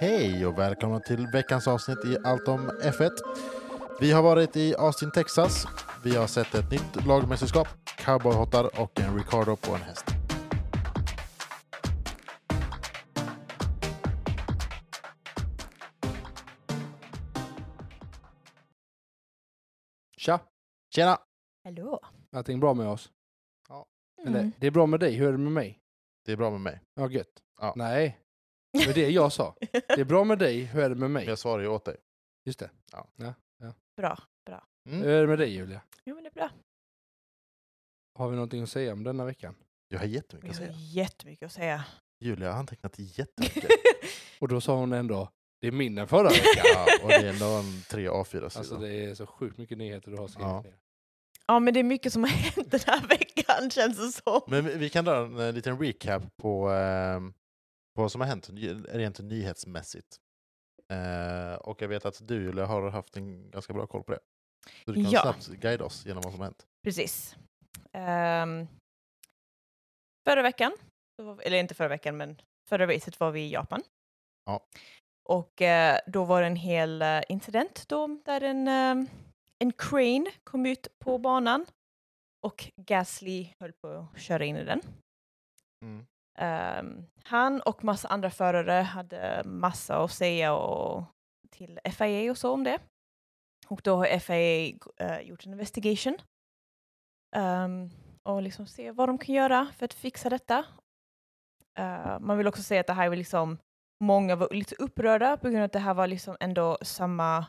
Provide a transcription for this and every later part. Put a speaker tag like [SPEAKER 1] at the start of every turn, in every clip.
[SPEAKER 1] Hej och välkomna till veckans avsnitt i Allt om F1. Vi har varit i Austin, Texas. Vi har sett ett nytt lagmästerskap, cowboyhottar och en Ricardo på en häst. Tja! Tjena!
[SPEAKER 2] Hallå.
[SPEAKER 3] Allting bra med oss? Eller,
[SPEAKER 2] Mm.
[SPEAKER 3] det är bra med dig, hur är det med mig?
[SPEAKER 1] Det är bra med mig.
[SPEAKER 3] Ja, gött.
[SPEAKER 1] Ja.
[SPEAKER 3] Nej, det var det jag sa. Det är bra med dig, hur är det med mig?
[SPEAKER 1] Jag svarar ju åt dig.
[SPEAKER 3] Just det.
[SPEAKER 1] Ja.
[SPEAKER 3] Ja.
[SPEAKER 2] Bra.
[SPEAKER 1] Mm.
[SPEAKER 3] Hur är det med dig Julia?
[SPEAKER 2] Jo men det är bra.
[SPEAKER 3] Har vi någonting att säga om denna veckan?
[SPEAKER 1] Jag har jättemycket
[SPEAKER 2] Jag
[SPEAKER 1] att
[SPEAKER 2] har
[SPEAKER 1] säga.
[SPEAKER 2] jättemycket att säga.
[SPEAKER 1] Julia har antecknat jättemycket.
[SPEAKER 3] Och då sa hon ändå, det är mindre än förra veckan.
[SPEAKER 1] ja, och det är ändå en tre A4-sidor.
[SPEAKER 3] Alltså det är så sjukt mycket nyheter du har skrivit
[SPEAKER 1] Ja.
[SPEAKER 3] ner.
[SPEAKER 2] Mm. ja men det är mycket som har hänt den här veckan känns det som.
[SPEAKER 1] Men vi- vi kan dra en eh, liten recap på, ehm, på vad som har hänt ny- rent nyhetsmässigt. Eh, och jag vet att du Julia har haft en ganska bra koll på det. Så du kan
[SPEAKER 2] Ja.
[SPEAKER 1] snabbt guida oss genom vad som har hänt.
[SPEAKER 2] Precis. Ehm, förra veckan, så var vi- eller inte förra veckan men förra racet var vi i Japan.
[SPEAKER 1] Ja.
[SPEAKER 2] Och eh, då var det en hel eh, incident då där en, eh, en crane kom ut på banan och Gasly höll på att köra in i den.
[SPEAKER 3] Mm.
[SPEAKER 2] Ehm, han och massa andra förare hade massa att säga och, till FIA och så om det. Och då har FIA eh, gjort en investigation ehm, och liksom se vad de kan göra för att fixa detta. Eh, man vill också säga att det här var liksom, många var lite upprörda på grund av att det här var liksom ändå samma,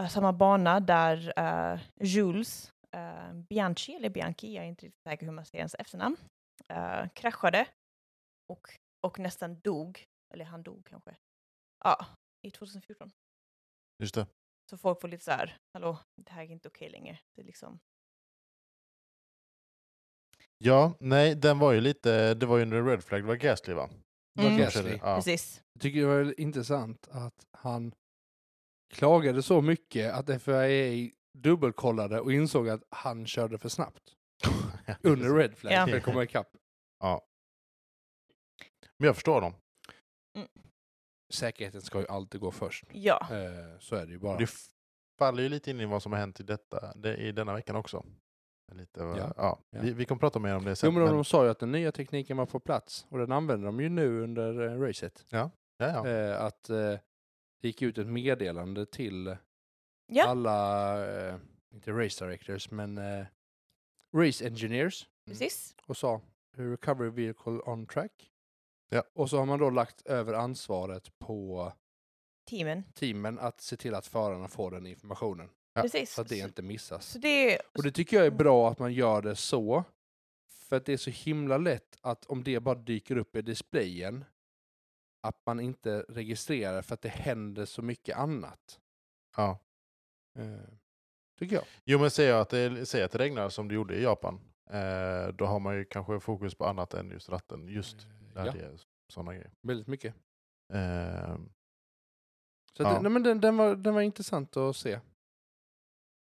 [SPEAKER 2] eh, samma bana där eh, Jules eh, Bianchi, eller Bianchi, jag är inte riktigt säker hur man säger hans efternamn, eh, kraschade och, och nästan dog, eller han dog kanske, ja, i 2014.
[SPEAKER 1] Just det.
[SPEAKER 2] Så folk får lite så här, hallå, det här är inte okej längre. Det är liksom,
[SPEAKER 1] Ja, nej, den var ju lite, det var ju en red flag, det var Gasly va?
[SPEAKER 3] Vad
[SPEAKER 2] Mm.
[SPEAKER 3] Gasly.
[SPEAKER 1] Körde- Ja.
[SPEAKER 2] Precis.
[SPEAKER 3] Jag tycker det var intressant att han klagade så mycket att FIA dubbelkollade och insåg att han körde för snabbt. Under red flag,
[SPEAKER 2] Ja.
[SPEAKER 3] för att komma ikapp.
[SPEAKER 1] Men jag förstår dem.
[SPEAKER 3] Säkerheten ska ju alltid gå först.
[SPEAKER 2] Ja,
[SPEAKER 3] Eh, Så är det ju bara.
[SPEAKER 1] Det f- faller ju lite in i vad som har hänt i, detta, det, i denna veckan också. Lite, va-
[SPEAKER 3] Ja.
[SPEAKER 1] Ja.
[SPEAKER 3] Ja.
[SPEAKER 1] Vi, vi kommer prata mer om det sen.
[SPEAKER 3] Jo, men de,
[SPEAKER 1] men-
[SPEAKER 3] de sa ju att den nya tekniken var på plats och den använder de ju nu under eh, racet.
[SPEAKER 1] ja, ja.
[SPEAKER 3] Eh, att eh, det gick ut ett meddelande till
[SPEAKER 2] ja.
[SPEAKER 3] Mm. alla, eh, inte race directors, men eh, race engineers
[SPEAKER 2] precis.
[SPEAKER 3] och sa recovery vehicle on track.
[SPEAKER 1] Ja.
[SPEAKER 3] Och så har man då lagt över ansvaret på
[SPEAKER 2] Teamen.
[SPEAKER 3] teamen att se till att förarna får den informationen
[SPEAKER 1] Ja,
[SPEAKER 2] precis.
[SPEAKER 3] så att det
[SPEAKER 2] Så-
[SPEAKER 3] inte missas.
[SPEAKER 2] Så det är...
[SPEAKER 3] Och det tycker jag är bra att man gör det så. För att det är så himla lätt att om det bara dyker upp i displayen att man inte registrerar för att det händer så mycket annat.
[SPEAKER 1] Ja.
[SPEAKER 3] Eh, tycker jag.
[SPEAKER 1] Jo men säg att det, säg att det regnar som det gjorde i Japan. Eh, då har man ju kanske fokus på annat än just ratten. Just
[SPEAKER 3] Eh,
[SPEAKER 1] där
[SPEAKER 3] ja,
[SPEAKER 1] det är sådana grejer.
[SPEAKER 3] väldigt mycket.
[SPEAKER 1] Eh,
[SPEAKER 3] Så att,
[SPEAKER 1] Ja.
[SPEAKER 3] nej, men den, den, var, den var intressant att se.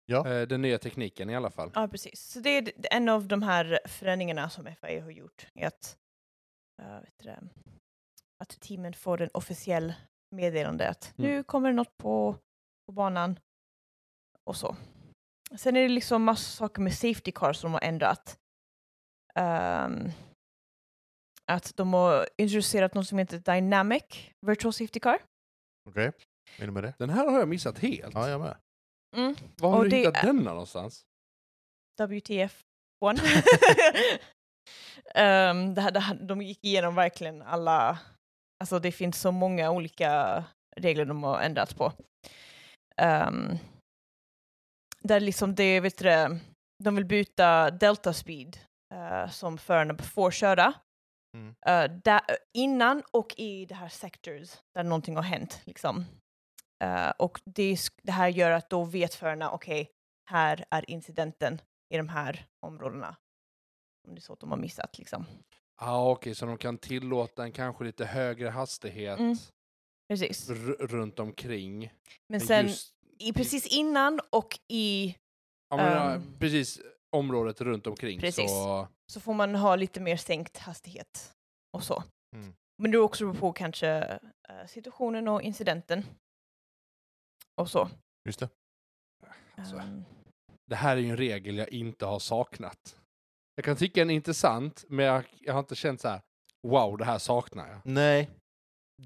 [SPEAKER 1] Ja.
[SPEAKER 3] Eh, den nya tekniken i alla fall.
[SPEAKER 2] Ja, precis. Så det är d- en av de här förändringarna som FIA har gjort. Är att, eh, vet du, det, att teamen får en officiell meddelande att
[SPEAKER 3] Mm.
[SPEAKER 2] nu kommer det något på, på banan och så. Sen är det liksom massa saker med safety cars som de har ändrat. Ehm, att de har introducerat något som heter Dynamic Virtual Safety Car.
[SPEAKER 1] Okej, är du med det?
[SPEAKER 3] Den här har jag missat helt.
[SPEAKER 1] Ja, jag med.
[SPEAKER 2] Mm.
[SPEAKER 3] Var har
[SPEAKER 2] Och
[SPEAKER 3] du
[SPEAKER 2] det
[SPEAKER 3] hittat
[SPEAKER 2] är-
[SPEAKER 3] denna någonstans?
[SPEAKER 2] WTF 1. um, det här, det här, de gick igenom verkligen alla, alltså det finns så många olika regler de har ändrat på. Ehm, där liksom det, vet du, det, de vill byta delta speed eh, som förarna får köra.
[SPEAKER 1] Mm.
[SPEAKER 2] Eh, där, innan och i det här sectors där någonting har hänt. Liksom. Eh, och det, är sk- det här gör att då vet förarna, okej, här är incidenten i de här områdena. Om det är så att de har missat liksom.
[SPEAKER 3] Ja, ah, okej, så de kan tillåta en kanske lite högre hastighet
[SPEAKER 2] Mm. Precis.
[SPEAKER 3] r- runt omkring.
[SPEAKER 2] Men
[SPEAKER 3] Men
[SPEAKER 2] sen
[SPEAKER 3] just-
[SPEAKER 2] i, precis innan och i
[SPEAKER 3] ja, men, ja,
[SPEAKER 2] ehm,
[SPEAKER 3] precis området runt omkring.
[SPEAKER 2] Precis.
[SPEAKER 3] Så,
[SPEAKER 2] så får man ha lite mer sänkt hastighet och så.
[SPEAKER 1] Mm.
[SPEAKER 2] Men det beror också på kanske eh, situationen och incidenten. Och så.
[SPEAKER 1] Just det.
[SPEAKER 3] Alltså.
[SPEAKER 2] Ehm,
[SPEAKER 3] Det här är ju en regel jag inte har saknat. Jag kan tycka den är intressant, men jag, jag har inte känt så här, wow, det här saknar jag.
[SPEAKER 1] Nej.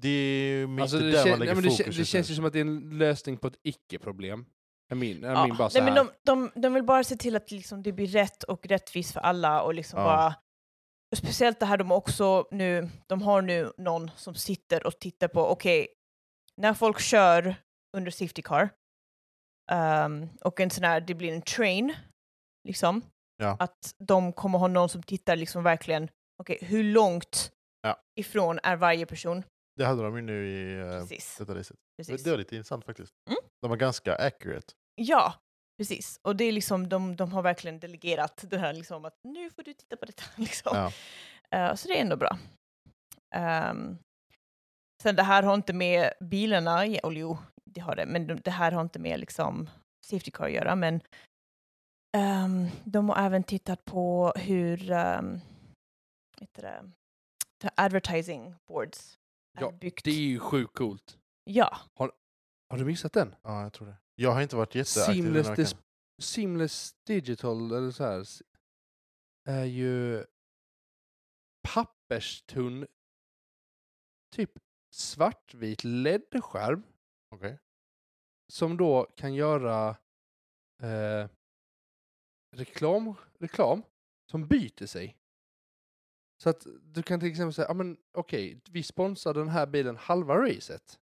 [SPEAKER 1] Det är ju inte
[SPEAKER 3] Alltså, det,
[SPEAKER 1] där
[SPEAKER 3] kän-
[SPEAKER 1] man lägger
[SPEAKER 3] nej, men det,
[SPEAKER 1] fokus
[SPEAKER 3] kän- det
[SPEAKER 1] just
[SPEAKER 3] känns
[SPEAKER 1] nu.
[SPEAKER 3] ju som att det är en lösning på ett icke-problem. Jag min, jag
[SPEAKER 2] ja.
[SPEAKER 3] min bara så
[SPEAKER 2] Nej, men
[SPEAKER 3] här.
[SPEAKER 2] de, de, de vill bara se till att liksom det blir rätt och rättvist för alla och liksom
[SPEAKER 1] Ja.
[SPEAKER 2] bara och Speciellt det här de också nu, de har nu någon som sitter och tittar på, okej, när folk kör under safety car ehm, och en sån här, det blir en train, liksom,
[SPEAKER 1] Ja.
[SPEAKER 2] att de kommer ha någon som tittar liksom verkligen, okej, hur långt
[SPEAKER 1] Ja.
[SPEAKER 2] ifrån är varje person?
[SPEAKER 1] Det hade de ju nu i eh,
[SPEAKER 2] Precis.
[SPEAKER 1] detta racet.
[SPEAKER 2] Precis.
[SPEAKER 1] Det var lite intressant faktiskt.
[SPEAKER 2] Mm.
[SPEAKER 1] De var ganska accurate.
[SPEAKER 2] Ja, precis. Och det är liksom, de, de har verkligen delegerat det här liksom att nu får du titta på detta. Liksom.
[SPEAKER 1] Ja.
[SPEAKER 2] Eh, så det är ändå bra. Ehm, sen det här har inte med bilarna, ja, och jo, det har det, men de- det här har inte med liksom safety car att göra, men ehm, de har även tittat på hur um, heter det, the advertising boards är
[SPEAKER 3] Ja,
[SPEAKER 2] byggt.
[SPEAKER 3] Det är ju sjukt coolt.
[SPEAKER 2] Ja,
[SPEAKER 3] Har du missat den?
[SPEAKER 1] ja, jag tror det. Jag har inte varit jätteaktiv den här
[SPEAKER 3] Seamless,
[SPEAKER 1] veckan.
[SPEAKER 3] dis- seamless digital, eller så här, s- är ju papperstunn, typ svartvit LED-skärm
[SPEAKER 1] Okej.
[SPEAKER 3] som då kan göra eh, reklam, reklam som byter sig. Så att du kan till exempel säga, ja men okej, vi sponsrar den här bilen halva racet.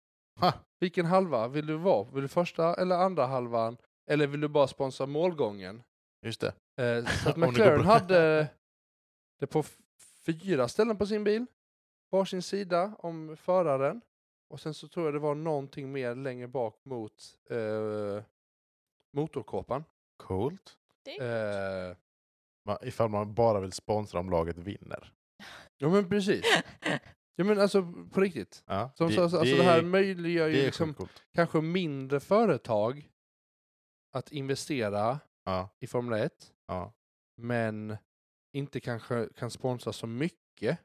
[SPEAKER 1] Ha.
[SPEAKER 3] Vilken halva vill du vara? Vill du första eller andra halvan? Eller vill du bara sponsra målgången?
[SPEAKER 1] Just det.
[SPEAKER 3] Eh, så att
[SPEAKER 1] Om det går
[SPEAKER 3] McLaren
[SPEAKER 1] bra.
[SPEAKER 3] hade det på f- fyra ställen på sin bil. Varsin sida om föraren. Och sen så tror jag det var någonting mer längre bak mot eh, motorkåpan.
[SPEAKER 1] Coolt.
[SPEAKER 3] Eh,
[SPEAKER 1] Man, ifall man bara vill sponsra om laget vinner.
[SPEAKER 3] ja men precis. Ja men alltså på riktigt.
[SPEAKER 1] Ja.
[SPEAKER 3] Som så, alltså, det,
[SPEAKER 1] är-
[SPEAKER 3] det här möjliggör ju
[SPEAKER 1] det är
[SPEAKER 3] liksom
[SPEAKER 1] sjukt coolt.
[SPEAKER 3] kanske mindre företag att investera
[SPEAKER 1] Ja.
[SPEAKER 3] i Formel 1.
[SPEAKER 1] Ja.
[SPEAKER 3] Men inte kanske kan sponsra så mycket.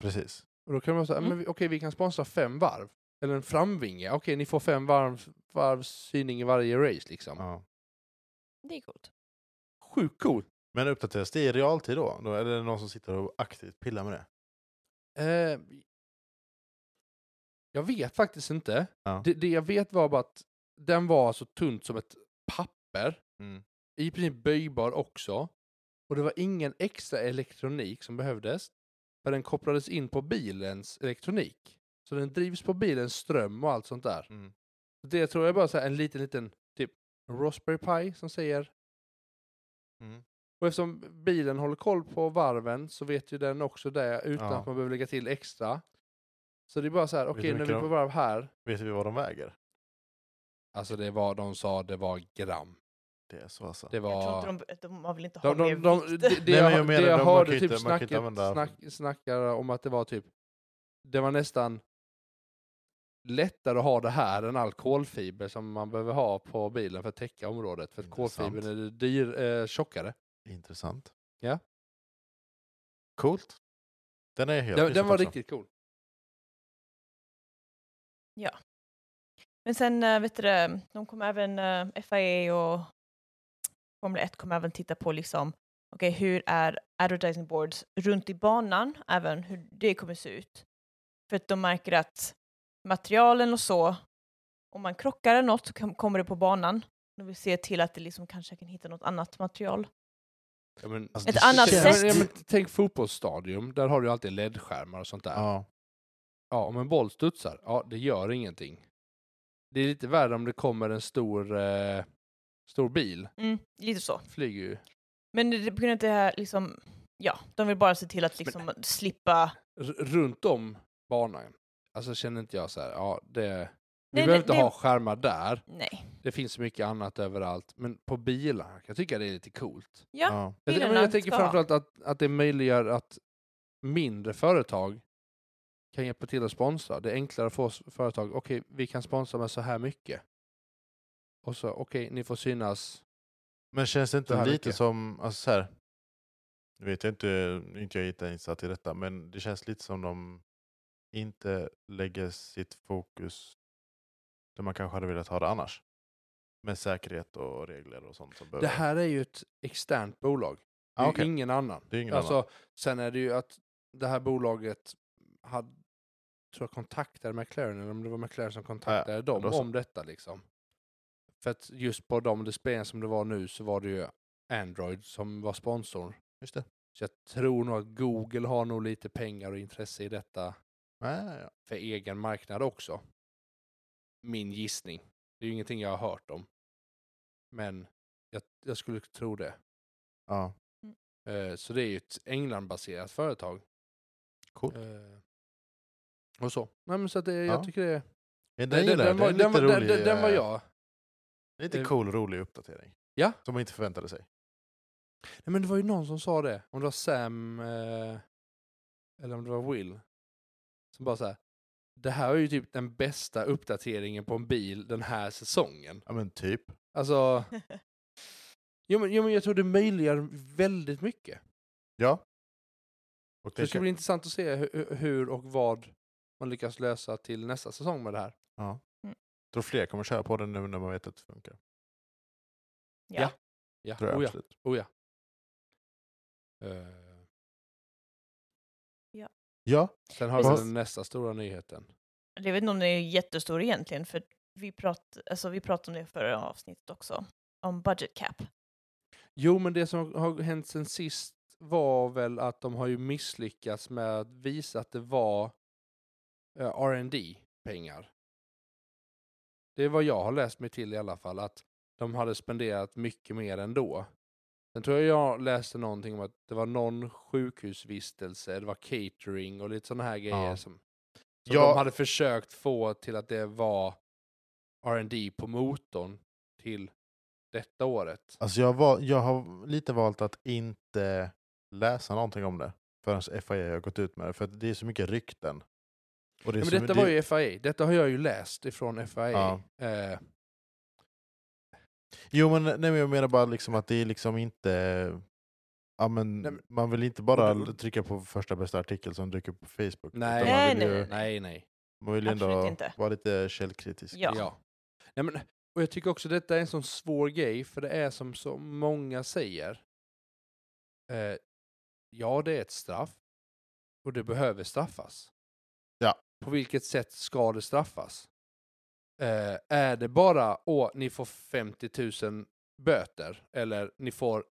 [SPEAKER 1] Precis.
[SPEAKER 3] Och då kan man säga,
[SPEAKER 2] Mm.
[SPEAKER 3] men vi- okej vi kan sponsra fem varv. Eller en framvinge. Okej ni får fem varv, varvs syning i varje race liksom.
[SPEAKER 1] Ja.
[SPEAKER 2] det är coolt.
[SPEAKER 3] Sjukt cool.
[SPEAKER 1] Men uppdateras det i realtid då? då? Är det någon som sitter och aktivt pillar med det?
[SPEAKER 3] Eh, jag vet faktiskt inte.
[SPEAKER 1] Ja.
[SPEAKER 3] Det, det jag vet var bara att den var så tunt som ett papper.
[SPEAKER 1] Mm.
[SPEAKER 3] I princip böjbar också. Och det var ingen extra elektronik som behövdes. För den kopplades in på bilens elektronik. Så den drivs på bilens ström och allt sånt där.
[SPEAKER 1] Mm.
[SPEAKER 3] Det tror jag är bara så här en liten, liten typ Raspberry Pi som säger.
[SPEAKER 1] Mm.
[SPEAKER 3] Och eftersom bilen håller koll på varven så vet ju den också det utan
[SPEAKER 1] Ja.
[SPEAKER 3] att man behöver lägga till extra. Så det är bara så här,
[SPEAKER 1] Vet du
[SPEAKER 3] okej
[SPEAKER 1] hur
[SPEAKER 3] nu är vi
[SPEAKER 1] mycket
[SPEAKER 3] på
[SPEAKER 1] de-
[SPEAKER 3] varv här.
[SPEAKER 1] Vet vi vad de väger?
[SPEAKER 3] Alltså det var, de sa det var gram.
[SPEAKER 1] Det är så alltså.
[SPEAKER 3] Det
[SPEAKER 2] Jag tror
[SPEAKER 3] var...
[SPEAKER 2] inte de, de har väl inte ha
[SPEAKER 3] De,
[SPEAKER 2] mer
[SPEAKER 3] de, de, de,
[SPEAKER 2] vikt.
[SPEAKER 3] det det
[SPEAKER 1] men
[SPEAKER 3] jag,
[SPEAKER 1] jag menar,
[SPEAKER 3] det
[SPEAKER 1] de- man
[SPEAKER 3] jag
[SPEAKER 1] kan
[SPEAKER 3] hörde
[SPEAKER 1] ju inte-
[SPEAKER 3] typ
[SPEAKER 1] man kan ju inte
[SPEAKER 3] snacket,
[SPEAKER 1] använda-
[SPEAKER 3] snack, snackar om att det var typ, det var nästan lättare att ha det här än all kolfiber som man behöver ha på bilen för att täcka området. För att
[SPEAKER 1] Intressant.
[SPEAKER 3] kolfibern är dyr, eh, tjockare.
[SPEAKER 1] Intressant.
[SPEAKER 3] Ja.
[SPEAKER 1] Coolt. Den är helt
[SPEAKER 3] Den, den
[SPEAKER 1] missat
[SPEAKER 3] var
[SPEAKER 1] också.
[SPEAKER 3] riktigt cool.
[SPEAKER 2] Men sen, eh, vet du det, de kommer även, eh, FIA och Formel 1 kommer även titta på liksom, okej hur är advertising boards runt i banan, även hur det kommer se ut. För att de märker att materialen och så, om man krockar eller något så kan, kommer det på banan. De vill se till att det liksom kanske kan hitta något annat material.
[SPEAKER 3] Ja, men,
[SPEAKER 1] Alltså,
[SPEAKER 2] Ett
[SPEAKER 1] det
[SPEAKER 2] annat
[SPEAKER 1] känns-
[SPEAKER 3] Ja,
[SPEAKER 2] sätt.
[SPEAKER 3] men, ja, men, tänk fotbollsstadion, där har du ju alltid LED-skärmar och sånt där. Ja.
[SPEAKER 1] Ja.
[SPEAKER 3] om en boll studsar, ja det gör ingenting. Det är lite värre om det kommer en stor, eh, stor bil.
[SPEAKER 2] Mm, lite så.
[SPEAKER 3] Flyger ju.
[SPEAKER 2] Men det, på grund av det här, liksom, ja, de vill bara se till att liksom slippa
[SPEAKER 3] R- runt om banan. Alltså känner inte jag så här, ja det... Vi
[SPEAKER 2] Nej,
[SPEAKER 3] behöver
[SPEAKER 2] nej,
[SPEAKER 3] inte
[SPEAKER 2] det-
[SPEAKER 3] ha skärmar där.
[SPEAKER 2] Nej.
[SPEAKER 3] Det finns så mycket annat överallt. Men på bilar, kan jag tycka det är lite coolt.
[SPEAKER 2] Ja,
[SPEAKER 1] ja.
[SPEAKER 3] Jag, men
[SPEAKER 2] Bilarna
[SPEAKER 3] jag tänker
[SPEAKER 2] ska ha.
[SPEAKER 3] framförallt att, att det möjliggör att mindre företag kan hjälpa till att sponsra. Det är enklare för oss företag. Okej, vi kan sponsra med så här mycket. Och så, okej, ni får synas.
[SPEAKER 1] Men känns det
[SPEAKER 3] Så
[SPEAKER 1] inte
[SPEAKER 3] här
[SPEAKER 1] lite
[SPEAKER 3] mycket.
[SPEAKER 1] som, alltså så här, nu vet jag inte, inte jag är jätteinsatt i detta, men det känns lite som de inte lägger sitt fokus där man kanske hade velat ha det annars. Med säkerhet och regler och sånt. Som
[SPEAKER 3] Det här är ju ett externt bolag. Det är
[SPEAKER 1] ah,
[SPEAKER 3] ju
[SPEAKER 1] okej.
[SPEAKER 3] ingen annan.
[SPEAKER 1] Det är ingen
[SPEAKER 3] alltså,
[SPEAKER 1] annan.
[SPEAKER 3] Sen är det ju att det här bolaget hade, tror jag kontaktade McLaren, eller om det var McLaren som kontaktade dem
[SPEAKER 1] då så.
[SPEAKER 3] om detta. liksom. För att just på de displayen som det var nu så var det ju Android som var sponsor.
[SPEAKER 1] Just det.
[SPEAKER 3] Så jag tror nog att Google har nog lite pengar och intresse i detta
[SPEAKER 1] Nej, ja.
[SPEAKER 3] för egen marknad också. Min gissning. Det är ju ingenting jag har hört om. Men jag, jag skulle tro det.
[SPEAKER 1] ja.
[SPEAKER 3] Eh, Så det är ju ett Englandbaserat företag.
[SPEAKER 1] Coolt.
[SPEAKER 3] Eh, Och så. Nej, men så att det,
[SPEAKER 1] Ja.
[SPEAKER 3] jag tycker det
[SPEAKER 1] Ja, Den,
[SPEAKER 3] det- det-
[SPEAKER 1] gillar jag.
[SPEAKER 3] den
[SPEAKER 1] Det är
[SPEAKER 3] var-
[SPEAKER 1] en lite
[SPEAKER 3] den var- den-
[SPEAKER 1] rolig,
[SPEAKER 3] den- Den var
[SPEAKER 1] eh,
[SPEAKER 3] jag.
[SPEAKER 1] Lite
[SPEAKER 3] eh,
[SPEAKER 1] cool, rolig uppdatering.
[SPEAKER 3] Ja.
[SPEAKER 1] Som man inte förväntade sig.
[SPEAKER 3] Nej, men det var ju någon som sa det. Om det var Sam eh, eller om det var Will. Som bara så här. Det här är ju typ den bästa uppdateringen på en bil den här säsongen.
[SPEAKER 1] Ja men typ.
[SPEAKER 3] Alltså, jo, men, jo, men jag tror det möjliggör väldigt mycket.
[SPEAKER 1] Ja. Och
[SPEAKER 3] Så det
[SPEAKER 1] det
[SPEAKER 3] ska
[SPEAKER 1] kan-
[SPEAKER 3] bli intressant att se hur, hur och vad man lyckas lösa till nästa säsong med det här.
[SPEAKER 1] ja.
[SPEAKER 2] Mm.
[SPEAKER 1] tror fler kommer köra på den nu när man vet att det funkar.
[SPEAKER 2] Ja.
[SPEAKER 3] Ja. Ja,
[SPEAKER 1] Tror jag
[SPEAKER 3] oh ja.
[SPEAKER 1] absolut.
[SPEAKER 3] Oh ja. Eh,
[SPEAKER 1] Ja.
[SPEAKER 3] sen har vi
[SPEAKER 1] Vad-
[SPEAKER 3] den nästa stora nyheten.
[SPEAKER 2] Jag vet inte om den är jättestor egentligen, för vi, prat, alltså, vi pratade om det förra avsnittet också, om budget cap.
[SPEAKER 3] Jo, men det som har hänt sen sist var väl att de har ju misslyckats med att visa att det var eh, R&D pengar Det är vad jag har läst mig till i alla fall, att de hade spenderat mycket mer ändå. Sen tror jag jag läste någonting om att det var någon sjukhusvistelse, det var catering och lite sådana här grejer
[SPEAKER 1] Ja.
[SPEAKER 3] som, som
[SPEAKER 1] Ja.
[SPEAKER 3] de hade försökt få till att det var R&D på motorn till detta året.
[SPEAKER 1] Alltså jag, var, jag har lite valt att inte läsa någonting om det förrän FIA har gått ut med det. För att det är så mycket rykten. Och det är
[SPEAKER 3] Ja,
[SPEAKER 1] så
[SPEAKER 3] men
[SPEAKER 1] my-
[SPEAKER 3] detta
[SPEAKER 1] det-
[SPEAKER 3] var ju FIA. Detta har jag ju läst ifrån FIA. Eh,
[SPEAKER 1] Jo men, nej, men jag menar bara liksom att det är liksom inte... Ja, men,
[SPEAKER 3] Nej, men-
[SPEAKER 1] man vill inte bara
[SPEAKER 3] Och då-
[SPEAKER 1] trycka på första bästa artikel som dyker upp på Facebook.
[SPEAKER 3] Nej.
[SPEAKER 1] utan man vill
[SPEAKER 2] Nej,
[SPEAKER 1] ju,
[SPEAKER 2] nej,
[SPEAKER 3] nej, nej.
[SPEAKER 1] Man vill ju ändå
[SPEAKER 2] Absolut inte.
[SPEAKER 1] vara lite källkritisk.
[SPEAKER 2] Ja.
[SPEAKER 3] Nej, men, och jag tycker också detta är en sån svår grej, för det är som så många säger. Eh, ja, det är ett straff. Och det behöver straffas.
[SPEAKER 1] Ja.
[SPEAKER 3] På vilket sätt ska det straffas? Eh, är det bara, åh, ni får 50 000 böter, eller ni får,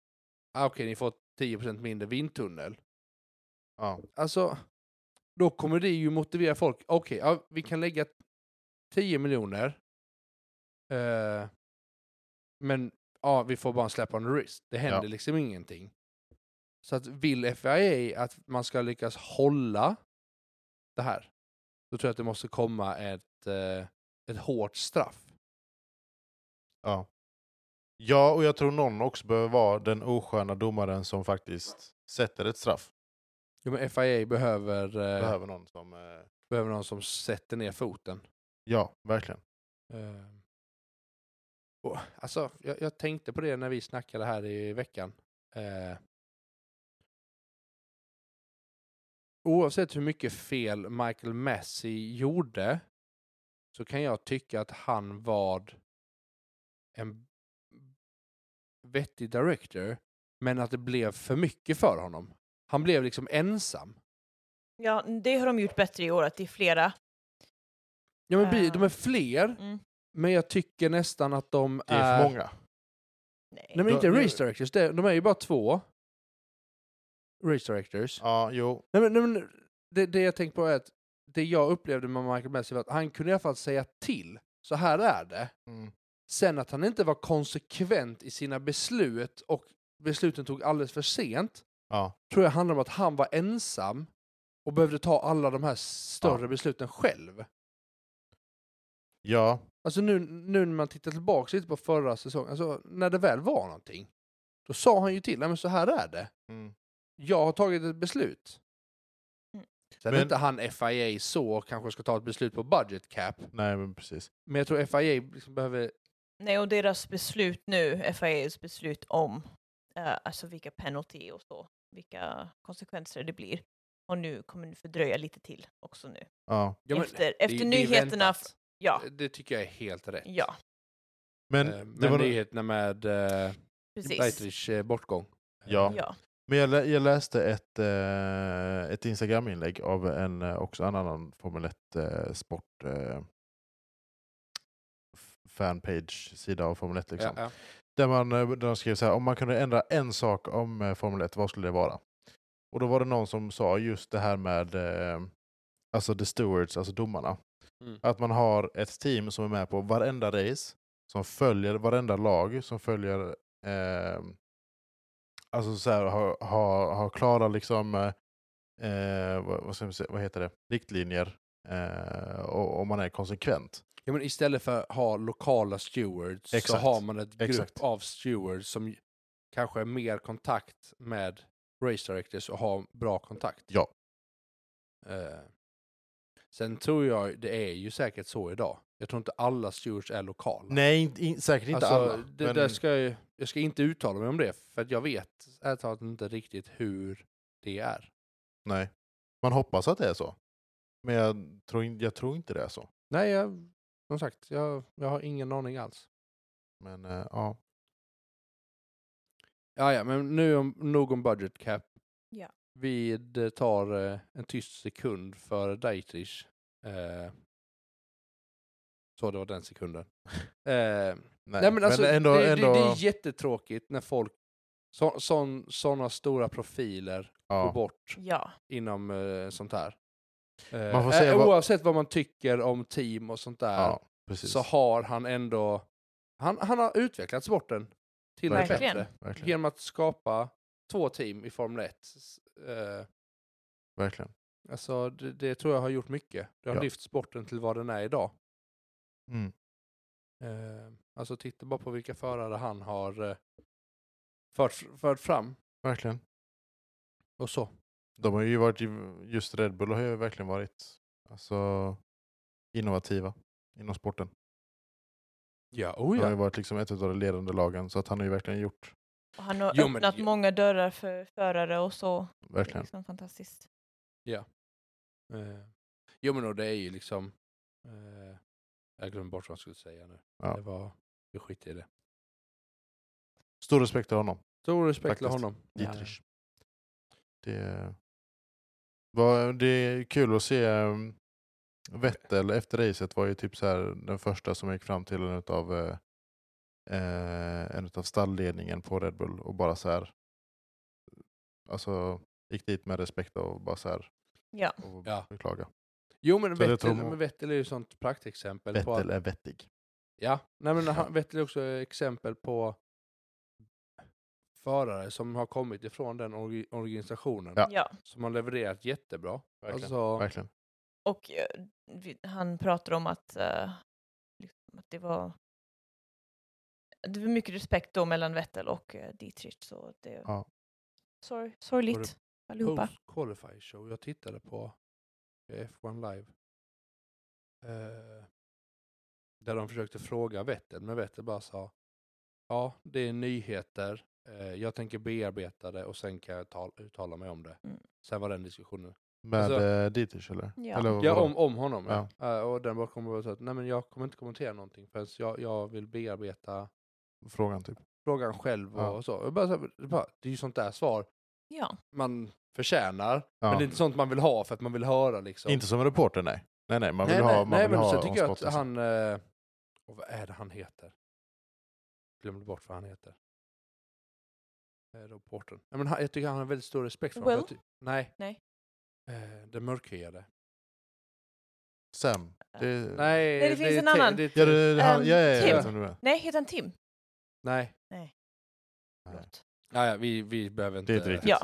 [SPEAKER 3] ah, okej, ni får 10 mindre vindtunnel.
[SPEAKER 1] Ja.
[SPEAKER 3] alltså, då kommer det ju motivera folk. Okej, ja, vi kan lägga 10 miljoner. Eh, men ja, vi får bara en slap on the wrist. Det händer
[SPEAKER 1] Ja.
[SPEAKER 3] liksom ingenting. Så att vill FIA att man ska lyckas hålla det här, då tror jag att det måste komma ett, eh, ett hårt straff.
[SPEAKER 1] Ja. ja, och jag tror någon också behöver vara den osköna domaren som faktiskt sätter ett straff.
[SPEAKER 3] Jo, men FIA behöver, eh, behöver.
[SPEAKER 1] Behöver någon som... eh,
[SPEAKER 3] någon som sätter ner foten.
[SPEAKER 1] Ja, verkligen.
[SPEAKER 3] Eh, och, alltså, jag, jag tänkte på det när vi snackade här i veckan. Eh, oavsett hur mycket fel Michael Messi gjorde så kan jag tycka att han var en vettig director men att det blev för mycket för honom. Han blev liksom ensam.
[SPEAKER 2] Ja, det har de gjort bättre i år, att det är flera.
[SPEAKER 3] Ja, men bi-
[SPEAKER 2] Ah.
[SPEAKER 3] de är fler,
[SPEAKER 2] Mm.
[SPEAKER 3] men jag tycker nästan att de
[SPEAKER 1] Det är för
[SPEAKER 2] Eh.
[SPEAKER 1] många.
[SPEAKER 2] Nej.
[SPEAKER 3] Nej men
[SPEAKER 1] Då-
[SPEAKER 3] inte
[SPEAKER 1] nu-
[SPEAKER 3] race directors, det, de är ju bara två. Race directors.
[SPEAKER 1] Ja, jo.
[SPEAKER 3] Nej, men, nej, men det, det jag tänkte på är att det jag upplevde med Michael Messi var att han kunde i alla fall säga till. Så här är det.
[SPEAKER 1] Mm.
[SPEAKER 3] Sen att han inte var konsekvent i sina beslut och besluten tog alldeles för sent
[SPEAKER 1] Ja.
[SPEAKER 3] tror jag handlar om att han var ensam och behövde ta alla de här större besluten själv.
[SPEAKER 1] ja,
[SPEAKER 3] Alltså nu, nu när man tittar tillbaka lite på förra säsongen, alltså när det väl var någonting, då sa han ju till, nej men så här är det.
[SPEAKER 1] Mm.
[SPEAKER 3] jag har tagit ett beslut.
[SPEAKER 2] Mm.
[SPEAKER 3] Sen
[SPEAKER 1] Men-
[SPEAKER 3] är inte han FIA så och kanske ska ta ett beslut på budget cap.
[SPEAKER 1] nej men precis.
[SPEAKER 3] Men jag tror FIA liksom behöver...
[SPEAKER 2] Nej, och deras beslut nu, FIAs beslut om eh, alltså vilka penalty och så, vilka konsekvenser det blir, Och nu kommer det fördröja lite till också nu.
[SPEAKER 1] Ja.
[SPEAKER 3] Ja, men
[SPEAKER 2] efter
[SPEAKER 3] det-
[SPEAKER 2] efter
[SPEAKER 3] det är
[SPEAKER 2] nyheterna.
[SPEAKER 3] väntat.
[SPEAKER 2] Ja,
[SPEAKER 3] Det tycker jag är helt rätt.
[SPEAKER 2] ja,
[SPEAKER 1] Men,
[SPEAKER 3] Eh, Men,
[SPEAKER 1] det var,
[SPEAKER 3] nyheterna med eh,
[SPEAKER 2] precis.
[SPEAKER 3] Dietrichs eh, bortgång.
[SPEAKER 1] Ja.
[SPEAKER 2] Ja.
[SPEAKER 1] men jag, lä, jag läste ett, eh, ett Instagram-inlägg av en, eh, också en annan Formel 1-sport eh, f- fanpage-sida av Formel 1. Liksom.
[SPEAKER 3] Ja, ja.
[SPEAKER 1] Där, man, eh, där de skrev så här, om man kunde ändra en sak om eh, Formel 1, vad skulle det vara? Och då var det någon som sa just det här med eh, alltså the stewards, alltså domarna.
[SPEAKER 3] Mm.
[SPEAKER 1] Att man har ett team som är med på varenda race, som följer varenda lag, som följer eh, alltså så här, har, har, har klara liksom eh, eh, vad, vad, ska man säga, vad heter det? riktlinjer eh, och, och man är konsekvent.
[SPEAKER 3] Ja, men istället för att ha lokala stewards så
[SPEAKER 1] Exakt.
[SPEAKER 3] har man ett grupp
[SPEAKER 1] Exakt.
[SPEAKER 3] av stewards som kanske är mer kontakt med race directors och har bra kontakt.
[SPEAKER 1] Ja.
[SPEAKER 3] Eh, sen tror jag, det är ju säkert så idag. Jag tror inte alla stewards är lokala.
[SPEAKER 1] Nej, in, in, säkert inte
[SPEAKER 3] Alltså,
[SPEAKER 1] alla.
[SPEAKER 3] Det,
[SPEAKER 1] men-
[SPEAKER 3] där ska jag, ju- jag ska inte uttala mig om det, för att jag vet ärligt talat inte riktigt hur det är.
[SPEAKER 1] Nej. Man hoppas att det är så. Men jag tror, in, jag tror inte det är så.
[SPEAKER 3] Nej, jag, som sagt, jag, jag har ingen aning alls.
[SPEAKER 1] Men eh, ja.
[SPEAKER 3] Ja, ja, men nu om, nog om budget cap.
[SPEAKER 2] Ja.
[SPEAKER 3] Vi eh, tar eh, en tyst sekund för Dietrich. Eh, så det var den sekunden. Eh,
[SPEAKER 1] Nej,
[SPEAKER 3] Nej, men alltså,
[SPEAKER 1] ändå,
[SPEAKER 3] det,
[SPEAKER 1] ändå
[SPEAKER 3] Det, det är jättetråkigt när folk, sådana så, såna stora profiler går
[SPEAKER 1] ja.
[SPEAKER 3] bort
[SPEAKER 2] ja,
[SPEAKER 3] inom eh, sånt här. Eh,
[SPEAKER 1] Man får
[SPEAKER 3] eh,
[SPEAKER 1] säga vad-
[SPEAKER 3] Oavsett vad man tycker om team och sånt där
[SPEAKER 1] ja, precis.
[SPEAKER 3] så har han ändå han, han har utvecklat sporten till det
[SPEAKER 1] Verkligen.
[SPEAKER 3] bättre
[SPEAKER 1] verkligen,
[SPEAKER 3] genom att skapa två team i Formel 1. Eh,
[SPEAKER 1] verkligen.
[SPEAKER 3] alltså, det, det tror jag har gjort mycket. Det har
[SPEAKER 1] Ja.
[SPEAKER 3] lyft sporten till vad den är idag.
[SPEAKER 1] Mm.
[SPEAKER 3] Eh, alltså titta bara på vilka förare han har eh, fört, fört fram
[SPEAKER 1] Verkligen.
[SPEAKER 3] och så.
[SPEAKER 1] De har ju varit, ju- just Red Bull har ju verkligen varit alltså, innovativa inom sporten.
[SPEAKER 3] Oh, Ja, oh
[SPEAKER 1] De har ju varit liksom ett av de ledande lagen så att han har ju verkligen gjort,
[SPEAKER 2] och han har
[SPEAKER 3] Jo, men
[SPEAKER 2] öppnat
[SPEAKER 3] ju-
[SPEAKER 2] många dörrar för förare och så. Det är
[SPEAKER 1] verkligen.
[SPEAKER 2] liksom fantastiskt.
[SPEAKER 3] Eh, jo men och det är ju liksom... Eh, jag glömde bort vad jag skulle säga nu.
[SPEAKER 1] Ja.
[SPEAKER 3] Det var... Vi skiter i det.
[SPEAKER 1] Stor respekt till honom,
[SPEAKER 3] Stor respekt till
[SPEAKER 1] Faktiskt.
[SPEAKER 3] honom.
[SPEAKER 1] Dietrich. Det, var, det är kul att se um, Vettel efter racet var ju typ så här den första som gick fram till en utav, eh, eh, en utav stallledningen på Red Bull och bara så här alltså gick dit med respekt och bara så här
[SPEAKER 2] Ja,
[SPEAKER 1] och
[SPEAKER 3] Ja.
[SPEAKER 1] beklaga.
[SPEAKER 3] Jo men
[SPEAKER 1] Så det
[SPEAKER 3] Vettel,
[SPEAKER 1] tror man-
[SPEAKER 3] men Vettel är ju ett sånt praktexempel på att...
[SPEAKER 1] Vettel är vettig.
[SPEAKER 3] Ja, nej men han, Vettel är också ett exempel på förare som har kommit ifrån den orgi- organisationen
[SPEAKER 1] Ja.
[SPEAKER 2] ja.
[SPEAKER 3] som har levererat jättebra.
[SPEAKER 1] Verkligen.
[SPEAKER 3] Alltså,
[SPEAKER 1] Verkligen.
[SPEAKER 2] Och eh, vi- han pratar om att, eh, liksom, att det var det var mycket respekt då mellan Vettel och uh, Dietrich. Så det
[SPEAKER 1] Ja.
[SPEAKER 2] sorg,
[SPEAKER 3] Var det
[SPEAKER 2] sorgligt allihopa.
[SPEAKER 3] post qualify show. Jag tittade på F1 live. Eh, där de försökte fråga Vettel, men Vettel bara sa Ja, det är nyheter. Eh, jag tänker bearbeta det och sen kan jag tal- uttala mig om det.
[SPEAKER 2] Mm.
[SPEAKER 3] Sen var den diskussionen.
[SPEAKER 1] Med
[SPEAKER 3] Alltså-
[SPEAKER 1] eh, Dietrich eller?
[SPEAKER 2] Ja.
[SPEAKER 1] eller
[SPEAKER 3] Ja,
[SPEAKER 1] vadå?
[SPEAKER 3] om, om honom. Ja. Eh, och den bara kommer och sa att nej, men jag kommer inte kommentera någonting förrän jag, jag vill bearbeta
[SPEAKER 1] Frågan typ.
[SPEAKER 3] frågan själv och,
[SPEAKER 1] Ja.
[SPEAKER 3] och så. Jag bara, så här, det är bara, det är ju sånt där svar
[SPEAKER 2] Ja,
[SPEAKER 3] man förtjänar.
[SPEAKER 1] Ja.
[SPEAKER 3] Men det är inte sånt man vill ha för att man vill höra liksom.
[SPEAKER 1] Inte som reporter nej. Nej nej, man vill
[SPEAKER 3] nej,
[SPEAKER 1] ha,
[SPEAKER 3] nej,
[SPEAKER 1] man
[SPEAKER 3] nej,
[SPEAKER 1] vill
[SPEAKER 3] men
[SPEAKER 1] ha
[SPEAKER 3] så tycker jag
[SPEAKER 1] on-spot,
[SPEAKER 3] att
[SPEAKER 1] liksom.
[SPEAKER 3] han... Eh, och vad är det han heter? Glömde bort vad han heter. Eh, reportern. Nej, men han, jag tycker han har väldigt stor respekt för honom.
[SPEAKER 2] Will?
[SPEAKER 3] Jag ty- nej.
[SPEAKER 2] Nej.
[SPEAKER 3] Eh, det mörkhyade.
[SPEAKER 1] Sam. Det,
[SPEAKER 3] Nej,
[SPEAKER 2] det finns
[SPEAKER 3] är
[SPEAKER 2] en
[SPEAKER 3] te-
[SPEAKER 2] annan.
[SPEAKER 3] det är te-
[SPEAKER 1] Ja, det, det, han,
[SPEAKER 2] Ehm,
[SPEAKER 1] ja, ja, ja,
[SPEAKER 2] Tim.
[SPEAKER 1] jag vet vem du menar.
[SPEAKER 2] nej, heter han Tim?
[SPEAKER 3] nej.
[SPEAKER 2] Förlåt.
[SPEAKER 3] Ja, ja, vi, vi behöver inte...
[SPEAKER 1] Det är inte riktigt.
[SPEAKER 2] Ja,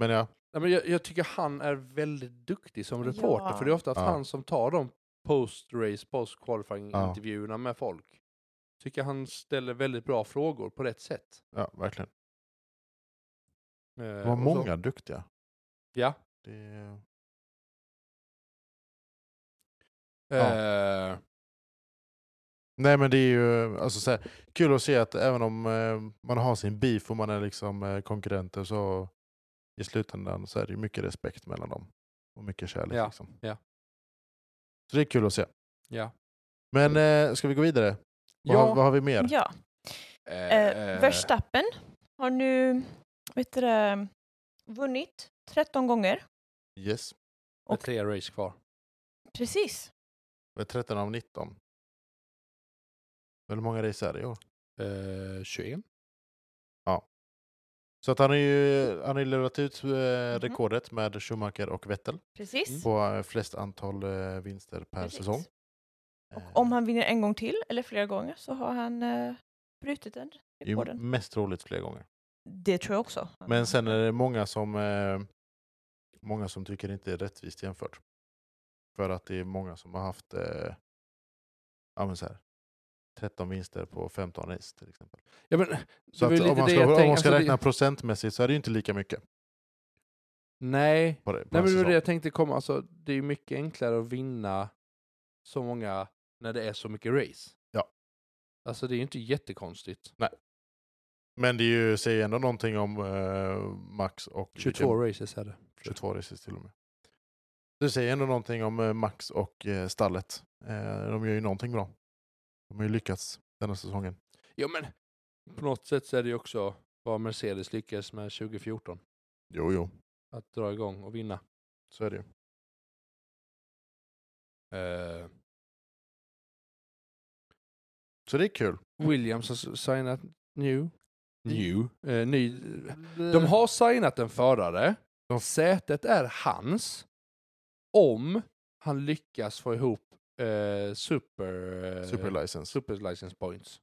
[SPEAKER 1] Men ja,
[SPEAKER 3] Nej, men jag, jag tycker han är väldigt duktig som reporter,
[SPEAKER 2] Ja.
[SPEAKER 3] för det är ofta
[SPEAKER 1] Ja.
[SPEAKER 3] han som tar de post-race,
[SPEAKER 1] Ja.
[SPEAKER 3] post-qualifying-intervjuerna med folk. Tycker han ställer väldigt bra frågor på rätt sätt.
[SPEAKER 1] ja verkligen.
[SPEAKER 3] Eh,
[SPEAKER 1] Det var
[SPEAKER 3] och så-
[SPEAKER 1] många duktiga.
[SPEAKER 3] Ja.
[SPEAKER 1] Det,
[SPEAKER 3] Eh,
[SPEAKER 1] nej men det är ju alltså, så här, kul att se att även om eh, man har sin beef och man är liksom eh, konkurrenter så i slutändan så är det ju mycket respekt mellan dem. Och mycket kärlek.
[SPEAKER 3] Ja,
[SPEAKER 1] Liksom.
[SPEAKER 3] ja.
[SPEAKER 1] Så det är kul att se.
[SPEAKER 3] Ja.
[SPEAKER 1] Men
[SPEAKER 3] Mm.
[SPEAKER 1] eh, ska vi gå vidare? Vad, har, vad har vi mer?
[SPEAKER 2] Ja.
[SPEAKER 3] Eh,
[SPEAKER 2] Eh,
[SPEAKER 3] eh,
[SPEAKER 2] Verstappen har nu vet du, det, vunnit 13 gånger.
[SPEAKER 1] Yes.
[SPEAKER 3] med
[SPEAKER 2] och-
[SPEAKER 3] tre race kvar.
[SPEAKER 2] Precis.
[SPEAKER 1] Det är 13 av 19. Hur många race är det i år?
[SPEAKER 3] Eh, 21?
[SPEAKER 1] Så att han har ju han har ju lurat ut eh,
[SPEAKER 2] Mhm.
[SPEAKER 1] rekordet med Schumacher och Vettel
[SPEAKER 2] Precis.
[SPEAKER 3] Mm.
[SPEAKER 1] på eh, flest antal eh, vinster per
[SPEAKER 2] Precis.
[SPEAKER 1] säsong. Eh,
[SPEAKER 2] Och om han vinner en gång till, eller flera gånger, så har han eh, brutit den
[SPEAKER 1] det är Eh, ju
[SPEAKER 2] rekorden.
[SPEAKER 1] mest troligt flera gånger.
[SPEAKER 2] Det tror jag också.
[SPEAKER 1] Men sen är det många som, eh, många som tycker det inte är rättvist jämfört. För att det är många som har haft eh, ja, men så här, 13 vinster på 15 race till exempel.
[SPEAKER 3] Ja, men,
[SPEAKER 1] Så
[SPEAKER 3] det
[SPEAKER 1] att
[SPEAKER 3] var ju
[SPEAKER 1] om
[SPEAKER 3] lite
[SPEAKER 1] man
[SPEAKER 3] det
[SPEAKER 1] ska,
[SPEAKER 3] jag
[SPEAKER 1] om
[SPEAKER 3] tänkte,
[SPEAKER 1] man ska
[SPEAKER 3] alltså, det-
[SPEAKER 1] räkna procentmässigt så är det ju inte lika mycket.
[SPEAKER 3] nej,
[SPEAKER 1] På det, på
[SPEAKER 3] nej
[SPEAKER 1] en
[SPEAKER 3] men det var
[SPEAKER 1] säsong.
[SPEAKER 3] det jag tänkte komma. Alltså, det är ju mycket enklare att vinna så många när det är så mycket race.
[SPEAKER 1] Ja.
[SPEAKER 3] Alltså det är ju inte jättekonstigt.
[SPEAKER 1] Men det är ju, säger ju ändå någonting om eh, Max och
[SPEAKER 3] 22 races är det.
[SPEAKER 1] 22 races till och med. Du säger ändå någonting om eh, Max och eh, stallet. Eh, de gör ju någonting bra. De har ju lyckats denna säsongen.
[SPEAKER 3] Ja men på något sätt så är det ju också vad Mercedes lyckades med 2014.
[SPEAKER 1] Jo, jo,
[SPEAKER 3] Att dra igång och vinna.
[SPEAKER 1] så är det ju.
[SPEAKER 3] Eh,
[SPEAKER 1] Så det är kul.
[SPEAKER 3] Williams har s- signat new. New? Eh, ny.
[SPEAKER 1] Mm. Eh,
[SPEAKER 3] De har signat en förare.
[SPEAKER 1] De-
[SPEAKER 3] Sätet är hans. Om han lyckas få ihop eh, super, eh,
[SPEAKER 1] Superlicense.
[SPEAKER 3] super license points.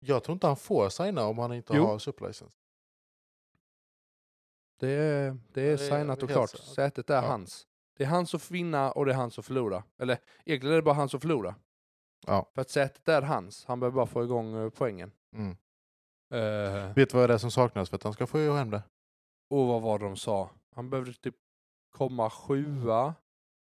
[SPEAKER 1] Jag tror inte han får signa om han inte
[SPEAKER 3] Jo.
[SPEAKER 1] har superlicense.
[SPEAKER 3] Det är, det
[SPEAKER 1] det
[SPEAKER 3] är
[SPEAKER 1] är
[SPEAKER 3] signat och
[SPEAKER 1] helt
[SPEAKER 3] klart.
[SPEAKER 1] sant.
[SPEAKER 3] Sätet är
[SPEAKER 1] Ja.
[SPEAKER 3] hans. Det är han som får vinna och det är han som förlorar. Eller egentligen är det bara han som förlorar.
[SPEAKER 1] Ja.
[SPEAKER 3] För att sätet är hans. Han behöver bara få igång eh, poängen.
[SPEAKER 1] Mm.
[SPEAKER 3] Eh,
[SPEAKER 1] Vet du vad det är som saknas för att han ska få hem det?
[SPEAKER 3] Och vad var det de sa? Han behövde typ komma sjua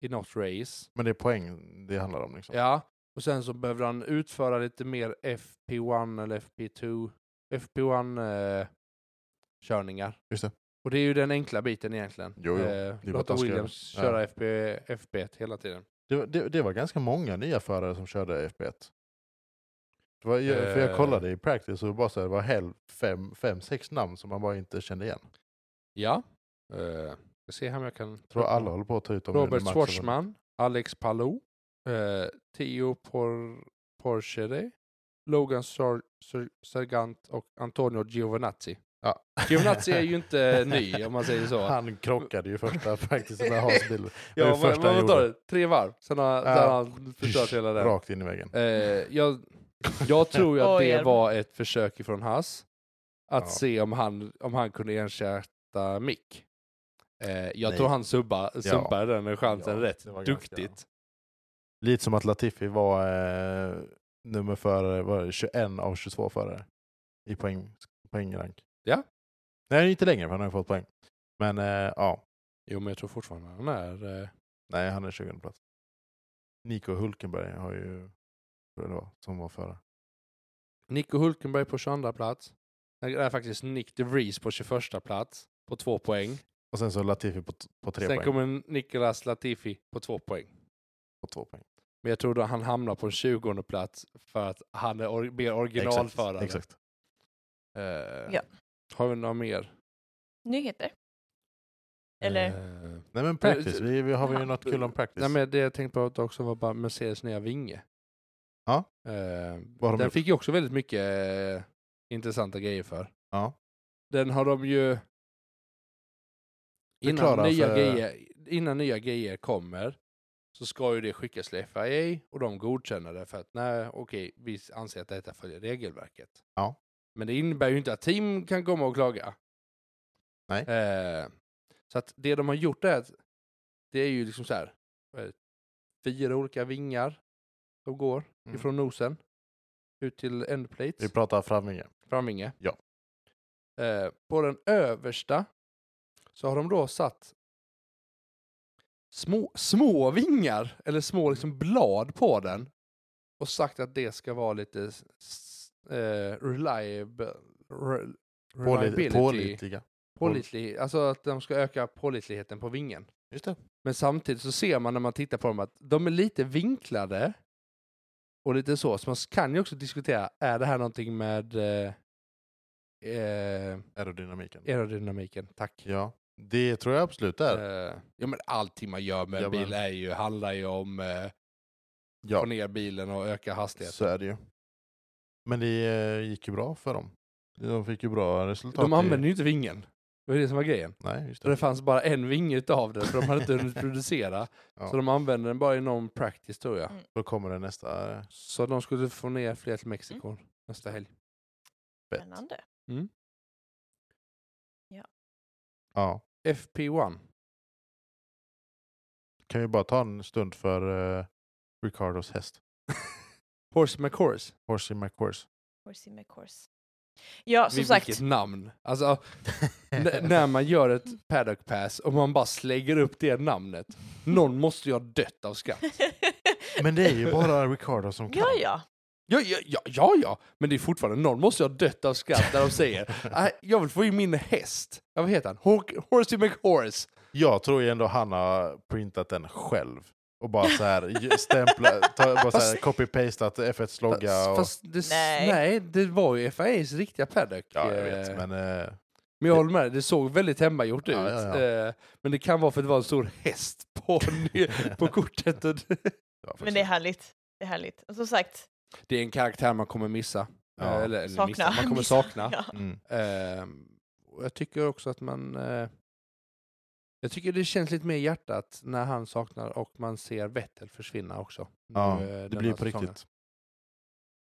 [SPEAKER 3] i något race.
[SPEAKER 1] Men det är poäng det handlar om. Liksom.
[SPEAKER 3] Ja, och sen så behövde han utföra lite mer FP1 eller FP2. FP1 eh, körningar.
[SPEAKER 1] Just det.
[SPEAKER 3] Och det är ju den enkla biten egentligen.
[SPEAKER 1] Jo, jo.
[SPEAKER 3] Eh,
[SPEAKER 1] Det är bara
[SPEAKER 3] Låta
[SPEAKER 1] taskigare.
[SPEAKER 3] Williams
[SPEAKER 1] Ja.
[SPEAKER 3] köra FP, FP1 hela tiden.
[SPEAKER 1] Det, var- det, det var ganska många nya förare som körde FB1. Det var, jag, för jag
[SPEAKER 3] Eh.
[SPEAKER 1] kollade i practice och det bara så här, det var hel, fem, fem, sex namn som man bara inte kände igen.
[SPEAKER 3] Ja. Eh, jag ser här om jag kan...
[SPEAKER 1] Jag tror alla håller på att ta ut dem. nu när
[SPEAKER 3] Robert
[SPEAKER 1] Max har vunnit.
[SPEAKER 3] Schwartzman, Alex Palou, eh, Theo Por Porchere, Logan Sar Sar Sargant och Antonio Giovinazzi.
[SPEAKER 1] Ja.
[SPEAKER 3] Giovinazzi är ju inte ny om man säger så.
[SPEAKER 1] Han krockade ju första practicen med Hans bil. det
[SPEAKER 3] ja,
[SPEAKER 1] första
[SPEAKER 3] vad-
[SPEAKER 1] han
[SPEAKER 3] vad tar
[SPEAKER 1] gjorde.
[SPEAKER 3] det? Tre varv, sen har, sen har han förstört hela den.
[SPEAKER 1] Rakt in i väggen.
[SPEAKER 3] Eh, jag, jag tror ju att
[SPEAKER 2] Oj,
[SPEAKER 3] det
[SPEAKER 2] hjälp.
[SPEAKER 3] var ett försök ifrån Haas att
[SPEAKER 1] Ja.
[SPEAKER 3] se om han, om han kunde ersätta Mick. Eh, jag
[SPEAKER 1] Nej.
[SPEAKER 3] tror han subba, sumpade den chansen
[SPEAKER 1] Ja,
[SPEAKER 3] rätt
[SPEAKER 1] det var ganska-
[SPEAKER 3] duktigt.
[SPEAKER 1] Lite som att Latifi var eh, nummer förare, var det 21 av 22 förare i poäng, poängrank.
[SPEAKER 3] Ja.
[SPEAKER 1] Nej, inte längre för han har ju fått poäng. Men eh, ja,
[SPEAKER 3] Jo, men jag tror fortfarande han är... eh,
[SPEAKER 1] nej han är 20 plats. Nico Hulkenberg har ju, tror jag det var, som var förare.
[SPEAKER 3] Nico Hulkenberg på 22 plats. Det är faktiskt Nick de Vries på 21 plats på två poäng.
[SPEAKER 1] Och sen så Latifi på, t- på tre
[SPEAKER 3] Sen
[SPEAKER 1] poäng.
[SPEAKER 3] kommer Nicolas Latifi på två poäng.
[SPEAKER 1] På två poäng.
[SPEAKER 3] Men jag tror då han hamnar på en 20 plats för att han är or- mer originalförare.
[SPEAKER 1] Exakt. exakt.
[SPEAKER 3] Eh,
[SPEAKER 2] Ja.
[SPEAKER 3] Har vi några mer?
[SPEAKER 2] Nyheter. Eller?
[SPEAKER 3] Eh,
[SPEAKER 1] Nej men practice, vi, vi har vi ju något kul om practice.
[SPEAKER 3] nej, men det jag tänkte på också var bara Mercedes nya vinge.
[SPEAKER 1] Ja.
[SPEAKER 3] Eh,
[SPEAKER 1] Vad har de
[SPEAKER 3] den
[SPEAKER 1] gjort?
[SPEAKER 3] fick ju också väldigt mycket eh, intressanta grejer för.
[SPEAKER 1] ja.
[SPEAKER 3] Den har de ju... Innan
[SPEAKER 1] Förklara
[SPEAKER 3] nya,
[SPEAKER 1] för-
[SPEAKER 3] grejer, innan nya grejer kommer så ska ju det skickas till FIA och de godkänner det för att nej, okej, vi anser att detta följer regelverket.
[SPEAKER 1] Ja.
[SPEAKER 3] Men det innebär ju inte att team kan komma och klaga.
[SPEAKER 1] Nej.
[SPEAKER 3] Eh, så att det de har gjort är att det är ju liksom så här, vad är det, fyra olika vingar som går
[SPEAKER 1] Mm.
[SPEAKER 3] ifrån nosen ut till
[SPEAKER 1] Vi
[SPEAKER 3] endplates.
[SPEAKER 1] pratar framvinge.
[SPEAKER 3] Framvinge.
[SPEAKER 1] Ja.
[SPEAKER 3] Eh, på den översta så har de då satt små, små vingar, eller
[SPEAKER 1] Mm.
[SPEAKER 3] små liksom blad på den. Och sagt att det ska vara lite s- s- eh, reliable, re,
[SPEAKER 1] Pålit-
[SPEAKER 3] reliability,
[SPEAKER 1] Pålitliga.
[SPEAKER 3] Pålitlig, alltså att de ska öka pålitligheten på vingen.
[SPEAKER 1] Just det.
[SPEAKER 3] Men samtidigt så ser man när man tittar på dem att de är lite vinklade och lite så. Så man kan ju också diskutera, är det här någonting med eh, eh,
[SPEAKER 1] Aerodynamiken.
[SPEAKER 3] aerodynamiken? Tack.
[SPEAKER 1] Ja, det tror jag absolut det är.
[SPEAKER 3] Eh, ja men allting man gör med
[SPEAKER 1] Ja,
[SPEAKER 3] en bil
[SPEAKER 1] men-
[SPEAKER 3] är ju, handlar ju om eh, få
[SPEAKER 1] Ja,
[SPEAKER 3] ner bilen och öka hastigheten.
[SPEAKER 1] så är det ju. Men det eh, gick ju bra för dem. De fick ju bra resultat.
[SPEAKER 3] De
[SPEAKER 1] i-
[SPEAKER 3] använder ju inte vingen. Det var det som var grejen.
[SPEAKER 1] Nej, just
[SPEAKER 3] Så det
[SPEAKER 1] det.
[SPEAKER 3] fanns bara en vinge utav den för de hade inte hunnit producera.
[SPEAKER 1] Ja.
[SPEAKER 3] Så de använde den bara i någon practice tror jag.
[SPEAKER 2] Mm.
[SPEAKER 1] Då kommer det nästa eh,
[SPEAKER 3] Så de skulle få ner fler till Mexiko nästa helg.
[SPEAKER 1] bett.
[SPEAKER 2] Spännande.
[SPEAKER 1] Ja.
[SPEAKER 3] FP1.
[SPEAKER 1] Kan vi bara ta en stund för eh, Ricardos häst.
[SPEAKER 3] Horse McHorse.
[SPEAKER 1] Horsey McHorse.
[SPEAKER 2] Horsey McHorse. Ja, som sagt.
[SPEAKER 3] Vilket namn. Alltså, n- när man gör ett paddock pass och man bara slänger upp det namnet. Någon måste ju ha dött av skratt.
[SPEAKER 1] Men det är ju bara Ricardo som kan.
[SPEAKER 2] ja, ja.
[SPEAKER 3] Ja, ja, ja, ja, ja. men det är fortfarande någon måste ju ha dött av skratt när de säger "Nej, jag vill få in min häst. Ja, vad heter han? Hor- Horsey McHorse.
[SPEAKER 1] Jag tror ju ändå han har printat den själv. Och bara så här ju- stämpla, ta, bara så här,
[SPEAKER 3] Fast-
[SPEAKER 1] copy-pastat F1s logga.
[SPEAKER 3] Fast,
[SPEAKER 1] Och,
[SPEAKER 3] fast det, nej.
[SPEAKER 2] Nej.
[SPEAKER 3] nej, det var ju FIAs riktiga paddock.
[SPEAKER 1] ja, jag vet.
[SPEAKER 3] Eh,
[SPEAKER 1] Men eh,
[SPEAKER 3] Men jag håller med dig, det såg väldigt hemmagjort
[SPEAKER 1] Ja,
[SPEAKER 3] ut.
[SPEAKER 1] ja,
[SPEAKER 3] Eh, Men det kan vara för att det var en stor häst på, på kortet. och det-
[SPEAKER 1] ja,
[SPEAKER 2] Men det är härligt. Det är härligt. Och som sagt,
[SPEAKER 3] Det är en karaktär man kommer missa.
[SPEAKER 1] Ja.
[SPEAKER 3] Eh, Eller, eller
[SPEAKER 2] sakna.
[SPEAKER 3] missa, man kommer
[SPEAKER 2] missa.
[SPEAKER 3] sakna.
[SPEAKER 2] Ja.
[SPEAKER 1] mm,
[SPEAKER 3] Eh, och Jag tycker också att man... eh, Jag tycker det känns lite mer i hjärtat när han saknar och man ser Vettel försvinna också.
[SPEAKER 1] ja,
[SPEAKER 3] Nu, eh,
[SPEAKER 1] det
[SPEAKER 3] den
[SPEAKER 1] blir
[SPEAKER 3] här
[SPEAKER 1] på
[SPEAKER 3] säsongen.
[SPEAKER 1] riktigt.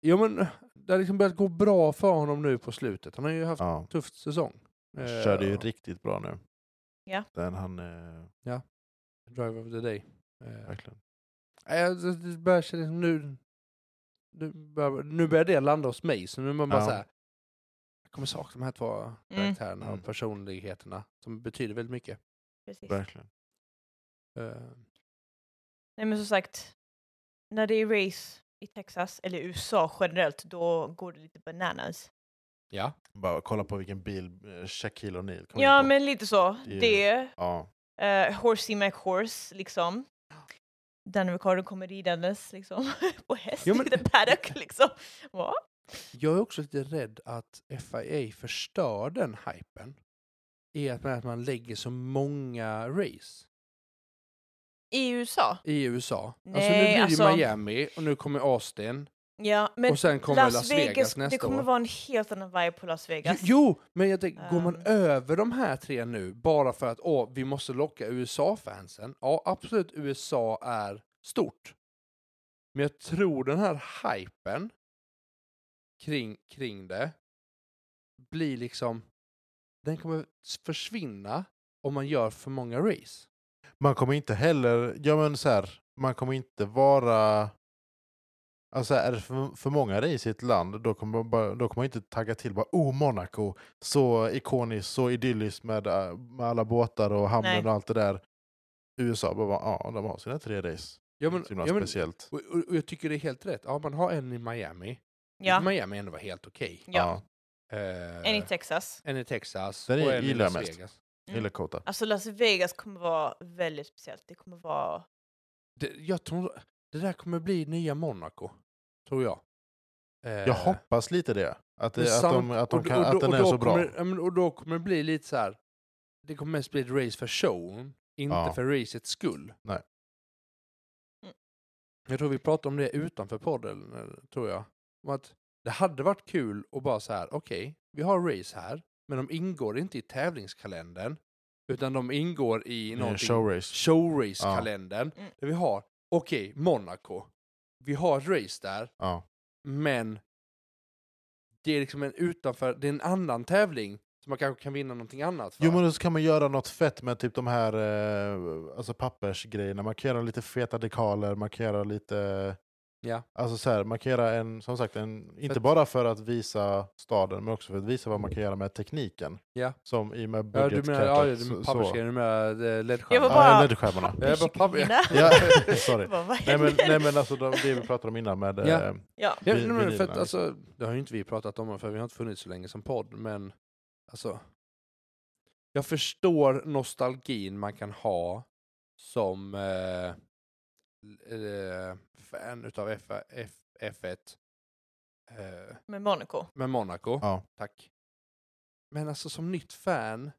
[SPEAKER 3] Jo men, det har liksom börjat gå bra för honom nu på slutet. Han har ju haft en
[SPEAKER 1] Ja,
[SPEAKER 3] tuff säsong.
[SPEAKER 1] han
[SPEAKER 3] Eh,
[SPEAKER 1] körde ju riktigt bra nu.
[SPEAKER 2] Ja.
[SPEAKER 1] Den han, eh,
[SPEAKER 3] Driver of the day. Eh,
[SPEAKER 1] verkligen.
[SPEAKER 3] Nej, jag- det- det börjar kännas som nu, nu, börjar, nu börjar det landa hos mig, så nu är man bara
[SPEAKER 1] Ja.
[SPEAKER 3] så här. Jag kommer sakna de här två karaktärerna
[SPEAKER 1] Mm.
[SPEAKER 3] och personligheterna som betyder väldigt mycket.
[SPEAKER 2] Precis.
[SPEAKER 1] verkligen.
[SPEAKER 3] Eh,
[SPEAKER 2] Nej men som sagt, när det är race i Texas, eller USA generellt, då går det lite bananas.
[SPEAKER 3] ja.
[SPEAKER 1] Bara kolla på vilken bil eh, Shaquille O'Neal kom
[SPEAKER 2] Ja
[SPEAKER 1] in på.
[SPEAKER 2] men lite så.
[SPEAKER 1] Det är-
[SPEAKER 2] Det,
[SPEAKER 1] Ja,
[SPEAKER 2] uh, Horsey McHorse liksom. Den Ricardo kommer ridandes liksom på häst
[SPEAKER 3] Jo, men-
[SPEAKER 2] i the paddock liksom. Va?
[SPEAKER 3] Jag är också lite rädd att FIA förstör den hypen i att med att man lägger så många race
[SPEAKER 2] I USA?
[SPEAKER 3] i USA. alltså nu
[SPEAKER 2] Nej,
[SPEAKER 3] blir det
[SPEAKER 2] alltså-
[SPEAKER 3] Miami och nu kommer Austin
[SPEAKER 2] Ja, men
[SPEAKER 3] och sen kommer Las, Vegas, nästa
[SPEAKER 2] det kommer
[SPEAKER 3] år.
[SPEAKER 2] vara en helt annan vibe på Las
[SPEAKER 3] Jo,
[SPEAKER 2] Vegas.
[SPEAKER 3] jo, men jag tänker, går man
[SPEAKER 2] Ehm.
[SPEAKER 3] över de här tre nu bara för att åh, vi måste locka USA-fansen? Ja, absolut, USA är stort. Men jag tror den här hypen kring, kring det blir liksom, den kommer försvinna om man gör för många race.
[SPEAKER 1] Man kommer inte heller, ja men så här, man kommer inte vara... Alltså är det för, för många race i ett land, då kommer man, bara, då kommer man inte tagga till bara oh Monaco, så ikoniskt, så idylliskt med, äh, med alla båtar och hamnen
[SPEAKER 2] Nej.
[SPEAKER 1] och allt det där. USA bara, ja de har sina tre race. Det
[SPEAKER 3] Ja,
[SPEAKER 1] är
[SPEAKER 3] men,
[SPEAKER 1] inte så himla
[SPEAKER 3] ja, men,
[SPEAKER 1] speciellt.
[SPEAKER 3] och, och, och jag tycker det är helt rätt. Ja, man har en i Miami.
[SPEAKER 2] Ja,
[SPEAKER 3] Miami ändå var helt okej.
[SPEAKER 2] ja.
[SPEAKER 3] Eh,
[SPEAKER 2] En i Texas.
[SPEAKER 3] en i Texas
[SPEAKER 1] Den är-
[SPEAKER 3] och en i
[SPEAKER 1] gillar
[SPEAKER 3] Las
[SPEAKER 1] jag mest.
[SPEAKER 3] Vegas.
[SPEAKER 1] Ja, Eller Kota.
[SPEAKER 3] Eh.
[SPEAKER 2] Alltså Las Vegas kommer vara väldigt speciellt. Det kommer vara...
[SPEAKER 3] Det, jag tror det där kommer bli nya Monaco, tror jag. Eh,
[SPEAKER 1] Jag hoppas lite det. Att,
[SPEAKER 3] men
[SPEAKER 1] det, att,
[SPEAKER 3] samt-
[SPEAKER 1] de, att, de
[SPEAKER 3] och-
[SPEAKER 1] kan,
[SPEAKER 3] och då-
[SPEAKER 1] att den
[SPEAKER 3] och
[SPEAKER 1] är
[SPEAKER 3] då
[SPEAKER 1] så bra.
[SPEAKER 3] kommer- ja, men Och då kommer det bli lite så här. det kommer mest bli ett race för showen, inte
[SPEAKER 1] Ja.
[SPEAKER 3] för racets skull.
[SPEAKER 1] Nej.
[SPEAKER 2] Mm.
[SPEAKER 3] Jag tror vi pratade om det utanför podden, eh, tror jag. Om att det hade varit kul att bara så här, okej, vi har race här, men de ingår inte i tävlingskalendern, utan de ingår i
[SPEAKER 1] Eh,
[SPEAKER 3] någonting
[SPEAKER 1] Showrace.
[SPEAKER 3] showrace-kalendern.
[SPEAKER 2] Ja. Mm.
[SPEAKER 3] Där vi har, okej, Monaco. Vi har ett race där,
[SPEAKER 1] Ja.
[SPEAKER 3] men det är liksom en utanför, det är en annan tävling som man kanske kan vinna någonting annat för.
[SPEAKER 1] Jo men så kan man göra något fett med typ de här eh, alltså pappersgrejerna. Man kan göra lite feta dekaler, man kan göra lite...
[SPEAKER 3] Ja.
[SPEAKER 1] Alltså så här, man kan göra en, som sagt, en, inte
[SPEAKER 3] Fett.
[SPEAKER 1] bara för att visa staden men också för att visa vad man kan göra med tekniken.
[SPEAKER 3] Ja.
[SPEAKER 1] Som i och med
[SPEAKER 3] ja, du
[SPEAKER 1] budgetcuttet.
[SPEAKER 3] menar, ja, du
[SPEAKER 1] så-
[SPEAKER 3] menar
[SPEAKER 1] så.
[SPEAKER 3] pappersgrejen, du menar eh,
[SPEAKER 2] Jag var
[SPEAKER 3] ledstjärnan.
[SPEAKER 1] Ja,
[SPEAKER 2] bara-
[SPEAKER 1] LED-skärmarna.
[SPEAKER 3] Jag bara, papper-
[SPEAKER 2] Pappersgrejerna.
[SPEAKER 1] Ja, sorry.
[SPEAKER 2] Vad vad
[SPEAKER 1] Nej men,
[SPEAKER 2] händer?
[SPEAKER 1] nej men alltså de, det vi pratade om innan med...
[SPEAKER 3] Ja.
[SPEAKER 1] eh,
[SPEAKER 2] Ja.
[SPEAKER 3] Ja,
[SPEAKER 1] Vi-
[SPEAKER 3] nej, men för att,
[SPEAKER 1] vinylerna,
[SPEAKER 3] alltså, det har ju inte vi pratat om, för vi har inte funnits så länge som podd, men alltså, Jag förstår nostalgin man kan ha som eh, eh, fan utav F, F, F1 eh,
[SPEAKER 2] med Monaco.
[SPEAKER 3] med Monaco.
[SPEAKER 1] Ja.
[SPEAKER 3] Tack. Men alltså som nytt fan,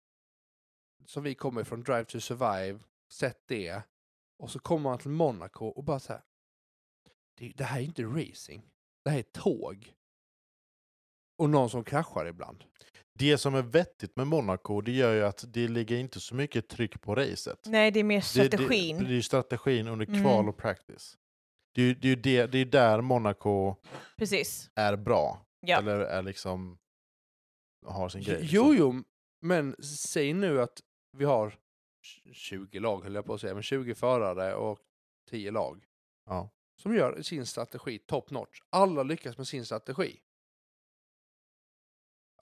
[SPEAKER 3] som vi kommer från Drive to Survive, sett det, och så kommer man till Monaco och bara så här. Det, det här är inte racing, det här är tåg. Och någon som kraschar ibland.
[SPEAKER 1] Det som är vettigt med Monaco det gör ju att det ligger inte så mycket tryck på racet.
[SPEAKER 2] Nej, det är mer
[SPEAKER 1] Det-
[SPEAKER 2] strategin.
[SPEAKER 1] Det, det är ju strategin under
[SPEAKER 2] Mm.
[SPEAKER 1] kval och practice. Det är ju det är ju det, det är där Monaco
[SPEAKER 2] Precis.
[SPEAKER 1] är bra.
[SPEAKER 2] Ja.
[SPEAKER 1] Eller är liksom har sin grej.
[SPEAKER 3] Jo,
[SPEAKER 1] liksom.
[SPEAKER 3] jo, men säg nu att vi har 20 lag, höll jag på att säga, men 20 förare och 10 lag.
[SPEAKER 1] Ja.
[SPEAKER 3] som gör sin strategi top notch. Alla lyckas med sin strategi.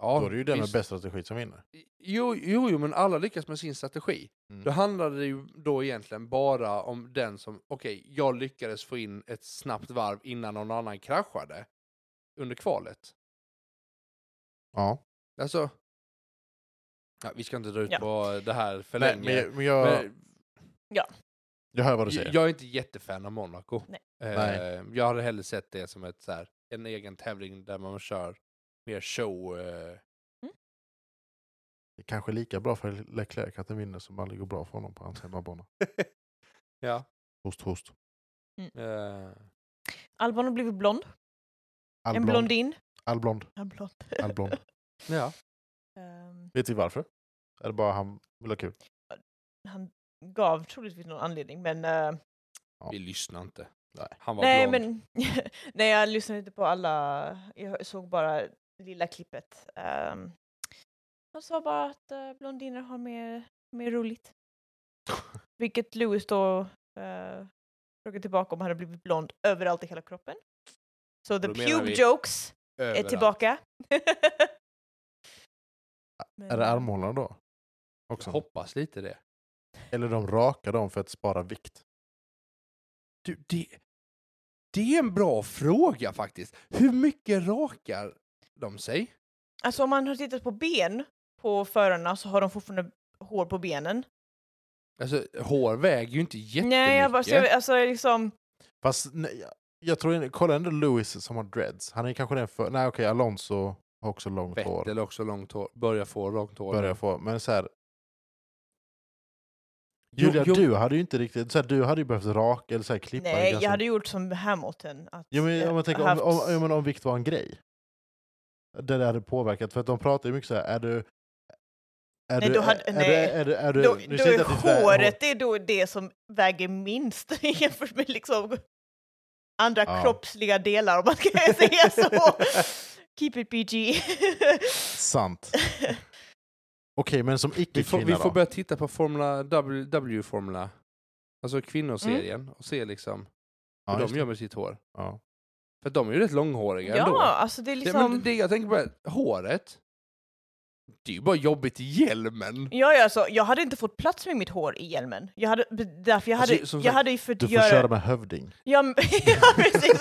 [SPEAKER 3] Ja,
[SPEAKER 1] Då är det ju den med
[SPEAKER 3] visst.
[SPEAKER 1] bäst strategi som vinner.
[SPEAKER 3] Jo, jo, jo, men alla lyckas med sin strategi.
[SPEAKER 1] Mm.
[SPEAKER 3] Då handlade det ju då egentligen bara om den som, okej, jag lyckades få in ett snabbt varv innan någon annan kraschade under kvalet.
[SPEAKER 1] Ja.
[SPEAKER 3] Alltså, ja, vi ska inte dra ut
[SPEAKER 2] Ja.
[SPEAKER 3] på det här för
[SPEAKER 1] Nej, men,
[SPEAKER 3] länge.
[SPEAKER 1] jag- men jag,
[SPEAKER 3] Men-
[SPEAKER 1] jag hör vad du säger.
[SPEAKER 3] Jag är inte jättefan av Monaco.
[SPEAKER 2] Nej.
[SPEAKER 3] Eh,
[SPEAKER 1] Nej.
[SPEAKER 3] Jag hade hellre sett det som ett, så här, en egen tävling där man kör mer show. Eh,
[SPEAKER 1] Det är kanske är lika bra för Leclerc att den vinner som aldrig går bra för honom på hans hemmabana.
[SPEAKER 3] ja.
[SPEAKER 1] Host, host.
[SPEAKER 3] Eh,
[SPEAKER 2] Albon har blivit blond.
[SPEAKER 1] All
[SPEAKER 2] en
[SPEAKER 1] blond,
[SPEAKER 2] blondin.
[SPEAKER 1] all blond,
[SPEAKER 2] Han blond.
[SPEAKER 1] all blond.
[SPEAKER 3] ja.
[SPEAKER 2] Ehm,
[SPEAKER 1] Vet vi varför? Är det bara han vill ha kul?
[SPEAKER 2] han gav troligtvis någon anledning, men... eh,
[SPEAKER 1] Ja.
[SPEAKER 3] Vi lyssnar inte.
[SPEAKER 1] Nej.
[SPEAKER 3] Han var
[SPEAKER 2] nej,
[SPEAKER 3] blond.
[SPEAKER 2] men... nej, jag lyssnade inte på alla. Jag såg bara lilla klippet. Ehm, han sa bara att eh, blondiner har mer, mer roligt. Vilket Lewis då eh, frågade tillbaka om han hade blivit blond överallt i hela kroppen. Så the
[SPEAKER 3] då menar
[SPEAKER 2] pube
[SPEAKER 3] vi
[SPEAKER 2] jokes är
[SPEAKER 3] Överallt.
[SPEAKER 2] tillbaka.
[SPEAKER 1] Är
[SPEAKER 2] Men, eh,
[SPEAKER 1] det armhålorna då?
[SPEAKER 3] Jag
[SPEAKER 1] Också.
[SPEAKER 3] hoppas lite det.
[SPEAKER 1] Eller de rakar dem för att spara vikt?
[SPEAKER 3] Du, det. Det är en bra fråga faktiskt. Hur mycket rakar de sig?
[SPEAKER 2] Alltså om man har tittat på ben på förarna så har de fortfarande hår på benen.
[SPEAKER 3] Alltså, hår väger ju inte jättemycket.
[SPEAKER 2] Nej, jag bara, så jag, alltså liksom,
[SPEAKER 1] Fast nej, jag- jag tror inte, kolla ändå Lewis som har dreads. Han är kanske den för, nej okej Alonso har också långt hår.
[SPEAKER 3] Vettel också långt hår. Börjar få långt hår.
[SPEAKER 1] Börjar få, men så här,
[SPEAKER 3] Jo,
[SPEAKER 1] Julia,
[SPEAKER 3] jo.
[SPEAKER 1] du hade ju inte riktigt, så här, du hade ju behövt raka eller så här, klippa dig
[SPEAKER 2] nej,
[SPEAKER 1] ganska
[SPEAKER 2] jag hade gjort som Hamilton. Att,
[SPEAKER 1] Jo, men om,
[SPEAKER 2] eh,
[SPEAKER 1] man tänker,
[SPEAKER 2] haft-
[SPEAKER 1] om, om, om, om vikt var en grej. Det det hade påverkat. För att de pratar ju mycket så här, är du... Är
[SPEAKER 2] Nej,
[SPEAKER 1] du,
[SPEAKER 2] då hade-
[SPEAKER 1] är,
[SPEAKER 2] nej.
[SPEAKER 1] Är, du, är du,
[SPEAKER 2] då,
[SPEAKER 1] nu
[SPEAKER 2] då
[SPEAKER 1] säger jag
[SPEAKER 2] är
[SPEAKER 1] inte att ditt vä-
[SPEAKER 2] håret det är då det som väger minst jämfört med liksom andra
[SPEAKER 1] Ja.
[SPEAKER 2] kroppsliga delar om man ska säga så. Keep it PG.
[SPEAKER 1] Sant. Okej, men som
[SPEAKER 3] Vi får,
[SPEAKER 1] icke-kvinna
[SPEAKER 3] vi får
[SPEAKER 1] då?
[SPEAKER 3] börja titta på Formula W, W-formula, alltså kvinnoserien,
[SPEAKER 2] Mm.
[SPEAKER 3] och se liksom
[SPEAKER 1] Ja,
[SPEAKER 3] hur
[SPEAKER 1] just
[SPEAKER 3] de
[SPEAKER 1] det.
[SPEAKER 3] gör med sitt hår.
[SPEAKER 1] ja.
[SPEAKER 3] För de är ju rätt långhåriga
[SPEAKER 2] ja,
[SPEAKER 3] ändå.
[SPEAKER 2] alltså det är
[SPEAKER 3] Det, men
[SPEAKER 2] liksom...
[SPEAKER 3] det jag tänker på är håret. Det är ju bara jobbigt i hjälmen.
[SPEAKER 2] Ja, ja, så jag hade inte fått plats med mitt hår i hjälmen. Jag hade, därför jag hade,
[SPEAKER 3] Alltså, som
[SPEAKER 2] jag
[SPEAKER 3] sagt,
[SPEAKER 2] hade ju fått
[SPEAKER 1] Du får
[SPEAKER 2] göra...
[SPEAKER 1] köra med hövding.
[SPEAKER 2] Ja, men- ja precis!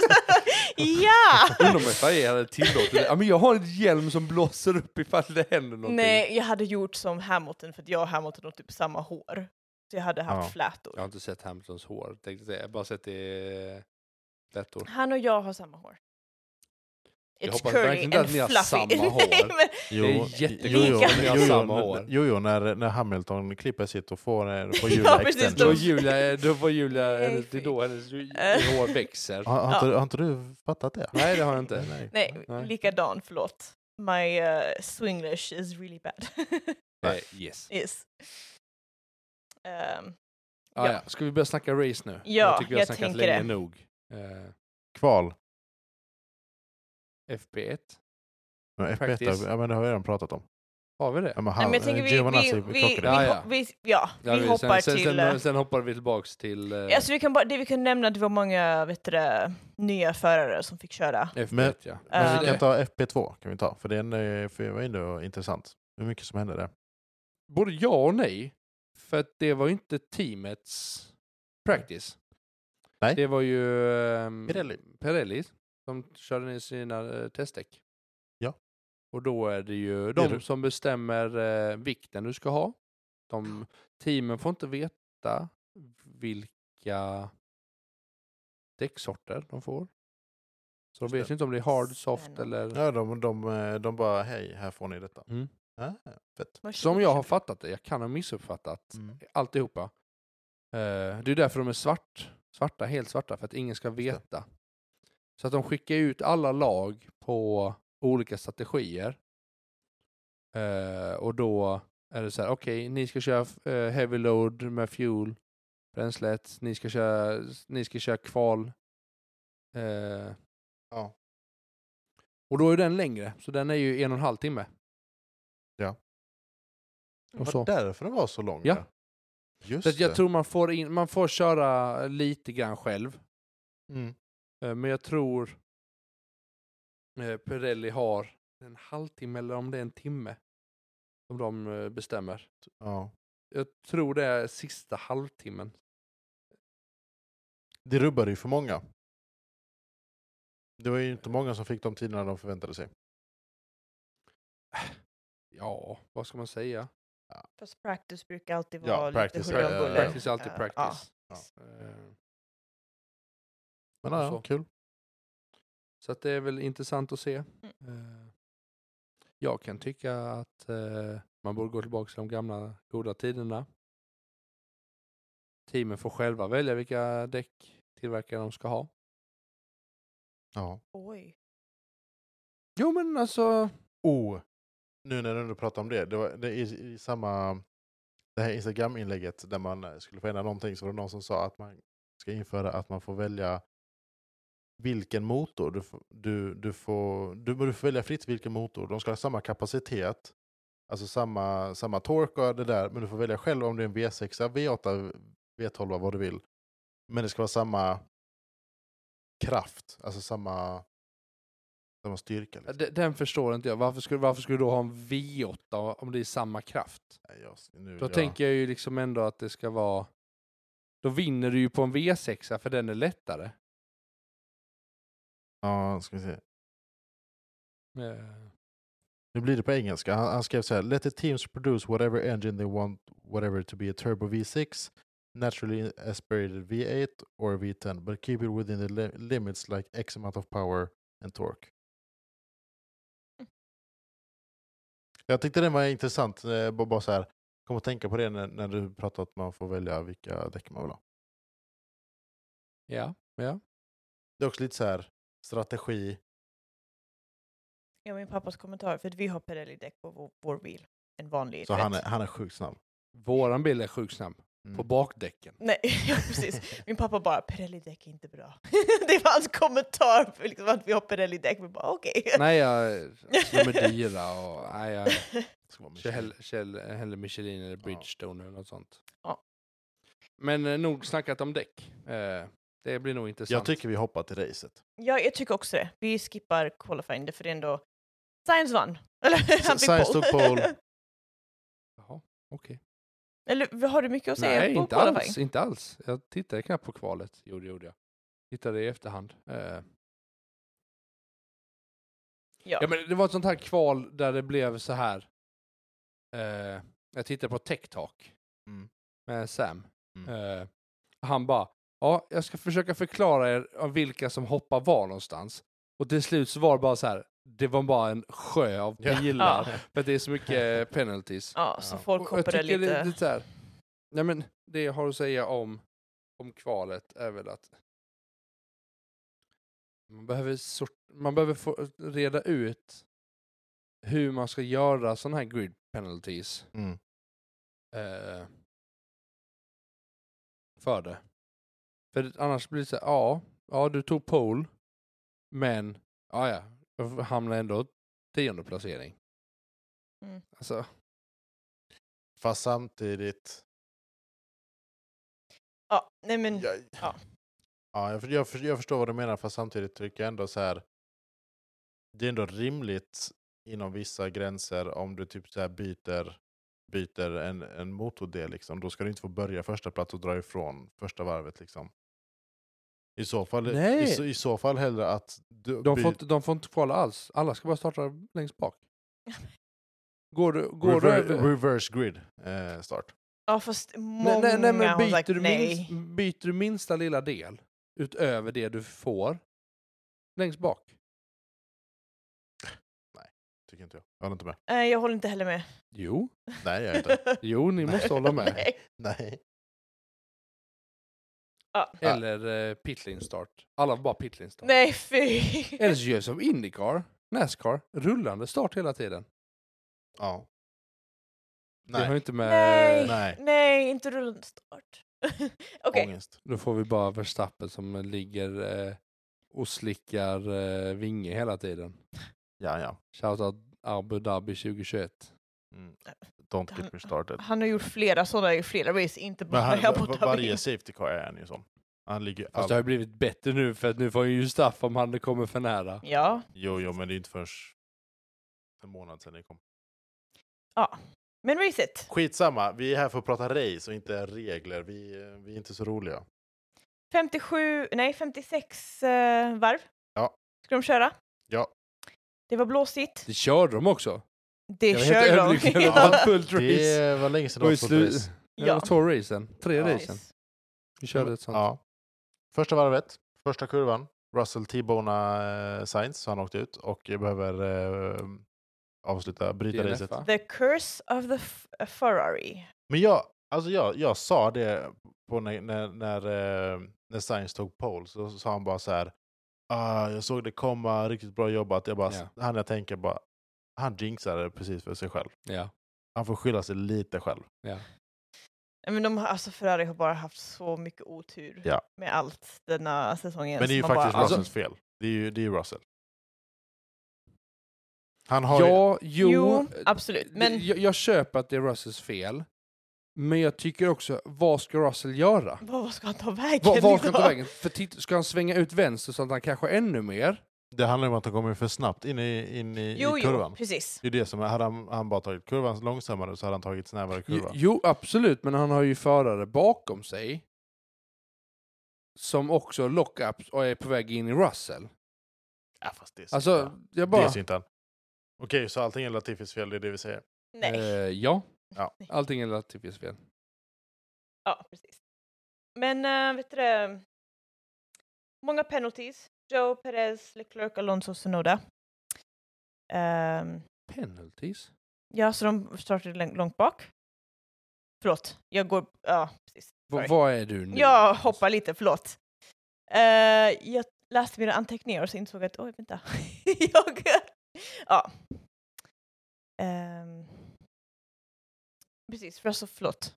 [SPEAKER 2] ja!
[SPEAKER 3] Undrar om FIA hade tillåtit det. Ja, men jag har en hjälm som blåser upp ifall det händer någonting.
[SPEAKER 2] Nej, jag hade gjort som Hamilton för att jag och Hamilton har typ samma hår. Så jag hade haft
[SPEAKER 1] Ja.
[SPEAKER 2] flätor.
[SPEAKER 3] Jag har inte sett Hamiltons hår, tänkte jag säga. Jag har bara sett det eh, lättor.
[SPEAKER 2] Han och jag har samma hår.
[SPEAKER 3] Jag
[SPEAKER 2] It's
[SPEAKER 3] hoppas
[SPEAKER 2] curly and
[SPEAKER 3] verkligen inte att ni har
[SPEAKER 2] fluffy.
[SPEAKER 3] samma hår.
[SPEAKER 2] Nej, men,
[SPEAKER 1] Jo,
[SPEAKER 3] Det är jättekul
[SPEAKER 1] jo, jo,
[SPEAKER 2] om
[SPEAKER 3] ni har
[SPEAKER 1] jo, jo,
[SPEAKER 3] samma
[SPEAKER 1] n-
[SPEAKER 3] hår.
[SPEAKER 1] Jo, jo, när, när Hamilton klipper sitt och får, eh, får
[SPEAKER 2] Ja,
[SPEAKER 1] Julia
[SPEAKER 2] precis,
[SPEAKER 1] extension.
[SPEAKER 3] Då var
[SPEAKER 2] de-
[SPEAKER 3] Julia, då var Julia
[SPEAKER 2] Nej,
[SPEAKER 3] hennes, det är då hennes
[SPEAKER 2] Eh.
[SPEAKER 3] hår växer.
[SPEAKER 1] Har, har, inte, har inte du fattat det?
[SPEAKER 3] Nej, det har jag inte.
[SPEAKER 1] Nej.
[SPEAKER 2] nej,
[SPEAKER 3] Nej.
[SPEAKER 2] likadan, förlåt. My uh, swinglish is really bad.
[SPEAKER 1] Nej.
[SPEAKER 3] Eh, yes.
[SPEAKER 2] yes. Ehm,
[SPEAKER 3] Ah,
[SPEAKER 2] Ja.
[SPEAKER 3] ja. Ska vi börja snacka race nu?
[SPEAKER 2] Ja,
[SPEAKER 3] tycker vi har
[SPEAKER 2] jag
[SPEAKER 3] snackat
[SPEAKER 2] tänker
[SPEAKER 3] länge
[SPEAKER 2] det.
[SPEAKER 3] nog. Eh,
[SPEAKER 1] Kval.
[SPEAKER 3] FP1,
[SPEAKER 1] Men
[SPEAKER 3] Practice.
[SPEAKER 1] F1, ja, men det har jag redan pratat om.
[SPEAKER 3] har vi det?
[SPEAKER 1] Ja, men
[SPEAKER 2] nej,
[SPEAKER 1] han,
[SPEAKER 2] men jag
[SPEAKER 3] eh,
[SPEAKER 2] tänker vi,
[SPEAKER 1] Giovinazzi
[SPEAKER 2] vi, vi, vi,
[SPEAKER 1] krockade.
[SPEAKER 3] Ja, ja.
[SPEAKER 2] hop- vi, ja,
[SPEAKER 3] Ja,
[SPEAKER 2] vi hoppar
[SPEAKER 3] sen, sen,
[SPEAKER 2] till... eh,
[SPEAKER 3] Sen, sen hoppar vi tillbaks till eh,
[SPEAKER 2] Alltså vi kan bara, det vi kan nämna att det var många vet du, det, nya förare som fick köra.
[SPEAKER 3] F1,
[SPEAKER 1] men-
[SPEAKER 3] ja.
[SPEAKER 1] Men
[SPEAKER 2] Eh,
[SPEAKER 1] vi kan ta FP2, kan vi ta, för den är eh, för det var ändå intressant. Hur mycket som hände där.
[SPEAKER 3] Både ja och nej. För att det var ju inte teamets practice.
[SPEAKER 1] Nej.
[SPEAKER 3] Det var ju ehm,
[SPEAKER 1] Pirelli.
[SPEAKER 3] Pirelli som körde ner sina eh, testdäck.
[SPEAKER 1] Ja.
[SPEAKER 3] Och då är det ju
[SPEAKER 1] Det är
[SPEAKER 3] de
[SPEAKER 1] det.
[SPEAKER 3] som bestämmer eh, vikten du ska ha. De, teamen får inte veta vilka däcksorter de får. Så de
[SPEAKER 1] Just
[SPEAKER 3] vet
[SPEAKER 1] det.
[SPEAKER 3] ju inte om det är hard, soft
[SPEAKER 2] Spännande.
[SPEAKER 3] eller...
[SPEAKER 1] Ja, de, de, eh, de bara hej, här får ni detta.
[SPEAKER 3] Mm.
[SPEAKER 1] Ah, fett.
[SPEAKER 3] Som jag har fattat det, jag kan ha missuppfattat
[SPEAKER 1] Mm.
[SPEAKER 3] alltihopa. Eh, det är därför de är svart, svarta, helt svarta, för att ingen ska
[SPEAKER 1] det.
[SPEAKER 3] veta. Så att de skickar ut alla lag på olika strategier. Eh, och då är det så här, okej, ni ska köra eh, heavy load med fuel, bränslet, ni ska köra, ni ska köra kval. Eh,
[SPEAKER 1] Ja.
[SPEAKER 3] och då är den längre, så den är ju en och en halv timme.
[SPEAKER 1] Ja.
[SPEAKER 3] Och
[SPEAKER 1] Det
[SPEAKER 3] så.
[SPEAKER 1] var därför den var så lång.
[SPEAKER 3] Ja.
[SPEAKER 1] Just
[SPEAKER 3] Så att jag
[SPEAKER 1] det.
[SPEAKER 3] tror man får, in, man får köra lite grann själv.
[SPEAKER 1] Mm.
[SPEAKER 3] Eh, Men jag tror eh, Pirelli har en halvtimme eller om det är en timme som de eh, bestämmer.
[SPEAKER 1] Ja.
[SPEAKER 3] Jag tror det är sista halvtimmen.
[SPEAKER 1] Det rubbade ju för många. Det var ju inte många som fick de tiderna de förväntade sig.
[SPEAKER 3] Ja, vad ska man säga?
[SPEAKER 2] Fast practice brukar alltid
[SPEAKER 1] Ja,
[SPEAKER 2] vara lite
[SPEAKER 1] practice
[SPEAKER 2] huller
[SPEAKER 1] är-
[SPEAKER 2] om buller.
[SPEAKER 3] Practice är alltid
[SPEAKER 2] Eh,
[SPEAKER 3] practice.
[SPEAKER 1] ja.
[SPEAKER 3] Eh,
[SPEAKER 1] Men
[SPEAKER 3] Och
[SPEAKER 1] ja,
[SPEAKER 3] så.
[SPEAKER 1] kul.
[SPEAKER 3] Så att det är väl intressant att se. Eh, Jag kan tycka att eh, man borde gå tillbaka till de gamla goda tiderna. Teamen får själva välja vilka däcktillverkare de ska ha.
[SPEAKER 1] Ja.
[SPEAKER 2] Oj.
[SPEAKER 3] Jo men alltså,
[SPEAKER 1] Oh, nu när du ändå pratar om det. Det var det i, i samma det här Instagram-inlägget där man eh, skulle förändra någonting så var det någon som sa att man ska införa att man får välja vilken motor. Du, f- du, du, får, du, du får välja fritt vilken motor. De ska ha samma kapacitet, alltså samma, samma tork och det där, men du får välja själv om det är en V6, V8, V12, vad du vill. Men det ska vara samma kraft, alltså samma, samma styrka. Liksom.
[SPEAKER 3] d- den förstår inte jag. Varför skulle, varför skulle du då ha en V8 om det är samma kraft?
[SPEAKER 1] Nej, jag, nu,
[SPEAKER 3] Då
[SPEAKER 1] jag,
[SPEAKER 3] tänker jag ju liksom ändå att det ska vara... Då vinner du ju på en V6 för den är lättare.
[SPEAKER 1] Ja, ska vi se.
[SPEAKER 3] Eh,
[SPEAKER 1] Nu blir det på engelska. Han, han skrev så här. Let the teams produce whatever engine they want, whatever to be a turbo V6, naturally aspirated V8 or V10, but keep it within the li limits like X amount of power and torque. Jag tyckte den var intressant. eh, Bara, bara så här. Kom att tänka på det när, när du pratade att man får välja vilka däck man vill ha.
[SPEAKER 3] ja, ja.
[SPEAKER 1] Det är också lite så här strategi.
[SPEAKER 2] Ja, min pappas kommentar, för att vi har Pirelli-däck på vår, vår bil. En vanlig.
[SPEAKER 1] Så
[SPEAKER 2] du
[SPEAKER 1] han
[SPEAKER 2] vet.
[SPEAKER 1] är, han är sjukt snabb.
[SPEAKER 3] Våran bil är sjukt snabb.
[SPEAKER 1] Mm.
[SPEAKER 3] På bakdäcken.
[SPEAKER 2] Nej, ja, precis. Min pappa bara, Pirelli-däck är inte bra. det var hans kommentar, för liksom att vi har Pirelli-däck. Vi bara, okej.
[SPEAKER 3] Nej, jag, alltså, de är dyra och... Nej, jag,
[SPEAKER 1] Ska vara
[SPEAKER 3] Kör
[SPEAKER 1] Michelin.
[SPEAKER 3] hell- käll- hellre Michelin eller Bridgestone eller något sånt.
[SPEAKER 2] Ja.
[SPEAKER 3] Men eh, nog snackat om däck. Eh, det blir nog intressant.
[SPEAKER 1] Jag tycker vi hoppar till racet.
[SPEAKER 2] Ja, jag tycker också det. Vi skippar qualifying, för det är ändå... Science vann. Eller han fick
[SPEAKER 1] Sainz tog pole.
[SPEAKER 3] Jaha, okej.
[SPEAKER 2] Eller vad har du mycket att säga
[SPEAKER 3] Nej,
[SPEAKER 2] på
[SPEAKER 3] inte
[SPEAKER 2] qualifying?
[SPEAKER 3] alls, inte alls. Jag tittade knappt på kvalet. Jo, det gjorde jag. Tittade i efterhand. Eh, ja.
[SPEAKER 2] Ja.
[SPEAKER 3] men det var ett sånt här kval där det blev så här. Eh, jag tittade på Tech Talk
[SPEAKER 1] Mm.
[SPEAKER 3] med Sam.
[SPEAKER 1] Mm.
[SPEAKER 3] Eh, han bara, ja, jag ska försöka förklara er om vilka som hoppar var någonstans. Och till slut så var det bara så här, det var bara en sjö av
[SPEAKER 1] Ja.
[SPEAKER 3] pilar. För att det är så mycket penalties.
[SPEAKER 2] Ja, så
[SPEAKER 1] Ja.
[SPEAKER 2] folk
[SPEAKER 3] Och jag
[SPEAKER 2] hoppade
[SPEAKER 3] tycker
[SPEAKER 2] lite.
[SPEAKER 3] Det, det, är så här, nej men, det jag har att säga om, om kvalet är väl att man behöver, sort, man behöver få reda ut hur man ska göra sådana här grid penalties
[SPEAKER 1] Mm.
[SPEAKER 3] eh, för det. För annars blir det så här, ja, ja du tog pole, men ja, ja, jag hamnar ändå tionde placering.
[SPEAKER 2] Mm.
[SPEAKER 3] Alltså,
[SPEAKER 1] Fast samtidigt...
[SPEAKER 2] Ja, nej men...
[SPEAKER 1] Jag,
[SPEAKER 2] Mm. Ja.
[SPEAKER 1] Ja, jag, för- jag, för- jag förstår vad du menar, fast samtidigt tycker jag ändå så här... Det är ändå rimligt inom vissa gränser om du typ så här byter, byter en, en motordel. Liksom. Då ska du inte få börja första plats och dra ifrån första varvet. Liksom. I, så fall, i,
[SPEAKER 3] Nej.
[SPEAKER 1] så, I så fall hellre att du
[SPEAKER 3] De
[SPEAKER 1] by-
[SPEAKER 3] får, inte, de får inte kvala alls. Alla ska bara starta längst bak. Går du, går du
[SPEAKER 1] rever,
[SPEAKER 3] över...
[SPEAKER 1] reverse grid eh, start.
[SPEAKER 2] Ja fast många
[SPEAKER 3] Nej, nej, nej, men
[SPEAKER 2] har
[SPEAKER 3] byter,
[SPEAKER 2] sagt
[SPEAKER 3] du
[SPEAKER 2] nej.
[SPEAKER 3] minst, byter du minsta lilla del utöver det du får längst bak?
[SPEAKER 1] Tycker inte jag. Jag håller inte med.
[SPEAKER 2] Eh, Jag håller inte heller med.
[SPEAKER 3] Jo.
[SPEAKER 1] Nej, jag gör inte.
[SPEAKER 3] Jo, ni måste hålla med.
[SPEAKER 2] Nej.
[SPEAKER 1] Nej.
[SPEAKER 2] Ja.
[SPEAKER 3] Eller eh, pitlane start. Alla bara pitlane start.
[SPEAKER 2] Nej fy!
[SPEAKER 3] Eller så gör vi som Indycar, Nascar, rullande start hela tiden.
[SPEAKER 1] Ja.
[SPEAKER 3] Det har ju
[SPEAKER 1] Nej.
[SPEAKER 3] inte med...
[SPEAKER 2] Nej.
[SPEAKER 1] Nej.
[SPEAKER 2] Nej, inte rullande start. Okej,
[SPEAKER 1] Ångest.
[SPEAKER 3] Då får vi bara Verstappen som ligger eh, och slickar eh, vinge hela tiden.
[SPEAKER 1] Ja, ja.
[SPEAKER 3] Shoutout Abu Dhabi 2021.
[SPEAKER 1] Mm. Don't get me started.
[SPEAKER 2] han har gjort flera sådana i flera race, inte
[SPEAKER 1] Men
[SPEAKER 2] bara
[SPEAKER 1] han,
[SPEAKER 2] här på
[SPEAKER 1] va- varje safety car är han ju som. Han ligger
[SPEAKER 3] Fast det har
[SPEAKER 1] all...
[SPEAKER 3] ju blivit bättre nu för att nu får ju straff om han kommer för nära.
[SPEAKER 2] Ja,
[SPEAKER 1] Jo, jo, men det är inte förrän en månad sedan det kom.
[SPEAKER 2] men racet.
[SPEAKER 1] Skitsamma, vi är här för att prata race och inte regler. Vi, eh, vi är inte så roliga.
[SPEAKER 2] 57, nej 56 eh, varv.
[SPEAKER 1] Ja.
[SPEAKER 2] Ska de köra?
[SPEAKER 1] Ja.
[SPEAKER 2] Det var blåsigt.
[SPEAKER 3] Det körde de också.
[SPEAKER 2] Det
[SPEAKER 3] jag var
[SPEAKER 2] kör de.
[SPEAKER 3] överlycklig över att det
[SPEAKER 2] ja.
[SPEAKER 3] var
[SPEAKER 1] Ja,
[SPEAKER 3] fullt race.
[SPEAKER 1] Det var länge sedan
[SPEAKER 3] Och
[SPEAKER 1] det
[SPEAKER 3] i
[SPEAKER 1] var full
[SPEAKER 3] slut-
[SPEAKER 1] race.
[SPEAKER 3] Det var
[SPEAKER 2] ja.
[SPEAKER 3] två racen. Tre
[SPEAKER 1] Ja.
[SPEAKER 3] racen. Vi körde ett sånt.
[SPEAKER 1] Ja. Första varvet, första kurvan. Russell T-bonar eh, Sainz, så han åkte ut och behöver eh, avsluta, bryta
[SPEAKER 3] DNF,
[SPEAKER 1] racet.
[SPEAKER 3] va?
[SPEAKER 2] The curse of the F- Ferrari.
[SPEAKER 1] Men jag, alltså jag, jag sa det på när, när, när, eh, när Sainz tog pole, så sa han bara så här. Ah, jag såg det komma, riktigt bra jobbat. Jag bara,
[SPEAKER 3] Ja.
[SPEAKER 1] Han jag tänker bara, han jinxade det precis för sig själv.
[SPEAKER 3] Ja.
[SPEAKER 1] Han får skylla sig lite själv.
[SPEAKER 3] ja.
[SPEAKER 2] Nej, Men de har, alltså Ferrari har bara haft så mycket otur
[SPEAKER 1] Ja.
[SPEAKER 2] med allt denna säsongen.
[SPEAKER 1] Men det är ju
[SPEAKER 2] så man
[SPEAKER 1] faktiskt
[SPEAKER 2] bara,
[SPEAKER 3] Alltså-
[SPEAKER 1] Russells fel. Det är ju det är ju Russell. Han har ju...
[SPEAKER 3] Ja, jo. eh,
[SPEAKER 2] Jo, absolut,
[SPEAKER 3] det-
[SPEAKER 2] men-
[SPEAKER 3] Jag, jag köper att det är Russells fel. Men jag tycker också, vad ska Russell göra?
[SPEAKER 2] Vad, vad ska han ta vägen?
[SPEAKER 3] Vad var ska han
[SPEAKER 2] liksom?
[SPEAKER 3] ta vägen? För titt, ska han svänga ut vänster så att han kanske ännu mer?
[SPEAKER 1] Det handlar ju om att han kommer för snabbt in i, in i,
[SPEAKER 2] Jo,
[SPEAKER 1] i
[SPEAKER 2] jo,
[SPEAKER 1] kurvan.
[SPEAKER 2] precis.
[SPEAKER 1] Det är det som är, hade han, han bara tagit kurvan långsammare så hade han tagit snävare
[SPEAKER 3] Jo,
[SPEAKER 1] kurva.
[SPEAKER 3] jo, absolut, men han har ju förare bakom sig som också lockups och är på väg in i Russell.
[SPEAKER 1] Ja, fast det är så
[SPEAKER 3] Alltså, jag bara...
[SPEAKER 1] Det är inte han. Okej, så allting är Latifis fel, det är det vi säger.
[SPEAKER 2] Nej.
[SPEAKER 3] Eh, ja.
[SPEAKER 1] Ja.
[SPEAKER 3] Allting är Latifis fel.
[SPEAKER 2] Ja, precis. Men eh, vet du det? Många penalties. Joe, Perez, Leclerc, Alonso, Sonoda. Ehm,
[SPEAKER 3] Penalties?
[SPEAKER 2] ja, så de startade lång- långt bak. Förlåt, jag går... Ja, precis.
[SPEAKER 3] V-
[SPEAKER 2] Sorry.
[SPEAKER 3] vad är du nu?
[SPEAKER 2] Jag hoppar lite, förlåt. Eh, jag läste mina anteckningar och så insåg att, oj vänta. jag, ja. Ehm. precis, Russell, förlåt.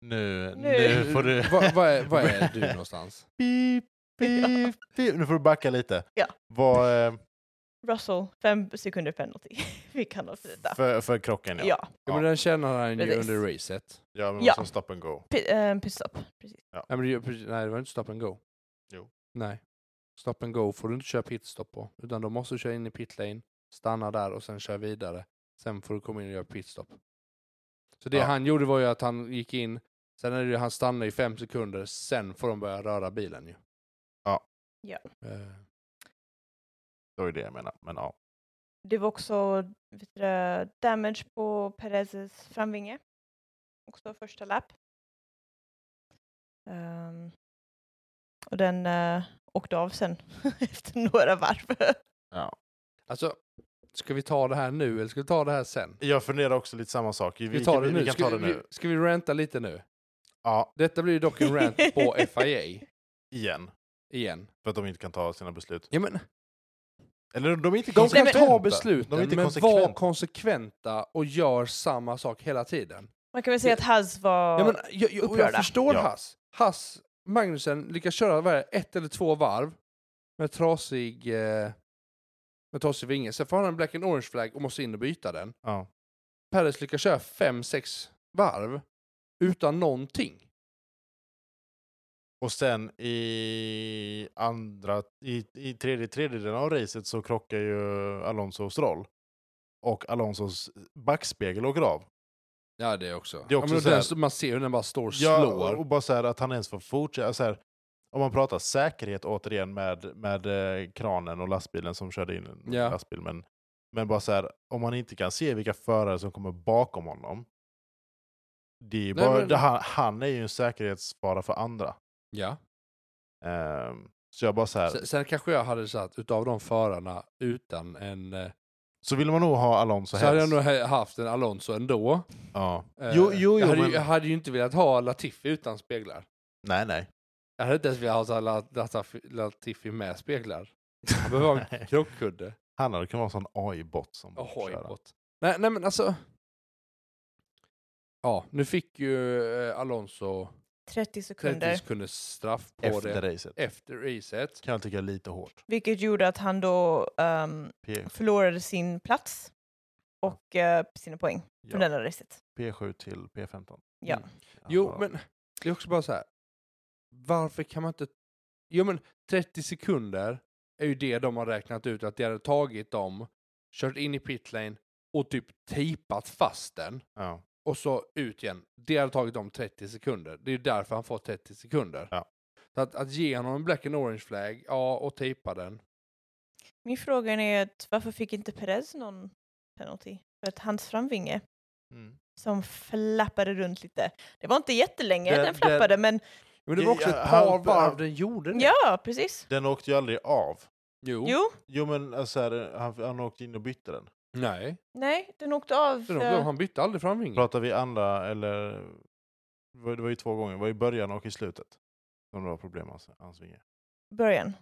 [SPEAKER 1] Nu,
[SPEAKER 2] Nu.
[SPEAKER 1] nu får du...
[SPEAKER 3] Va- vad är, vad är du någonstans?
[SPEAKER 1] Pip, pip, pip. Nu får du backa lite.
[SPEAKER 2] Ja.
[SPEAKER 1] Vad, eh,
[SPEAKER 2] Russell, fem sekunder penalty. Vi kan avsluta.
[SPEAKER 1] för, för krocken, ja.
[SPEAKER 2] Ja,
[SPEAKER 3] Ja, men den känner han ju
[SPEAKER 2] Precis.
[SPEAKER 3] under racet.
[SPEAKER 1] Ja, men
[SPEAKER 2] Ja.
[SPEAKER 1] också stop and go.
[SPEAKER 2] P- eh, pitstop. Precis.
[SPEAKER 3] Nej, men det, gör precis- nej, det var inte stop and go.
[SPEAKER 1] Jo.
[SPEAKER 3] Nej. Stop and go får du inte köra pitstop på. Utan då måste du köra in i pitlane, stanna där och sen köra vidare. Sen får du komma in och göra pitstop. Så det
[SPEAKER 1] Ja.
[SPEAKER 3] han gjorde var ju att han gick in, sen är det ju han stannar i fem sekunder, sen får de börja röra bilen ju.
[SPEAKER 1] Ja.
[SPEAKER 2] Ja.
[SPEAKER 3] Eh,
[SPEAKER 1] Det var ju det jag menade. Men ja.
[SPEAKER 2] Det var också vet du, det, damage på Perezes framvinge. Också första lap. Ehm, och den eh, åkte av sen efter några varv.
[SPEAKER 1] ja.
[SPEAKER 3] Alltså, ska vi ta det här nu eller ska vi ta det här sen?
[SPEAKER 1] Jag funderar också lite samma sak. Vi,
[SPEAKER 3] Ska vi,
[SPEAKER 1] vi,
[SPEAKER 3] ta
[SPEAKER 1] kan-
[SPEAKER 3] det
[SPEAKER 1] vi,
[SPEAKER 3] nu?
[SPEAKER 1] vi kan
[SPEAKER 3] ska,
[SPEAKER 1] ta det
[SPEAKER 3] Vi,
[SPEAKER 1] nu.
[SPEAKER 3] ska vi ranta lite nu?
[SPEAKER 1] Ja,
[SPEAKER 3] Detta blir ju dock en rant på FIA
[SPEAKER 1] igen.
[SPEAKER 3] igen.
[SPEAKER 1] För att de inte kan ta sina beslut.
[SPEAKER 3] Ja, men,
[SPEAKER 1] Eller de är inte
[SPEAKER 3] de kan
[SPEAKER 1] konsekventa.
[SPEAKER 3] ta besluten,
[SPEAKER 1] De är inte
[SPEAKER 3] men
[SPEAKER 1] konsekventa.
[SPEAKER 3] var konsekventa och gör samma sak hela tiden.
[SPEAKER 2] Man kan väl säga att Haz var...
[SPEAKER 3] Ja, men, jag, jag, och jag
[SPEAKER 2] upprörda.
[SPEAKER 3] förstår
[SPEAKER 1] Ja.
[SPEAKER 3] Hass. Hass Magnusen lyckas köra vad är det, ett eller två varv med trasig, eh, med trasig vinge. Sen får han en black and orange flagg och måste in och byta den.
[SPEAKER 1] Ja.
[SPEAKER 3] Perez lyckas köra fem, sex varv utan någonting.
[SPEAKER 1] Och sen i andra, i, i tredje tredjedelen av racet så krockar ju Alonso och Stroll. Och Alonsos backspegel åker av.
[SPEAKER 3] Ja, det också.
[SPEAKER 1] Det är också
[SPEAKER 3] ja, men
[SPEAKER 1] så här-
[SPEAKER 3] den, man ser hur den bara står och
[SPEAKER 1] Ja,
[SPEAKER 3] slår.
[SPEAKER 1] och bara så här att han ens får fortsätta. Så här, om man pratar säkerhet återigen med, med eh, kranen och lastbilen som körde in en
[SPEAKER 3] Ja.
[SPEAKER 1] lastbil. Men, men bara så här, om man inte kan se vilka förare som kommer bakom honom. Det är
[SPEAKER 3] Nej,
[SPEAKER 1] bara,
[SPEAKER 3] men-
[SPEAKER 1] det, han, han är ju en säkerhetsfara för andra.
[SPEAKER 3] Ja.
[SPEAKER 1] Ehm, så jag bara så här,
[SPEAKER 3] Sen, sen kanske jag hade satt utav de förarna utan en... eh,
[SPEAKER 1] så vill man nog ha Alonso
[SPEAKER 3] Så, hade jag
[SPEAKER 1] helst.
[SPEAKER 3] nog he- haft en Alonso ändå.
[SPEAKER 1] Ja.
[SPEAKER 3] Eh,
[SPEAKER 1] Jo, jo,
[SPEAKER 3] jag,
[SPEAKER 1] jo
[SPEAKER 3] hade, ju-
[SPEAKER 1] men...
[SPEAKER 3] jag hade ju inte velat ha Latifi utan speglar.
[SPEAKER 1] Nej, nej.
[SPEAKER 3] Jag hade inte ens velat ha La- Latafi- Latifi med speglar. Han behöver ha en
[SPEAKER 1] Nej.
[SPEAKER 3] krockkudde.
[SPEAKER 1] Han hade kunnat vara en sån AI-bot som
[SPEAKER 3] Och
[SPEAKER 1] borde köra.
[SPEAKER 3] hojbot. Nej, nej men alltså. Ja, nu fick ju eh, Alonso
[SPEAKER 2] 30
[SPEAKER 3] 30
[SPEAKER 2] sekunder.
[SPEAKER 3] sekunders straff på
[SPEAKER 1] efter
[SPEAKER 3] det
[SPEAKER 1] racet.
[SPEAKER 3] efter racet.
[SPEAKER 1] Kan jag tycka är lite hårt.
[SPEAKER 2] Vilket gjorde att han då ehm,
[SPEAKER 1] P,
[SPEAKER 2] förlorade sin plats och eh, sina poäng
[SPEAKER 1] ja,
[SPEAKER 2] från denna racet.
[SPEAKER 1] P7 till P15.
[SPEAKER 2] Ja.
[SPEAKER 3] Mm. Jo,
[SPEAKER 1] Ja.
[SPEAKER 3] men det är också bara så här. Varför kan man inte... Jo, men 30 sekunder är ju det de har räknat ut att de hade tagit dem, kört in i pitlane och typ tejpat fast den
[SPEAKER 1] Ja.
[SPEAKER 3] och så ut igen. Det hade tagit dem 30 sekunder. Det är ju därför han får 30 sekunder.
[SPEAKER 1] Ja.
[SPEAKER 3] Så att, att ge honom en black and orange flag, ja, och tejpa den.
[SPEAKER 2] Min fråga är att varför fick inte Perez någon penalty? För att hans framvinge
[SPEAKER 1] Mm.
[SPEAKER 2] som flappade runt lite. Det var inte jättelänge
[SPEAKER 1] Den-
[SPEAKER 2] den, flappade men
[SPEAKER 3] Men det
[SPEAKER 1] Ja,
[SPEAKER 3] var också ett
[SPEAKER 1] han-
[SPEAKER 3] par varv
[SPEAKER 1] han-
[SPEAKER 3] den gjorde det.
[SPEAKER 2] ja, precis.
[SPEAKER 1] Den åkte ju aldrig av.
[SPEAKER 3] Jo.
[SPEAKER 2] Jo,
[SPEAKER 1] Jo men alltså, så här, han, han åkte in och bytte
[SPEAKER 3] Mm.
[SPEAKER 1] den.
[SPEAKER 3] Nej.
[SPEAKER 2] nej, den åkte av.
[SPEAKER 3] Det är nog-
[SPEAKER 2] eh,
[SPEAKER 3] Han bytte aldrig framvinge.
[SPEAKER 1] Pratar vi andra eller? Det var- det var ju två gånger. Det var i början och i slutet. Som det var problem med hans, hans vinge.
[SPEAKER 2] början.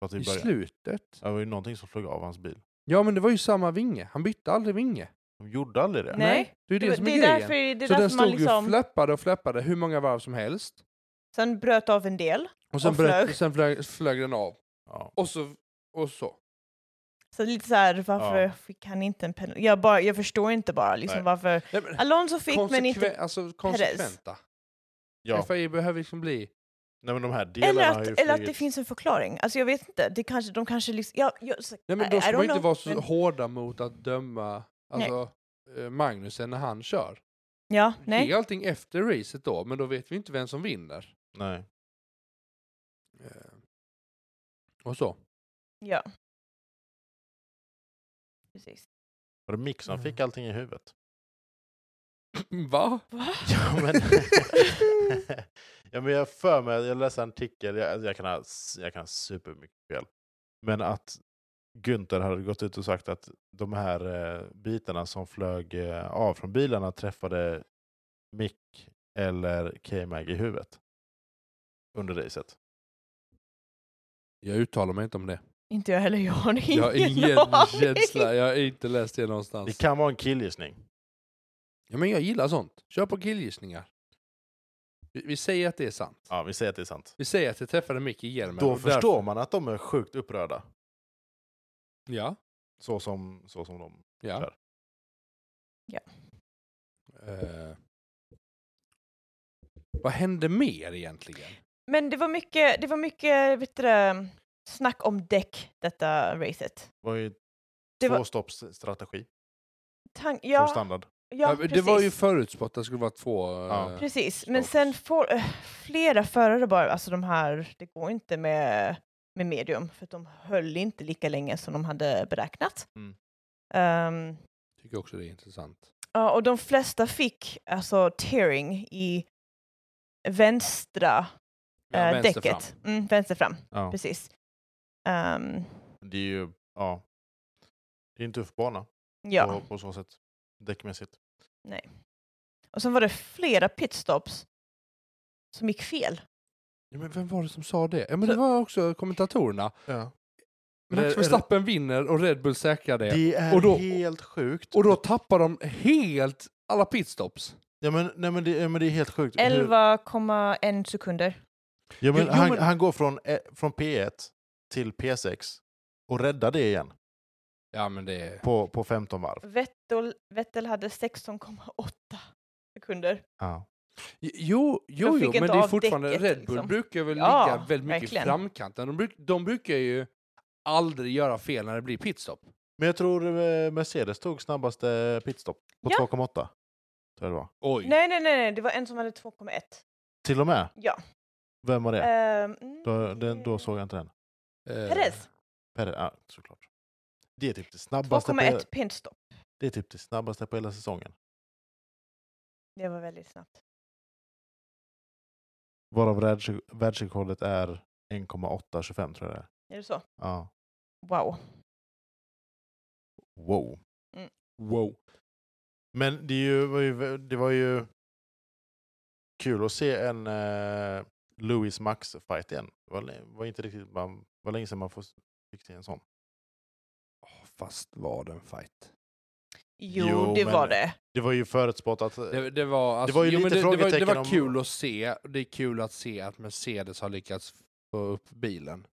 [SPEAKER 1] Pratar
[SPEAKER 3] I
[SPEAKER 1] vi i början.
[SPEAKER 3] slutet?
[SPEAKER 1] Ja, Det var ju någonting som flög av hans bil.
[SPEAKER 3] Ja, men det var ju samma vinge. Han bytte aldrig vinge.
[SPEAKER 1] De gjorde aldrig det.
[SPEAKER 2] Nej.
[SPEAKER 3] Det är ju
[SPEAKER 2] Det,
[SPEAKER 3] det,
[SPEAKER 2] var-
[SPEAKER 3] som är
[SPEAKER 2] det är
[SPEAKER 3] grejen.
[SPEAKER 2] därför, det är
[SPEAKER 3] så den
[SPEAKER 2] därför man
[SPEAKER 3] stod ju och
[SPEAKER 2] liksom...
[SPEAKER 3] flappade och flappade hur många varv som helst.
[SPEAKER 2] Sen bröt av en del.
[SPEAKER 3] Och sen,
[SPEAKER 2] Och
[SPEAKER 3] bröt-
[SPEAKER 2] flög.
[SPEAKER 3] sen flög, flög den av.
[SPEAKER 1] Ja.
[SPEAKER 3] Och så. Och så.
[SPEAKER 2] Så lite så här, varför
[SPEAKER 1] Ja.
[SPEAKER 2] fick han inte en penalty? Jag, bara, jag förstår inte bara liksom
[SPEAKER 1] Nej.
[SPEAKER 2] varför.
[SPEAKER 3] Nej, men,
[SPEAKER 2] Alonso fick men
[SPEAKER 3] konsekven-
[SPEAKER 2] inte...
[SPEAKER 3] alltså, konsekventa.
[SPEAKER 1] ja.
[SPEAKER 3] FAI behöver liksom bli...
[SPEAKER 1] Nej, men de här delarna
[SPEAKER 2] Eller
[SPEAKER 1] har ju
[SPEAKER 2] att, eller att det
[SPEAKER 1] flugit.
[SPEAKER 2] finns en förklaring. Alltså jag vet inte, det kanske, de kanske liksom... Jag, jag, så,
[SPEAKER 3] Nej, men
[SPEAKER 2] I-
[SPEAKER 3] då
[SPEAKER 2] I
[SPEAKER 3] ska
[SPEAKER 2] don't
[SPEAKER 3] man inte
[SPEAKER 2] know,
[SPEAKER 3] vara så
[SPEAKER 2] men-
[SPEAKER 3] hårda mot att döma alltså, eh, Magnusen när han kör.
[SPEAKER 2] ja,
[SPEAKER 3] Ge
[SPEAKER 2] nej.
[SPEAKER 3] allting efter racet då, men då vet vi inte vem som vinner.
[SPEAKER 1] Nej.
[SPEAKER 3] Eh, Och så.
[SPEAKER 2] Ja. Precis.
[SPEAKER 1] Var det Mick som
[SPEAKER 3] Mm.
[SPEAKER 1] fick allting i huvudet?
[SPEAKER 3] Va?
[SPEAKER 2] Va?
[SPEAKER 1] Ja men, ja, men jag har för mig, jag läste en artikel, jag, jag kan ha, s- jag kan ha supermycket fel. Men att Günther hade gått ut och sagt att de här eh, bitarna som flög eh, av från bilarna träffade Mick eller K-Mag i huvudet. Under racet.
[SPEAKER 3] Jag uttalar mig inte om det.
[SPEAKER 2] Inte jag heller, jag har ingen,
[SPEAKER 3] Jag har ingen
[SPEAKER 2] aning.
[SPEAKER 3] känsla, jag har inte läst det någonstans.
[SPEAKER 1] Det kan vara en killgissning.
[SPEAKER 3] Ja, men jag gillar sånt. Kör på killgissningar. Vi, vi säger att det är sant.
[SPEAKER 1] Ja, vi säger att det är sant.
[SPEAKER 3] Vi säger att jag träffade Micke Hjelmen.
[SPEAKER 1] Då
[SPEAKER 3] och
[SPEAKER 1] förstår man att de är sjukt upprörda.
[SPEAKER 3] Därför, ja.
[SPEAKER 1] Så som, så som de...
[SPEAKER 3] Ja.
[SPEAKER 1] Kör.
[SPEAKER 2] Ja.
[SPEAKER 3] Eh, vad hände mer egentligen?
[SPEAKER 2] Men det var mycket, det var mycket vet du, det, snack om däck detta racet.
[SPEAKER 1] Det var ju
[SPEAKER 2] Det var-
[SPEAKER 1] tvåstoppsstrategi
[SPEAKER 2] Tan-
[SPEAKER 1] som
[SPEAKER 2] ja,
[SPEAKER 1] standard.
[SPEAKER 2] ja,
[SPEAKER 3] men
[SPEAKER 2] precis.
[SPEAKER 3] det var ju förutspått att det skulle vara två...
[SPEAKER 1] Ja.
[SPEAKER 3] eh,
[SPEAKER 2] Precis, men
[SPEAKER 3] Stopp.
[SPEAKER 2] sen får, eh, flera förare bara, alltså de här, det går inte med, med medium för att de höll inte lika länge som de hade beräknat.
[SPEAKER 1] Mm.
[SPEAKER 2] Ehm,
[SPEAKER 3] Tycker också det är intressant.
[SPEAKER 2] ja, och de flesta fick alltså tearing i vänstra
[SPEAKER 3] Ja,
[SPEAKER 2] eh,
[SPEAKER 3] vänster
[SPEAKER 2] däcket.
[SPEAKER 3] fram.
[SPEAKER 2] Mm, vänster fram,
[SPEAKER 1] Ja.
[SPEAKER 2] precis. Ehm,
[SPEAKER 1] Det är ju, ja. Det är en tuff bana
[SPEAKER 2] ja.
[SPEAKER 1] på, på så sätt. Däckmässigt.
[SPEAKER 2] Och sen var det flera pitstops som gick fel.
[SPEAKER 3] Ja, men vem var det som sa det? Ja, men det var också kommentatorerna.
[SPEAKER 1] Ja.
[SPEAKER 3] Men Max
[SPEAKER 1] Re-
[SPEAKER 3] Verstappen vinner och Red Bull säkrar det.
[SPEAKER 1] Det är
[SPEAKER 3] Och då-
[SPEAKER 1] helt sjukt.
[SPEAKER 3] Och då tappar de helt alla pitstops.
[SPEAKER 1] Ja, men, nej, men, det, ja, men det är helt sjukt. hur-
[SPEAKER 2] 11,1 sekunder.
[SPEAKER 1] Ja, men
[SPEAKER 3] Jo, jo,
[SPEAKER 1] han,
[SPEAKER 3] men-
[SPEAKER 1] han går från, eh, från P1 till P6 och räddar det igen
[SPEAKER 3] Ja men det är...
[SPEAKER 1] på, på 15 varv.
[SPEAKER 2] Vettel, Vettel hade 16,8 sekunder.
[SPEAKER 1] Ja.
[SPEAKER 3] Jo, jo,
[SPEAKER 2] De fick
[SPEAKER 3] jo
[SPEAKER 2] inte
[SPEAKER 3] men det är
[SPEAKER 2] av
[SPEAKER 3] fortfarande
[SPEAKER 2] däcket,
[SPEAKER 3] Red Bull
[SPEAKER 2] liksom.
[SPEAKER 3] brukar väl
[SPEAKER 2] Ja,
[SPEAKER 3] ligga väldigt mycket
[SPEAKER 2] verkligen.
[SPEAKER 3] i framkanten. De, bruk, de brukar ju aldrig göra fel när det blir pitstop.
[SPEAKER 1] Men jag tror eh, Mercedes tog snabbaste pitstop på
[SPEAKER 2] Ja.
[SPEAKER 1] 2,8. Tror jag det var.
[SPEAKER 3] Oj.
[SPEAKER 2] Nej, nej, nej, nej, det var en som hade 2,1.
[SPEAKER 1] Till och med.
[SPEAKER 2] Ja.
[SPEAKER 1] Vem var det?
[SPEAKER 2] Ehm, mm,
[SPEAKER 1] Då, den, då såg jag inte den.
[SPEAKER 3] Eh,
[SPEAKER 2] Perez,
[SPEAKER 1] Perre, ja, såklart. Det är typ det snabbaste, på,
[SPEAKER 2] 2,1 pinstop.
[SPEAKER 1] det är typ det snabbaste på hela säsongen.
[SPEAKER 2] Det var väldigt snabbt.
[SPEAKER 1] Varav världs- världsrekordet är 1,825 tror jag det är.
[SPEAKER 2] Är det så?
[SPEAKER 1] Ja.
[SPEAKER 2] Wow.
[SPEAKER 1] Wow.
[SPEAKER 3] Wow.
[SPEAKER 1] Men det, är ju, var, ju, vä- det var ju kul att se en eh, Louis Max fight igen. Det var, lä- var inte riktigt man, var länge sedan man får, fick se en sån.
[SPEAKER 3] Åh, Fast var det en fight?
[SPEAKER 2] Jo,
[SPEAKER 1] Jo,
[SPEAKER 2] det
[SPEAKER 1] men-
[SPEAKER 2] var det.
[SPEAKER 1] Det var ju eh, förutspått att...
[SPEAKER 3] Det, det, var, alltså,
[SPEAKER 1] var ju
[SPEAKER 3] jo, men
[SPEAKER 1] lite
[SPEAKER 3] det, det, var, det
[SPEAKER 1] frågetecken
[SPEAKER 3] var
[SPEAKER 1] om-
[SPEAKER 3] kul att se. Det är kul att se att Mercedes har lyckats få upp bilen.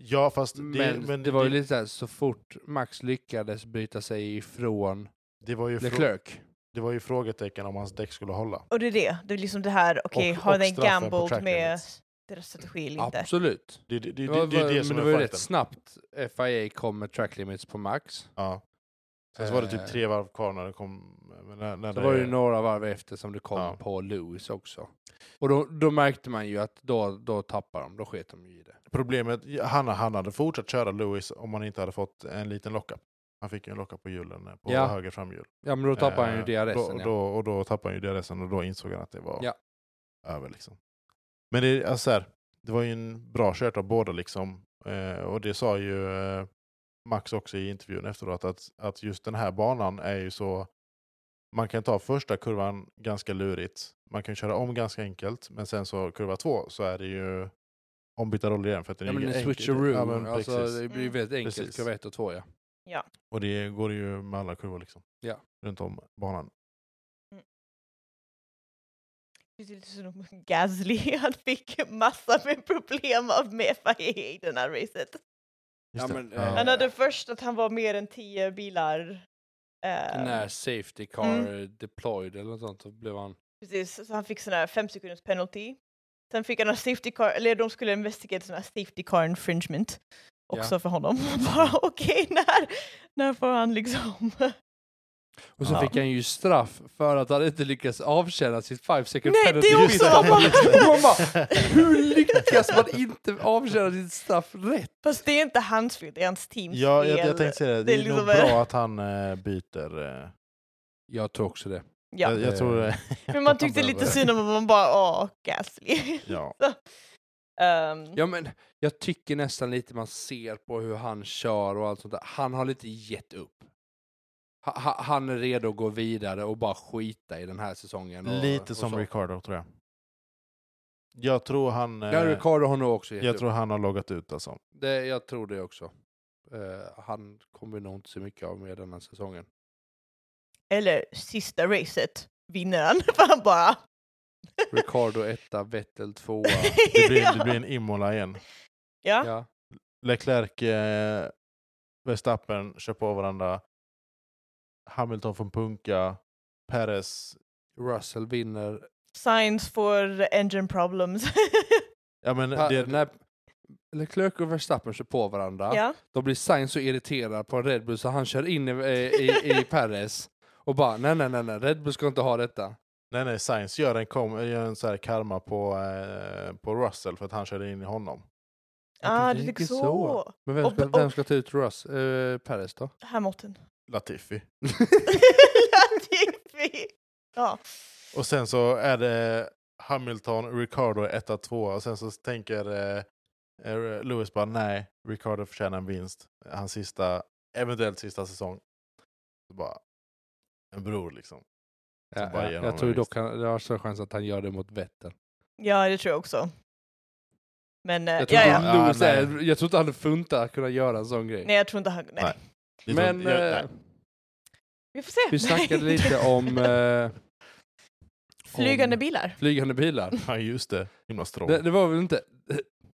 [SPEAKER 1] ja, fast det,
[SPEAKER 3] Men,
[SPEAKER 1] men,
[SPEAKER 3] det, var ju lite så här, så fort Max lyckades bryta sig ifrån
[SPEAKER 1] det, var ju frå,
[SPEAKER 3] Leclerc.
[SPEAKER 1] det var ju frågetecken om hans däck skulle hålla.
[SPEAKER 2] Och det är det. Det är liksom det här, okej,
[SPEAKER 1] Och-
[SPEAKER 2] har
[SPEAKER 1] och
[SPEAKER 2] den
[SPEAKER 1] straffen på
[SPEAKER 2] gambled
[SPEAKER 1] track
[SPEAKER 2] med
[SPEAKER 1] limits.
[SPEAKER 2] deras strategi eller inte?
[SPEAKER 3] Absolut.
[SPEAKER 1] Det, det, det,
[SPEAKER 3] var-
[SPEAKER 1] det, det är ju det som
[SPEAKER 3] men
[SPEAKER 1] är
[SPEAKER 3] det var ju
[SPEAKER 1] fighten.
[SPEAKER 3] rätt snabbt FIA kom med track limits på Max.
[SPEAKER 1] Ja. Sen så var det
[SPEAKER 3] Eh,
[SPEAKER 1] typ tre varv kvar när det kom. Men när, när
[SPEAKER 3] Det var ju några varv efter som det kom
[SPEAKER 1] Ja.
[SPEAKER 3] på Lewis också. Och då, då märkte man ju att då, då tappar de, då sket de ju i det.
[SPEAKER 1] Problemet, han, han hade fortsatt köra Lewis om han inte hade fått en liten lockup. Han fick ju en lockup på hjulen, eh, på
[SPEAKER 3] Ja.
[SPEAKER 1] höger framhjul.
[SPEAKER 3] Ja men då tappar han ju
[SPEAKER 1] Eh,
[SPEAKER 3] DRSen.
[SPEAKER 1] Då,
[SPEAKER 3] ja.
[SPEAKER 1] då, och då tappade han ju DRSen och då insåg han att det var
[SPEAKER 3] Ja.
[SPEAKER 1] över. Liksom. Men det, alltså så här, det var ju en bra kört av båda. Liksom. Eh, och det sa ju eh, Max också i intervjun efteråt, att, att just den här banan är ju så... Man kan ta första kurvan ganska lurigt. Man kan köra om ganska enkelt, men sen så kurva två så är det ju ombytta roller igen. För att den
[SPEAKER 3] Ja
[SPEAKER 1] är
[SPEAKER 3] men
[SPEAKER 1] ju
[SPEAKER 3] en
[SPEAKER 1] enkel.
[SPEAKER 3] switcheroo,
[SPEAKER 1] Ja, men
[SPEAKER 3] alltså,
[SPEAKER 1] precis.
[SPEAKER 3] det blir ju
[SPEAKER 2] Mm.
[SPEAKER 3] väldigt enkelt,
[SPEAKER 1] Precis.
[SPEAKER 3] kurva ett och två ja.
[SPEAKER 1] Och det går ju med alla kurvor liksom.
[SPEAKER 3] Ja.
[SPEAKER 1] runt om banan.
[SPEAKER 2] Det är lite som om Gasly, han fick massa med problem av med FIA i den här racet.
[SPEAKER 1] Just
[SPEAKER 3] Ja,
[SPEAKER 1] det.
[SPEAKER 3] men, eh,
[SPEAKER 2] Han hade först att han var mer än tio bilar. eh,
[SPEAKER 3] När safety car deployed eller något sånt, då blev han...
[SPEAKER 2] Precis, så han fick sån här fem sekunders penalty. Sen fick han en safety car, eller de skulle investigera sån här safety car infringement. Också för honom. Bara okej, när, när får han liksom...
[SPEAKER 3] Och så
[SPEAKER 1] Ja.
[SPEAKER 3] fick han ju straff för att han inte lyckats avtjäna sitt five second
[SPEAKER 2] Nej,
[SPEAKER 3] penalty.
[SPEAKER 2] det är också
[SPEAKER 1] Just det.
[SPEAKER 2] vad man-
[SPEAKER 1] Just det.
[SPEAKER 3] Man bara, Hur lyckas man inte avtjäna sitt straff rätt?
[SPEAKER 2] Fast det är inte hans fel, det är hans teams
[SPEAKER 1] Ja,
[SPEAKER 2] fel.
[SPEAKER 1] jag, jag tänkte säga det.
[SPEAKER 2] Det
[SPEAKER 1] Det
[SPEAKER 2] är
[SPEAKER 1] är nog
[SPEAKER 2] liksom-
[SPEAKER 1] bra att han eh, byter. eh,
[SPEAKER 3] Jag tror också det.
[SPEAKER 2] Ja.
[SPEAKER 1] jag, jag tror eh, det.
[SPEAKER 2] Men man tyckte lite synd om honom, man bara åh, Gasly.
[SPEAKER 1] Ja.
[SPEAKER 2] Ehm,
[SPEAKER 3] Ja, men jag tycker nästan lite man ser på hur han kör och allt sånt där. Han har lite gett upp. Ha, ha, han är redo att gå vidare och bara skita i den här säsongen. Och,
[SPEAKER 1] Lite
[SPEAKER 3] och
[SPEAKER 1] som
[SPEAKER 3] så.
[SPEAKER 1] Ricardo tror jag. Jag tror han, eh,
[SPEAKER 3] Ja, Ricardo har nog också gett
[SPEAKER 1] jag
[SPEAKER 3] upp.
[SPEAKER 1] tror han har loggat ut alltså.
[SPEAKER 3] Det, jag tror det också. Eh, han kommer nog inte så mycket av med den här säsongen.
[SPEAKER 2] Eller sista racet vinner han, för han bara...
[SPEAKER 3] Ricardo etta, Vettel tvåa.
[SPEAKER 1] Det blir, det blir en Imola igen.
[SPEAKER 2] ja.
[SPEAKER 3] ja.
[SPEAKER 1] Leclerc, eh, Verstappen kör på varandra. Hamilton från punka. Perez.
[SPEAKER 3] Russell vinner.
[SPEAKER 2] Signs for engine problems.
[SPEAKER 1] Ja, men
[SPEAKER 3] Pa-
[SPEAKER 1] det,
[SPEAKER 3] När Leclerc och Verstappen kör på varandra.
[SPEAKER 2] ja.
[SPEAKER 3] Då blir Sainz så irriterad på en Red Bull så han kör in i, eh, i, i Perez och bara nej, nej, nej, nej, Red Bull ska inte ha detta.
[SPEAKER 1] nej, nej, Sainz gör en, kom, gör en så här karma på, eh, på Russell för att han körde in i honom.
[SPEAKER 2] Ah,
[SPEAKER 3] det
[SPEAKER 2] du fick
[SPEAKER 3] gick ju
[SPEAKER 2] så.
[SPEAKER 3] så. Men vem
[SPEAKER 2] Och-
[SPEAKER 3] ska,
[SPEAKER 2] och-
[SPEAKER 3] vem ska ta ut Russ, eh, Perez då?
[SPEAKER 2] Hamilton.
[SPEAKER 1] Latifi.
[SPEAKER 2] Latifi. ja.
[SPEAKER 1] Och sen så är det Hamilton, Ricardo etta, tvåa och sen så tänker eh, eh, Lewis bara nej, Ricardo förtjänar en vinst. Hans sista, eventuellt sista säsong. Så bara, en bror liksom.
[SPEAKER 3] Ja,
[SPEAKER 1] bara
[SPEAKER 3] ja,
[SPEAKER 1] ger
[SPEAKER 3] jag
[SPEAKER 1] honom
[SPEAKER 3] tror
[SPEAKER 1] en
[SPEAKER 3] dock han, det har större chans att han gör det mot Vettel.
[SPEAKER 2] ja, det tror jag också. Men eh,
[SPEAKER 3] Jag tror,
[SPEAKER 2] ja,
[SPEAKER 3] inte
[SPEAKER 2] ja.
[SPEAKER 1] han-
[SPEAKER 3] Lewis
[SPEAKER 1] Ja,
[SPEAKER 3] är, jag tror inte han funtar att kunna göra en sån grej.
[SPEAKER 2] Nej, jag tror inte han... Nej.
[SPEAKER 1] Nej. Det tror
[SPEAKER 3] Men
[SPEAKER 1] inte- jag-
[SPEAKER 3] eh,
[SPEAKER 1] nej.
[SPEAKER 2] Vi får se.
[SPEAKER 3] vi snackade lite om eh,
[SPEAKER 2] Flygande
[SPEAKER 3] om-
[SPEAKER 2] bilar.
[SPEAKER 3] flygande bilar.
[SPEAKER 1] Ja just det, himla strål.
[SPEAKER 3] Det, det var väl inte...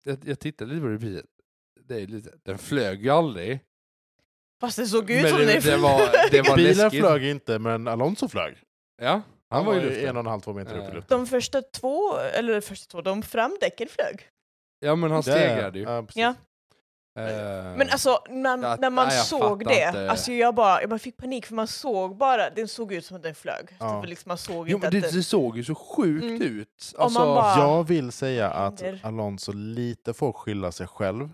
[SPEAKER 3] Jag, jag tittade lite på reprisen. Det är lite, den flög ju aldrig.
[SPEAKER 2] Fast det såg ut
[SPEAKER 3] Men
[SPEAKER 2] som
[SPEAKER 3] det-
[SPEAKER 2] det.
[SPEAKER 3] det var- det var-
[SPEAKER 1] Bilen
[SPEAKER 3] läskigt.
[SPEAKER 1] flög inte men Alonso flög.
[SPEAKER 3] Ja, han,
[SPEAKER 1] Han
[SPEAKER 3] var
[SPEAKER 1] var
[SPEAKER 3] ju
[SPEAKER 1] ju
[SPEAKER 3] i luften.
[SPEAKER 1] en och en halv, två meter upp i
[SPEAKER 3] Eh.
[SPEAKER 1] luften.
[SPEAKER 2] De första två, eller de första två, de framdäcken flög.
[SPEAKER 3] Ja men han
[SPEAKER 1] Där,
[SPEAKER 3] stegrade ju.
[SPEAKER 1] Ja, precis.
[SPEAKER 2] Ja.
[SPEAKER 3] Eh,
[SPEAKER 2] Men alltså, när,
[SPEAKER 3] Jag-
[SPEAKER 2] när man
[SPEAKER 3] nej, jag
[SPEAKER 2] såg
[SPEAKER 3] fattar
[SPEAKER 2] det,
[SPEAKER 3] inte.
[SPEAKER 2] alltså jag bara, jag bara fick panik för man såg bara, den såg ut som att den flög.
[SPEAKER 1] Ja.
[SPEAKER 2] Så liksom man såg inte
[SPEAKER 3] jo, men
[SPEAKER 2] att
[SPEAKER 3] det,
[SPEAKER 2] den...
[SPEAKER 3] det såg ju så sjukt
[SPEAKER 2] Mm.
[SPEAKER 3] ut.
[SPEAKER 2] man
[SPEAKER 3] Alltså,
[SPEAKER 2] bara-
[SPEAKER 1] Jag vill säga att
[SPEAKER 2] Händer.
[SPEAKER 1] Alonso lite får skylla sig själv.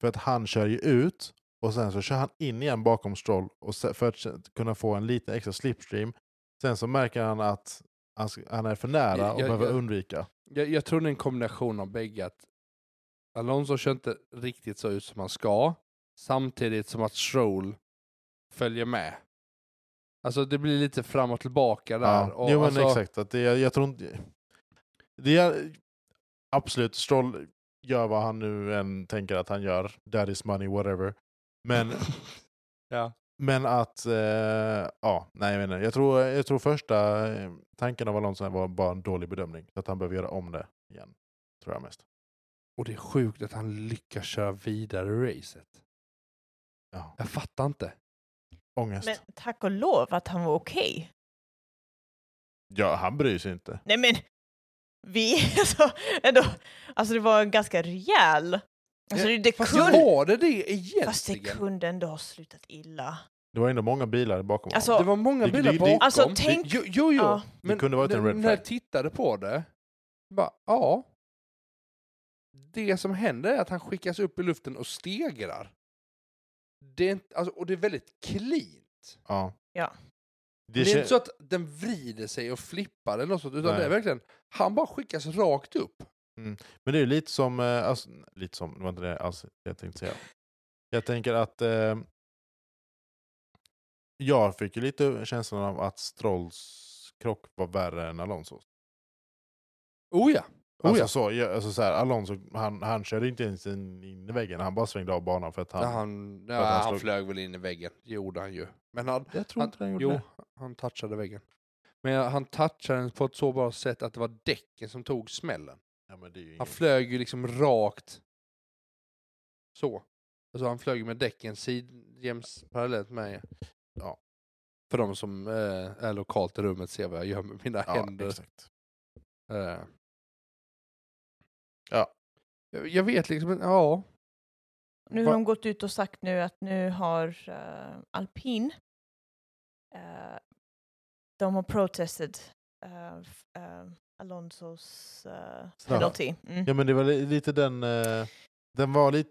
[SPEAKER 1] För att han kör ju ut och sen så kör han in igen bakom Stroll och se- för att kunna få en liten extra slipstream. Sen så märker han att han, sk- han är för nära
[SPEAKER 3] Jag-
[SPEAKER 1] och
[SPEAKER 3] jag-
[SPEAKER 1] behöver
[SPEAKER 3] jag-
[SPEAKER 1] undvika.
[SPEAKER 3] Jag, jag tror det är en kombination av bägge. Att Alonso kör inte riktigt så ut som han ska, samtidigt som att Stroll följer med. Alltså det blir lite fram och tillbaka där.
[SPEAKER 1] Ja.
[SPEAKER 3] Och
[SPEAKER 1] jo men
[SPEAKER 3] alltså,
[SPEAKER 1] exakt, att det, jag, jag tror inte... Det är, absolut, Stroll gör vad han nu än tänker att han gör. That is money, whatever. Men,
[SPEAKER 3] Ja.
[SPEAKER 1] men att... Eh, ja, nej jag menar, jag tror, jag tror första eh, tanken av Alonso var bara en dålig bedömning. Så att han behöver göra om det igen. Tror jag mest.
[SPEAKER 3] Och det är sjukt att han lyckas köra vidare i racet.
[SPEAKER 1] Ja.
[SPEAKER 3] Jag fattar inte.
[SPEAKER 1] Ångest.
[SPEAKER 2] Men tack och lov att han var okej.
[SPEAKER 1] Ja, han bryr sig inte.
[SPEAKER 2] Nej men, vi, alltså, ändå, alltså det var en ganska rejäl... Alltså det, det,
[SPEAKER 3] Fast
[SPEAKER 2] kunde,
[SPEAKER 3] var det det
[SPEAKER 2] fast det
[SPEAKER 3] egentligen?
[SPEAKER 2] kunde ändå ha slutat illa.
[SPEAKER 1] Det var ändå många bilar bakom honom.
[SPEAKER 2] Alltså,
[SPEAKER 3] Det var många
[SPEAKER 1] Det- det-
[SPEAKER 3] bilar
[SPEAKER 1] det-
[SPEAKER 3] bakom.
[SPEAKER 2] Alltså, tänk-
[SPEAKER 3] Jo, jo, jo.
[SPEAKER 2] Ja.
[SPEAKER 1] Det kunde varit en
[SPEAKER 3] när-
[SPEAKER 1] red
[SPEAKER 3] När jag
[SPEAKER 1] flag.
[SPEAKER 3] tittade på det, bara, ja. Det som händer är att han skickas upp i luften och stegrar. Det är inte, alltså, och det är väldigt cleant.
[SPEAKER 1] Ja.
[SPEAKER 2] Ja.
[SPEAKER 1] Det
[SPEAKER 3] Det, är
[SPEAKER 1] kän-
[SPEAKER 3] inte så att den vrider sig och flippar eller något sånt, utan
[SPEAKER 1] Nej.
[SPEAKER 3] det är verkligen, han bara skickas rakt upp.
[SPEAKER 1] Men det är ju lite som, eh, alltså, lite som, det var inte det alls jag tänkte säga. Jag tänker att eh, jag fick ju lite känslan av att Strolls krock var värre än Alonso.
[SPEAKER 3] Oh ja. Oh,
[SPEAKER 1] alltså,
[SPEAKER 3] ja.
[SPEAKER 1] så, jag, alltså så här, Alonso han, han körde inte ens in, in i väggen, han bara svängde av banan för att han...
[SPEAKER 3] Han, han, ja,
[SPEAKER 1] att han
[SPEAKER 3] han,
[SPEAKER 1] slog-
[SPEAKER 3] flög väl in i väggen, det gjorde han ju. Men han,
[SPEAKER 1] jag tror inte han gjorde
[SPEAKER 3] jo,
[SPEAKER 1] det.
[SPEAKER 3] han touchade väggen. Men jag- han touchade den på ett så bra sätt att det var däcken som tog smällen.
[SPEAKER 1] Ja, men det är ju
[SPEAKER 3] Han
[SPEAKER 1] ingen...
[SPEAKER 3] flög ju liksom rakt så. Alltså han flög med däcken sidjäms parallellt med.
[SPEAKER 1] Ja.
[SPEAKER 3] För de som eh, är lokalt i rummet ser vad jag gör med mina
[SPEAKER 1] ja,
[SPEAKER 3] händer.
[SPEAKER 1] exakt.
[SPEAKER 3] Eh.
[SPEAKER 1] Ja.
[SPEAKER 3] Jag, jag vet liksom, ja.
[SPEAKER 2] Nu
[SPEAKER 3] Va-
[SPEAKER 2] har de gått ut och sagt nu att nu har eh, alpin, eh, de har protestat eh, f- eh, Alonsos eh,
[SPEAKER 1] Straff.
[SPEAKER 2] penalty. Mm.
[SPEAKER 1] ja men det var li- lite den, eh, den var lite...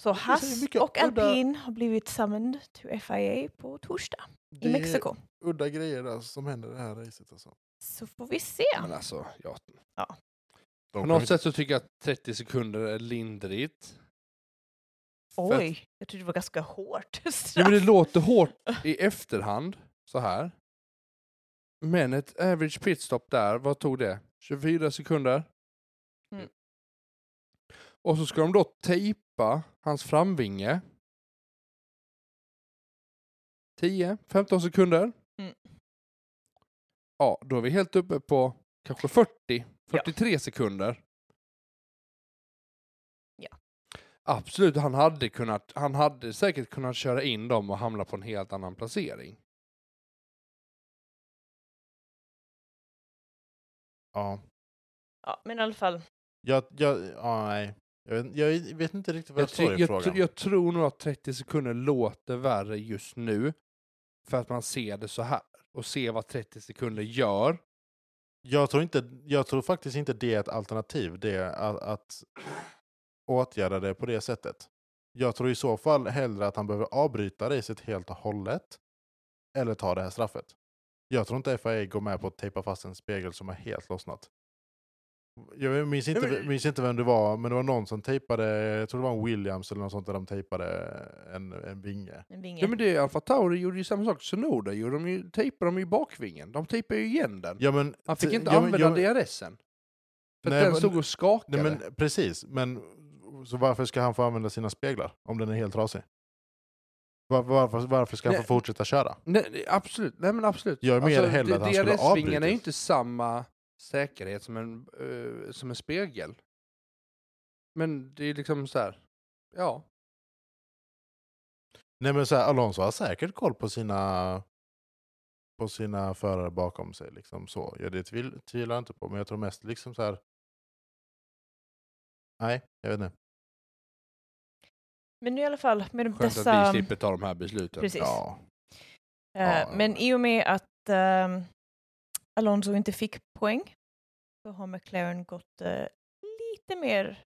[SPEAKER 2] Så
[SPEAKER 1] det säger
[SPEAKER 2] Haas
[SPEAKER 1] mycket
[SPEAKER 2] och
[SPEAKER 1] udda-
[SPEAKER 2] alpin har blivit summoned to FIA på torsdag
[SPEAKER 1] det
[SPEAKER 2] i
[SPEAKER 1] är
[SPEAKER 2] Mexiko.
[SPEAKER 1] Udda grejer alltså, som händer i det här racet alltså.
[SPEAKER 2] Så får vi se.
[SPEAKER 3] Men alltså, ja.
[SPEAKER 1] De
[SPEAKER 3] På
[SPEAKER 1] kommer inte-
[SPEAKER 3] något sätt så tycker jag att 30 sekunder är lindrigt. För att-
[SPEAKER 2] Oj, jag tyckte det var ganska hårt
[SPEAKER 3] Ja,
[SPEAKER 2] straff.
[SPEAKER 3] men det låter hårt i efterhand, så här. Men ett average pitstop där, vad tog det? 24 sekunder?
[SPEAKER 2] Mm.
[SPEAKER 3] Och så ska de då tejpa hans framvinge. 10-15 sekunder.
[SPEAKER 2] Mm.
[SPEAKER 3] Ja, då är vi helt uppe på kanske 40, 43 sekunder.
[SPEAKER 2] Ja.
[SPEAKER 3] Absolut, han hade, kunnat, han hade säkert kunnat köra in dem och hamna på en helt annan placering.
[SPEAKER 1] Ja.
[SPEAKER 2] Ja, men i alla fall,
[SPEAKER 1] Jag, jag, ja, nej. Jag, vet, jag vet inte riktigt vad jag,
[SPEAKER 3] Jag,
[SPEAKER 1] står
[SPEAKER 3] tr-
[SPEAKER 1] i
[SPEAKER 3] jag,
[SPEAKER 1] frågan.
[SPEAKER 3] tr- jag tror nog att 30 sekunder låter värre just nu. För att man ser det så här. Och ser vad 30 sekunder gör.
[SPEAKER 1] Jag, tror inte, jag tror faktiskt inte det är ett alternativ, det är att, att åtgärda det på det sättet. Jag tror i så fall hellre att han behöver avbryta racet helt och hållet eller ta det här straffet. Jag tror inte FIA går med på att tejpa fast en spegel som har helt lossnat. Jag minns inte,
[SPEAKER 3] Nej, men-
[SPEAKER 1] minns inte vem det var, men det var någon som tejpade, jag tror det var en Williams eller något sånt där de tejpade en, en vinge.
[SPEAKER 2] en vinge.
[SPEAKER 3] Ja men det är Alfa Tauri gjorde ju samma sak. Sonoda gjorde de ju, tejpade de ju bakvingen. De tejpade ju igen den.
[SPEAKER 1] Ja, men,
[SPEAKER 3] Han fick
[SPEAKER 1] te-
[SPEAKER 3] inte
[SPEAKER 1] ja, men-
[SPEAKER 3] använda
[SPEAKER 1] ja,
[SPEAKER 3] DRS-en. För
[SPEAKER 1] Nej,
[SPEAKER 3] att den
[SPEAKER 1] men-
[SPEAKER 3] stod och skakade.
[SPEAKER 1] Nej, men, precis, men så varför ska han få använda sina speglar om den är helt trasig? Var, varför, varför ska han
[SPEAKER 3] Nej.
[SPEAKER 1] få fortsätta köra?
[SPEAKER 3] Nej, nej, absolut. Nej, men absolut. Alltså,
[SPEAKER 1] Jag är mer hellre
[SPEAKER 3] det-
[SPEAKER 1] att han skulle ha
[SPEAKER 3] DRS-vingen är ju
[SPEAKER 1] avbrutit.
[SPEAKER 3] inte samma säkerhet som en, eh, som en spegel. Men det är liksom så här. Ja.
[SPEAKER 1] Nej men så här, Alonso har säkert koll på sina på sina förare bakom sig. Liksom så. Ja, det tvil, tvivlar jag inte på, men jag tror mest liksom så här. Nej, jag vet inte.
[SPEAKER 2] Men nu i alla fall med de
[SPEAKER 3] Skönt
[SPEAKER 2] dessa...
[SPEAKER 3] att vi slipper ta de här besluten.
[SPEAKER 2] Precis.
[SPEAKER 1] Ja.
[SPEAKER 2] Eh,
[SPEAKER 1] Ja,
[SPEAKER 2] men
[SPEAKER 1] ja.
[SPEAKER 2] i och med att ehm, Alonso inte fick poäng så har McLaren gått eh, lite mer...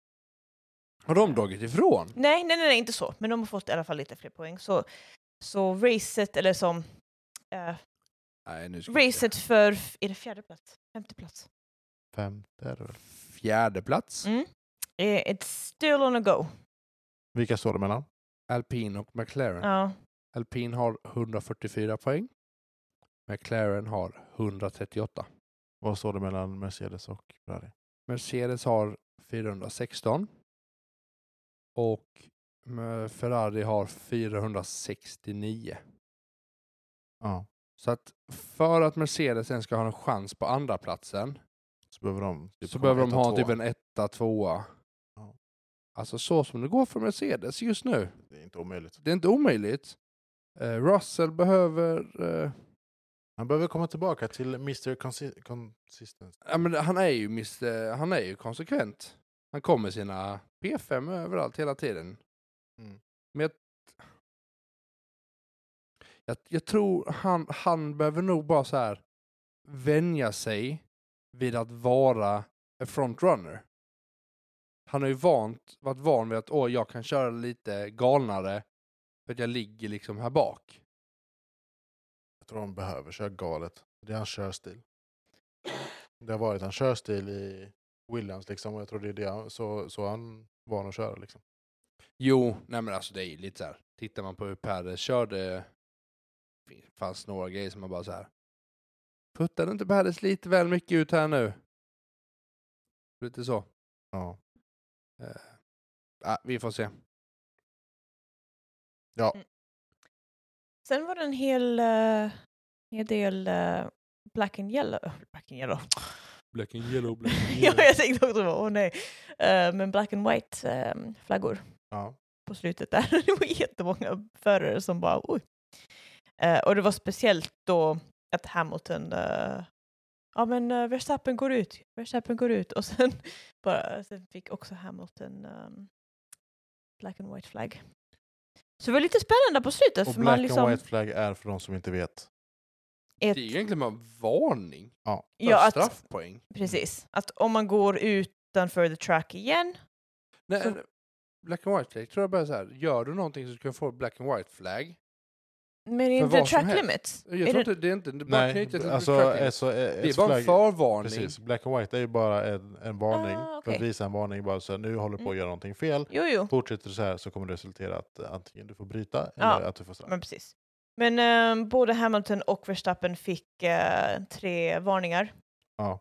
[SPEAKER 3] Har de dragit ifrån?
[SPEAKER 2] Nej, nej, nej, nej, inte så. Men de har fått i alla fall lite fler poäng. Så, så racet, eller som eh,
[SPEAKER 3] Nej, nu ska vi se.
[SPEAKER 2] Racet för, f- är det fjärde plats? Femte plats?
[SPEAKER 1] Femte är det väl?
[SPEAKER 3] Fjärde plats.
[SPEAKER 2] Mm. Eh, It's still on a go.
[SPEAKER 1] Vilka står det mellan?
[SPEAKER 3] Alpin och McLaren.
[SPEAKER 2] Ja.
[SPEAKER 3] Alpin har 144 poäng. McLaren har 138.
[SPEAKER 1] Vad står det mellan Mercedes och Ferrari?
[SPEAKER 3] Mercedes har 416. Och eh, Ferrari har 469.
[SPEAKER 1] Ja,
[SPEAKER 3] Så att för att Mercedes sen ska ha en chans på andra platsen
[SPEAKER 1] så behöver de typ
[SPEAKER 3] så
[SPEAKER 1] komma
[SPEAKER 3] behöver de
[SPEAKER 1] etta,
[SPEAKER 3] ha
[SPEAKER 1] tvåa.
[SPEAKER 3] typ en etta, tvåa.
[SPEAKER 1] Ja.
[SPEAKER 3] Alltså så som det går för Mercedes just nu.
[SPEAKER 1] Det är inte omöjligt.
[SPEAKER 3] Det är inte omöjligt. Eh, Russell behöver... eh,
[SPEAKER 1] Han behöver komma tillbaka till Mr. Consi- Consistency.
[SPEAKER 3] ja, men han, är ju Mr, han är ju konsekvent. Han kommer sina P5 överallt hela tiden.
[SPEAKER 1] Mm.
[SPEAKER 3] Men jag, jag, jag tror han, han behöver nog bara så här vänja sig vid att vara en frontrunner. Han har ju vant, varit van vid att Åh, jag kan köra lite galnare för att jag ligger liksom här bak.
[SPEAKER 1] Jag tror han behöver köra galet. Det är hans körstil. Det har varit hans körstil i Williams liksom och jag tror det är det han, så, så han van att köra liksom.
[SPEAKER 3] Jo, nej men alltså det är ju lite så här. Tittar man på hur Perre körde, det fanns några grejer som man bara så här. Puttade inte Perres lite väl mycket ut här nu? Lite så.
[SPEAKER 1] Ja.
[SPEAKER 3] Ah, vi får se.
[SPEAKER 2] Sen var det en hel, eh, hel del eh, black and yellow. Black and yellow.
[SPEAKER 3] Black and yellow, black
[SPEAKER 2] ja, jag tänkte också bara, åh nej. Eh, men black and white eh, flaggor
[SPEAKER 1] ja.
[SPEAKER 2] på slutet där. det var jättemånga förare som bara, oj. Eh, och det var speciellt då att Hamilton, eh, ja men eh, Verstappen går ut, Verstappen går ut. Och sen, bara, sen fick också Hamilton ehm, black and white flagg. Så det var lite spännande på slutet.
[SPEAKER 1] Och
[SPEAKER 2] för man
[SPEAKER 1] Black
[SPEAKER 2] liksom,
[SPEAKER 1] and White Flag är för de som inte vet.
[SPEAKER 3] Det
[SPEAKER 2] ett-
[SPEAKER 3] är ju egentligen bara en varning. För
[SPEAKER 2] ja, att,
[SPEAKER 3] straffpoäng.
[SPEAKER 2] Precis. Att om man går utanför the track igen.
[SPEAKER 3] Nej,
[SPEAKER 2] Så-
[SPEAKER 3] nej, Black and white flag tror jag bara så här. Gör du någonting så ska du få black and white flag.
[SPEAKER 2] Men är det
[SPEAKER 3] För
[SPEAKER 2] inte
[SPEAKER 3] vad som
[SPEAKER 2] track
[SPEAKER 3] helst.
[SPEAKER 2] limits?
[SPEAKER 3] Jag
[SPEAKER 2] är
[SPEAKER 3] tror
[SPEAKER 2] det,
[SPEAKER 3] inte, det är inte det är bara
[SPEAKER 1] Nej,
[SPEAKER 3] knutet till
[SPEAKER 1] alltså,
[SPEAKER 3] track limit.
[SPEAKER 1] alltså,
[SPEAKER 3] Det är bara en förvarning.
[SPEAKER 1] Precis, black and white är ju bara en, en varning.
[SPEAKER 2] Ah,
[SPEAKER 1] För att
[SPEAKER 2] okej. Mm.
[SPEAKER 1] visa en varning, bara så här, nu håller du på att göra någonting fel.
[SPEAKER 2] Jo, jo.
[SPEAKER 1] Fortsätter du så här så kommer det resultera att eh, antingen du får bryta
[SPEAKER 2] Ja,
[SPEAKER 1] eller att du får straff.
[SPEAKER 2] Men precis. Men ehm, både Hamilton och Verstappen fick eh, tre varningar.
[SPEAKER 1] Ja.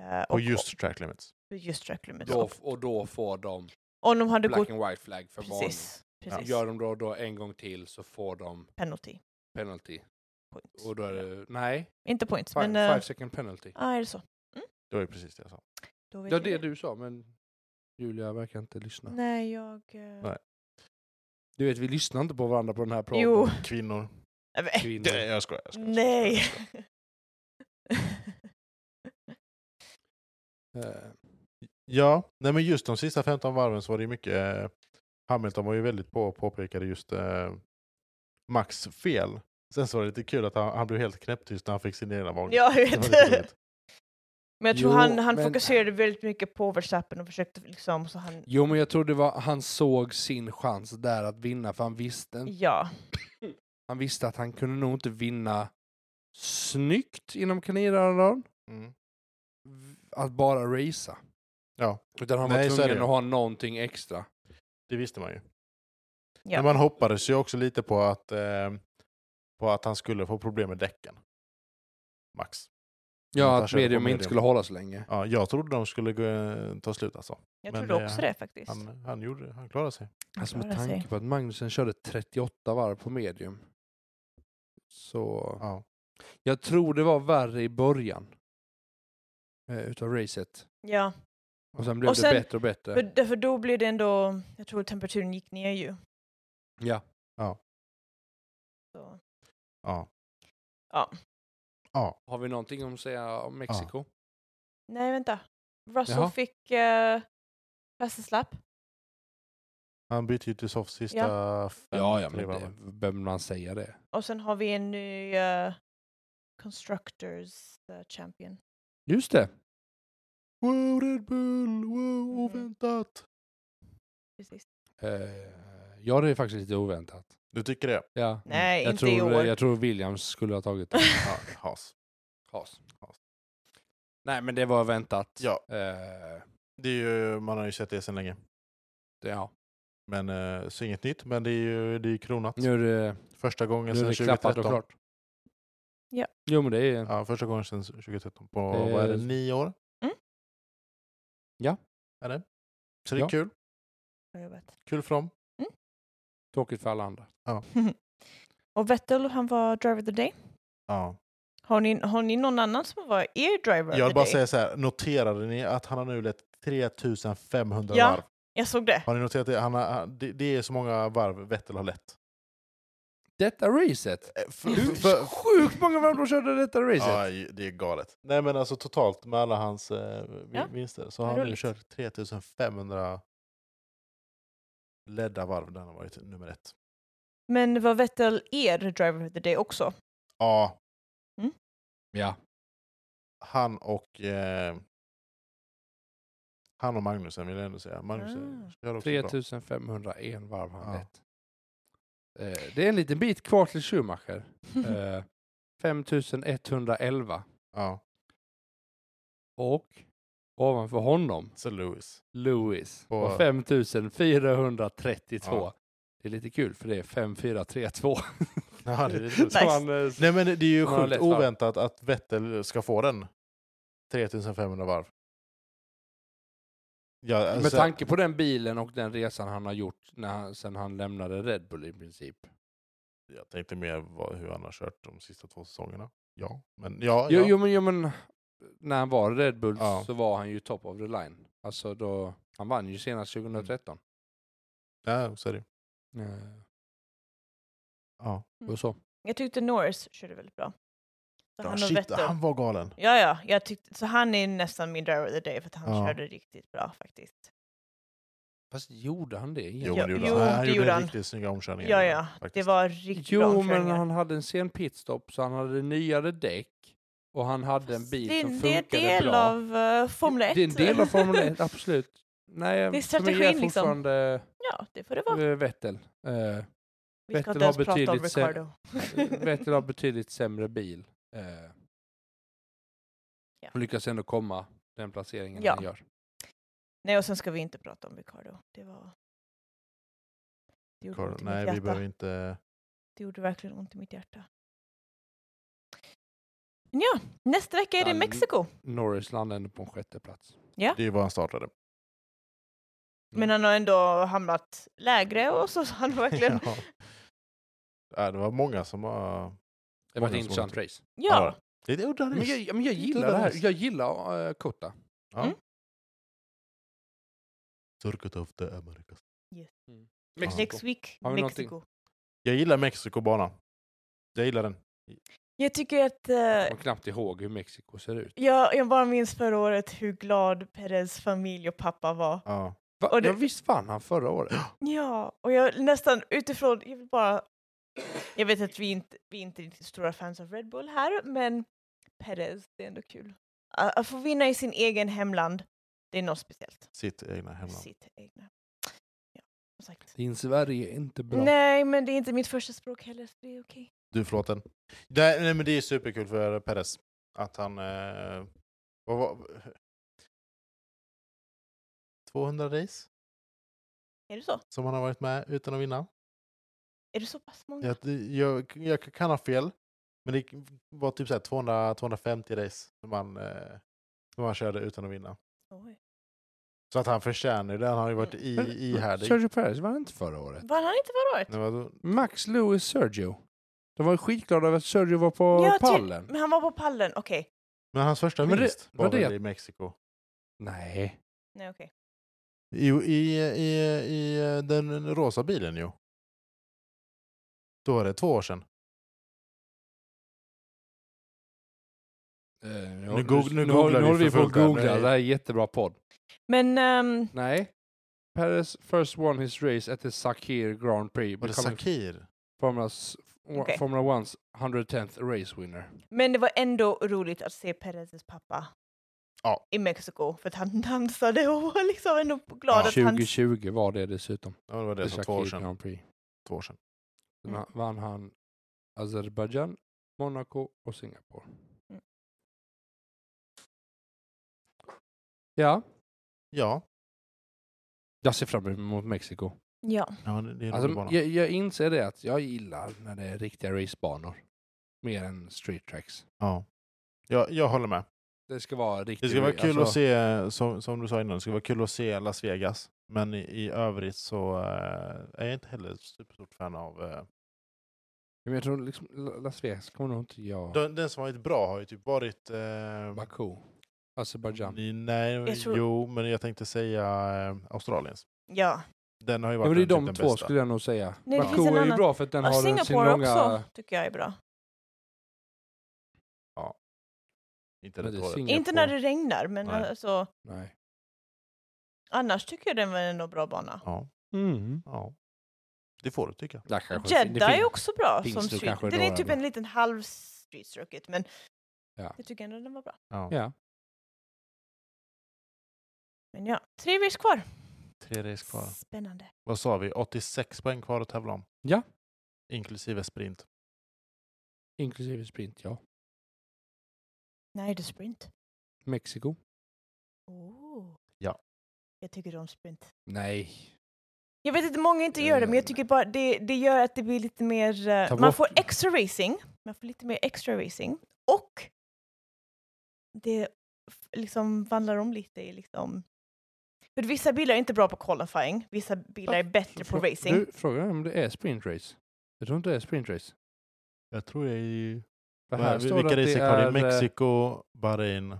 [SPEAKER 2] Eh,
[SPEAKER 1] Och just track limits.
[SPEAKER 2] och just track limits.
[SPEAKER 3] Då,
[SPEAKER 2] Och
[SPEAKER 3] och då får de
[SPEAKER 2] om de hade gått...
[SPEAKER 3] black and white flag för varning.
[SPEAKER 2] Precis. precis.
[SPEAKER 3] Gör de då, då en gång till så får de
[SPEAKER 2] Penalty.
[SPEAKER 3] penalty.
[SPEAKER 2] Points.
[SPEAKER 3] Och då är det, nej,
[SPEAKER 2] Inte points,
[SPEAKER 3] five,
[SPEAKER 2] men... eh,
[SPEAKER 3] five second penalty.
[SPEAKER 2] ah, är det så?
[SPEAKER 1] Det var ju precis det jag sa.
[SPEAKER 2] Då vet
[SPEAKER 3] Ja,
[SPEAKER 2] jag
[SPEAKER 3] det du sa, men Julia verkar inte lyssna.
[SPEAKER 2] Nej, jag... eh,
[SPEAKER 1] Nej.
[SPEAKER 3] Du vet, vi lyssnar inte på varandra på den här podden.
[SPEAKER 2] Jo.
[SPEAKER 1] Kvinnor.
[SPEAKER 2] Nej, men-
[SPEAKER 3] Kvinnor.
[SPEAKER 1] Det, jag skojar. Jag skojar, jag skojar,
[SPEAKER 2] Nej.
[SPEAKER 1] Jag skojar.
[SPEAKER 3] Eh,
[SPEAKER 1] Ja, nej men just de sista 15 varven så var det ju mycket. eh, Hamilton var ju väldigt på och påpekade just eh, Max fel. Sen så var det lite kul att han, han blev helt knäpptyst när han fick sin egna varning.
[SPEAKER 2] Ja, jag
[SPEAKER 1] Det var
[SPEAKER 2] vet.
[SPEAKER 1] lite roligt.
[SPEAKER 2] Men jag tror
[SPEAKER 3] Jo,
[SPEAKER 2] han, han
[SPEAKER 3] men-
[SPEAKER 2] fokuserade väldigt mycket på Verstappen och försökte liksom så han...
[SPEAKER 3] Jo, men jag tror det var, han såg sin chans där att vinna, för han visste,
[SPEAKER 2] Ja,
[SPEAKER 3] han visste att han kunde nog inte vinna snyggt inom kaninöron,
[SPEAKER 1] Mm.
[SPEAKER 3] att bara racea.
[SPEAKER 1] Ja.
[SPEAKER 3] Utan han var
[SPEAKER 1] Nej, så är
[SPEAKER 3] tvungen
[SPEAKER 1] det.
[SPEAKER 3] att ha någonting extra.
[SPEAKER 1] Det visste man ju.
[SPEAKER 2] Ja.
[SPEAKER 1] Men man hoppades ju också lite på att, eh, på att han skulle få problem med däcken. Max. Att
[SPEAKER 3] Ja,
[SPEAKER 1] han
[SPEAKER 3] att
[SPEAKER 1] körde på
[SPEAKER 3] medium
[SPEAKER 1] medium.
[SPEAKER 3] inte skulle hålla så länge.
[SPEAKER 1] Ja, jag trodde de skulle gå, ta slut alltså.
[SPEAKER 2] jag
[SPEAKER 1] Men
[SPEAKER 2] trodde
[SPEAKER 1] det-
[SPEAKER 2] också det faktiskt.
[SPEAKER 1] Han, han, gjorde, han klarade sig.
[SPEAKER 3] Alltså med
[SPEAKER 2] Klara sig.
[SPEAKER 3] tanke på att Magnusen körde 38 varv på medium. Så
[SPEAKER 1] Ja.
[SPEAKER 3] jag tror det var värre i början. Eh, utav racet.
[SPEAKER 2] Ja,
[SPEAKER 3] Och sen blev
[SPEAKER 2] Och
[SPEAKER 3] det
[SPEAKER 2] sen-
[SPEAKER 3] bättre och bättre.
[SPEAKER 2] för, därför då blev det ändå, jag tror temperaturen gick ner ju.
[SPEAKER 3] Ja.
[SPEAKER 2] Så.
[SPEAKER 1] Ja.
[SPEAKER 3] Har vi någonting om att säga om Mexiko?
[SPEAKER 2] Nej, vänta. Russell
[SPEAKER 3] Jaha.
[SPEAKER 2] fick eh, fästesläpp.
[SPEAKER 1] Han bytte ju till soft sista fem, tre varven.
[SPEAKER 3] behöver man säga det?
[SPEAKER 2] Och sen har vi en ny eh, Constructors eh, Champion.
[SPEAKER 3] Just det.
[SPEAKER 1] Wow, Red Bull! Wow,
[SPEAKER 2] Mhm.
[SPEAKER 1] oväntat!
[SPEAKER 2] Precis.
[SPEAKER 3] Eh, ja, det är faktiskt lite oväntat.
[SPEAKER 1] Du tycker det?
[SPEAKER 3] Ja.
[SPEAKER 2] Nej,
[SPEAKER 3] jag
[SPEAKER 2] inte
[SPEAKER 3] tror,
[SPEAKER 2] i år.
[SPEAKER 3] Jag tror Williams skulle ha tagit den.
[SPEAKER 1] eh, Ja, has.
[SPEAKER 3] Has. Has. Nej, men det var väntat.
[SPEAKER 1] Ja,
[SPEAKER 3] Eh,
[SPEAKER 1] det är ju, man har ju sett det sedan länge.
[SPEAKER 3] det, ja.
[SPEAKER 1] Men, eh, så inget nytt, men det är ju det är ju kronat.
[SPEAKER 3] Nu är det,
[SPEAKER 1] Första gången
[SPEAKER 3] nu är
[SPEAKER 1] sedan
[SPEAKER 3] det klappat och
[SPEAKER 1] 2013.
[SPEAKER 3] klart.
[SPEAKER 2] Ja.
[SPEAKER 3] Jo, men det är...
[SPEAKER 1] Ja, första gången sedan 2013 på, vad är det,
[SPEAKER 3] Eh,
[SPEAKER 1] nio år?
[SPEAKER 2] Mm.
[SPEAKER 3] Ja.
[SPEAKER 1] Är det? Så det är
[SPEAKER 3] Ja.
[SPEAKER 1] kul.
[SPEAKER 2] Jag vet.
[SPEAKER 1] Kul för dem.
[SPEAKER 3] Tråkigt för alla andra.
[SPEAKER 2] Och Vettel, han var driver of the day.
[SPEAKER 1] Ja.
[SPEAKER 2] Har ni, har ni någon annan som var er driver
[SPEAKER 1] Jag vill
[SPEAKER 2] of the
[SPEAKER 1] bara
[SPEAKER 2] day?
[SPEAKER 1] säga så här, noterade ni att han har nu lett 3500
[SPEAKER 2] Ja.
[SPEAKER 1] varv?
[SPEAKER 2] Jag såg det.
[SPEAKER 1] Har ni noterat det? Han har, han- det? Det är så många varv Vettel har lett.
[SPEAKER 3] Detta racet!
[SPEAKER 1] Eh, för-
[SPEAKER 3] Hur
[SPEAKER 1] för-
[SPEAKER 3] sjukt många varv de körde detta racet!
[SPEAKER 1] Ja, det är galet. Nej men alltså totalt med alla hans eh, vi-
[SPEAKER 2] Ja,
[SPEAKER 1] vinster så
[SPEAKER 2] vad
[SPEAKER 1] har han nu
[SPEAKER 2] roligt.
[SPEAKER 1] kört 3500 ledda varv där han har varit nummer ett.
[SPEAKER 2] Men var Vettel er driver of the day också?
[SPEAKER 1] Ja,
[SPEAKER 3] Ja.
[SPEAKER 1] han och eh, han och Magnusen vill jag ändå säga. Magnusen
[SPEAKER 2] Ah.
[SPEAKER 1] kör också bra.
[SPEAKER 3] 3501 varv han
[SPEAKER 1] Ja.
[SPEAKER 3] lett. Eh, det är en liten bit kvar till Schumacher. Eh, 5111.
[SPEAKER 1] Ja,
[SPEAKER 3] Och ovanför honom,
[SPEAKER 1] så Lewis.
[SPEAKER 3] Lewis,
[SPEAKER 1] På-
[SPEAKER 3] på 5432.
[SPEAKER 1] Ja.
[SPEAKER 3] Det är lite kul för det är 5432.
[SPEAKER 1] Ja, det är lite roligt.
[SPEAKER 2] Nice.
[SPEAKER 3] han, eh, s-
[SPEAKER 1] Nej men det är ju
[SPEAKER 3] Han har
[SPEAKER 1] sjukt
[SPEAKER 3] lätt varv.
[SPEAKER 1] oväntat att Vettel ska få den. 3500 varv. Ja,
[SPEAKER 3] med
[SPEAKER 1] alltså,
[SPEAKER 3] tanke på den bilen och den resan han har gjort när han, sen han lämnade Red Bull i princip.
[SPEAKER 1] Jag tänkte mer vad, hur han har kört de sista två säsongerna. Ja, men ja.
[SPEAKER 3] Jo,
[SPEAKER 1] ja.
[SPEAKER 3] jo, men, jo men när han var Red Bull
[SPEAKER 1] Ja.
[SPEAKER 3] så var han ju top of the line. Alltså då, han vann ju senast 2013.
[SPEAKER 1] Ja, så är det.
[SPEAKER 3] Eh,
[SPEAKER 1] Ja.
[SPEAKER 3] och så.
[SPEAKER 2] Jag tyckte Norris körde väldigt bra. Så
[SPEAKER 1] Ja,
[SPEAKER 2] han och
[SPEAKER 1] shit,
[SPEAKER 2] Vettel.
[SPEAKER 1] han var galen.
[SPEAKER 2] Ja, ja. Jag tyckte, så han är nästan min driver of the day för att han
[SPEAKER 1] Ja.
[SPEAKER 2] körde riktigt bra faktiskt.
[SPEAKER 3] Fast gjorde han det
[SPEAKER 1] Jo,
[SPEAKER 3] egentligen?
[SPEAKER 1] men det
[SPEAKER 2] jo,
[SPEAKER 1] gjorde han.
[SPEAKER 2] det
[SPEAKER 1] Han
[SPEAKER 2] gjorde
[SPEAKER 1] gjorde
[SPEAKER 2] han.
[SPEAKER 1] riktigt snygga omkörningar.
[SPEAKER 2] Ja, ja. Det
[SPEAKER 1] faktiskt.
[SPEAKER 2] var riktigt bra
[SPEAKER 3] Jo, men
[SPEAKER 2] omkörningar.
[SPEAKER 3] han hade en sen pitstop så han hade nyare däck och han hade en bil
[SPEAKER 2] det,
[SPEAKER 3] som
[SPEAKER 2] det är
[SPEAKER 3] funkade
[SPEAKER 2] del
[SPEAKER 3] bra.
[SPEAKER 2] av eh, Formel 1.
[SPEAKER 3] Det är en del av Formel 1, absolut. Nej,
[SPEAKER 2] Det är
[SPEAKER 3] för mig
[SPEAKER 2] strategin, liksom.
[SPEAKER 3] fortfarande
[SPEAKER 2] ja, det får det vara.
[SPEAKER 3] eh, Vettel. Eh,
[SPEAKER 2] Vi ska
[SPEAKER 3] Vettel
[SPEAKER 2] inte ens
[SPEAKER 3] har
[SPEAKER 2] prata om
[SPEAKER 3] betydligt sämre-
[SPEAKER 2] Ricardo.
[SPEAKER 3] Vettel har betydligt sämre bil. Eh,
[SPEAKER 2] Ja.
[SPEAKER 3] och lyckas ändå komma den placeringen
[SPEAKER 2] Ja.
[SPEAKER 3] han gör.
[SPEAKER 2] Nej, och sen ska vi inte prata om Ricardo. Det var... Det gjorde ont i mitt
[SPEAKER 1] Nej,
[SPEAKER 2] hjärta.
[SPEAKER 1] vi behöver inte...
[SPEAKER 2] Det gjorde verkligen ont i mitt hjärta. Men ja, nästa vecka är det
[SPEAKER 3] Ja,
[SPEAKER 1] Mm.
[SPEAKER 2] Mexiko.
[SPEAKER 3] Norris landade på en sjätte plats.
[SPEAKER 1] Det är ju var han startade.
[SPEAKER 2] Men han har ändå hamnat lägre och så så han verkligen...
[SPEAKER 1] ja. Ja, det var många som var...
[SPEAKER 3] Det var ett
[SPEAKER 1] Många
[SPEAKER 3] intressant
[SPEAKER 1] som-
[SPEAKER 3] race.
[SPEAKER 2] Ja,
[SPEAKER 1] Det är udda
[SPEAKER 3] Men
[SPEAKER 1] race.
[SPEAKER 3] jag, men jag
[SPEAKER 1] Det
[SPEAKER 3] gillar
[SPEAKER 1] var
[SPEAKER 3] det här.
[SPEAKER 1] nice.
[SPEAKER 3] Jag gillar uh, Kota.
[SPEAKER 1] Ja.
[SPEAKER 2] Mm.
[SPEAKER 1] Circuit of the Americas.
[SPEAKER 3] Mexiko.
[SPEAKER 2] next week,
[SPEAKER 3] Har vi någonting?
[SPEAKER 2] Mexiko.
[SPEAKER 1] Jag gillar Mexikobana. Jag gillar den.
[SPEAKER 2] Jag tycker att... eh,
[SPEAKER 3] Jag kommer knappt ihåg hur Mexiko ser ut.
[SPEAKER 2] jag, jag bara minns förra året hur glad Perez familj och pappa var.
[SPEAKER 1] Ja.
[SPEAKER 3] Va?
[SPEAKER 2] Och det-
[SPEAKER 3] Ja, visst vann han förra året?
[SPEAKER 2] Ja, och jag nästan utifrån, jag vill bara... Jag vet att vi inte, vi är inte riktigt stora fans av Red Bull här, men Perez, det är ändå kul. Att, att få vinna i sin egen hemland, det är något speciellt.
[SPEAKER 1] Sitt egna hemland.
[SPEAKER 2] Sitt egna. Ja, som sagt.
[SPEAKER 3] Din Sverige är inte bra.
[SPEAKER 2] Nej, men det är inte mitt första språk heller, så det är okej.
[SPEAKER 1] Du, förlåt den. Nej, nej, men det är superkul för Perez. Att han... Eh, vad var, 200 race
[SPEAKER 2] Är det så?
[SPEAKER 1] som han har varit med utan att vinna.
[SPEAKER 2] Är det så pass många?
[SPEAKER 1] Jag, jag, jag kan ha fel, men det var typ så här 200, 250 race som han, eh, som han körde utan att vinna.
[SPEAKER 2] Oj.
[SPEAKER 1] Så att han förtjänar ju det. Han har ju varit i,
[SPEAKER 3] Men-
[SPEAKER 2] Mm.
[SPEAKER 1] ihärdig.
[SPEAKER 3] Sergio Perez vann inte förra året.
[SPEAKER 2] Vann han inte förra året?
[SPEAKER 1] Nej, vadå?
[SPEAKER 3] Max Lewis Sergio. De var ju skitglada över att Sergio var på
[SPEAKER 2] Ja, ty- Mm.
[SPEAKER 3] pallen.
[SPEAKER 2] Men han var på pallen, okej.
[SPEAKER 1] Men hans första
[SPEAKER 3] Men det-
[SPEAKER 1] vinst var,
[SPEAKER 3] var det-
[SPEAKER 1] väl i Mexiko?
[SPEAKER 3] Nej.
[SPEAKER 2] Nej, okej.
[SPEAKER 1] Jo, i, i, i den rosa bilen ju. Då är det två år sedan.
[SPEAKER 3] Eh,
[SPEAKER 1] Nu goog- nu googlar vi
[SPEAKER 3] håller vi
[SPEAKER 1] för
[SPEAKER 3] på att
[SPEAKER 1] fullt här.
[SPEAKER 3] googla.
[SPEAKER 1] Nej.
[SPEAKER 3] Det här är en jättebra podd.
[SPEAKER 2] Men ehm,
[SPEAKER 3] Nej. Perez first won his race at the Sakir Grand Prix.
[SPEAKER 1] Var det
[SPEAKER 3] becoming
[SPEAKER 1] Sakir?
[SPEAKER 3] Formula's,
[SPEAKER 2] Okej.
[SPEAKER 3] Formula 1's 110th race winner.
[SPEAKER 2] Men det var ändå roligt att se Perezes pappa
[SPEAKER 1] Ja.
[SPEAKER 2] i Mexiko för att han dansade och var liksom ändå glad att han...
[SPEAKER 3] 2020 var det dessutom.
[SPEAKER 1] Ja, det var
[SPEAKER 3] The
[SPEAKER 1] det som två år
[SPEAKER 3] Sakir
[SPEAKER 1] sedan.
[SPEAKER 3] Grand Prix.
[SPEAKER 1] Två år sedan.
[SPEAKER 3] Sen
[SPEAKER 2] Mm.
[SPEAKER 3] vann han Azerbaijan, Monaco och Singapore.
[SPEAKER 2] Mm.
[SPEAKER 3] Ja,
[SPEAKER 1] Ja.
[SPEAKER 3] jag ser fram emot Mexiko.
[SPEAKER 2] Ja.
[SPEAKER 1] ja men det är en rolig
[SPEAKER 3] Alltså,
[SPEAKER 1] bana.
[SPEAKER 3] jag, jag inser det att jag gillar när det är riktiga racebanor. Mer än street tracks.
[SPEAKER 1] Ja. Ja, jag håller med.
[SPEAKER 3] Det ska vara riktigt. Alltså,
[SPEAKER 1] Det ska vara kul att se, som, som du sa innan, det ska vara kul att se Las Vegas. Men i, i övrigt så eh, är jag inte heller superstort fan av... eh,
[SPEAKER 3] Men jag tror liksom La- Las Vegas kommer nog inte jag...
[SPEAKER 1] den, den som har varit bra har ju typ varit... eh,
[SPEAKER 3] Baku. Azerbaijan.
[SPEAKER 1] i- nej,
[SPEAKER 2] Jag tror-
[SPEAKER 1] jo, men jag tänkte säga eh, Australiens.
[SPEAKER 2] ja.
[SPEAKER 1] Den har ju
[SPEAKER 3] Ja,
[SPEAKER 1] varit
[SPEAKER 3] men det är
[SPEAKER 1] den, typ
[SPEAKER 3] de
[SPEAKER 1] den
[SPEAKER 3] två
[SPEAKER 1] bästa.
[SPEAKER 3] skulle jag nog säga.
[SPEAKER 2] Nej, det
[SPEAKER 3] Baku
[SPEAKER 2] finns en
[SPEAKER 3] är ju
[SPEAKER 2] annan.
[SPEAKER 3] bra för att den
[SPEAKER 2] Och
[SPEAKER 3] har sin
[SPEAKER 2] Singapore
[SPEAKER 3] långa...
[SPEAKER 2] också tycker jag är bra.
[SPEAKER 1] Inte
[SPEAKER 3] Men
[SPEAKER 1] rätt
[SPEAKER 3] det är
[SPEAKER 1] året.
[SPEAKER 3] Singapore.
[SPEAKER 2] Inte när det regnar, men
[SPEAKER 1] Nej.
[SPEAKER 2] alltså,
[SPEAKER 3] Nej.
[SPEAKER 2] annars tycker jag den var en bra bana.
[SPEAKER 1] Ja,
[SPEAKER 3] Mm.
[SPEAKER 1] ja. Det får du tycka.
[SPEAKER 3] Där kanske- det
[SPEAKER 2] Jeddah är
[SPEAKER 3] fin-
[SPEAKER 2] också bra
[SPEAKER 3] finns
[SPEAKER 2] som
[SPEAKER 3] nog
[SPEAKER 2] street.
[SPEAKER 3] kanske
[SPEAKER 2] Den är
[SPEAKER 3] några
[SPEAKER 2] typ
[SPEAKER 3] bra.
[SPEAKER 2] en liten halv street circuit, men
[SPEAKER 3] Ja.
[SPEAKER 2] jag tycker ändå den var bra.
[SPEAKER 1] Ja.
[SPEAKER 3] Ja.
[SPEAKER 2] Men ja, tre race kvar.
[SPEAKER 1] Tre race kvar.
[SPEAKER 2] Spännande.
[SPEAKER 1] Vad sa vi? 86 poäng kvar att tävla om.
[SPEAKER 3] Ja.
[SPEAKER 1] Inklusive sprint.
[SPEAKER 3] Inklusive sprint, ja.
[SPEAKER 2] Nej, det är sprint.
[SPEAKER 3] Mexiko.
[SPEAKER 2] Oh.
[SPEAKER 1] Ja.
[SPEAKER 2] Jag tycker om sprint.
[SPEAKER 3] Nej.
[SPEAKER 2] Jag vet att många inte
[SPEAKER 3] Nej,
[SPEAKER 2] gör det, men
[SPEAKER 3] nej,
[SPEAKER 2] jag tycker bara det, det gör att det blir lite mer... eh,
[SPEAKER 3] Eh. Ta
[SPEAKER 2] man
[SPEAKER 3] bort-
[SPEAKER 2] får extra racing. Man får lite mer extra racing. Och det f- liksom vandlar om lite i liksom... För vissa bilar är inte bra på qualifying, vissa bilar är bättre på
[SPEAKER 3] Frå-
[SPEAKER 2] racing.
[SPEAKER 3] Du, frågan är om det är sprint race. Jag tror inte det är sprint race.
[SPEAKER 1] Jag tror jag är ju
[SPEAKER 3] För
[SPEAKER 1] Vad-
[SPEAKER 3] står
[SPEAKER 1] Vilka
[SPEAKER 3] att det
[SPEAKER 1] race är kvar?
[SPEAKER 3] eh,
[SPEAKER 1] Det är Mexiko, Bahrain,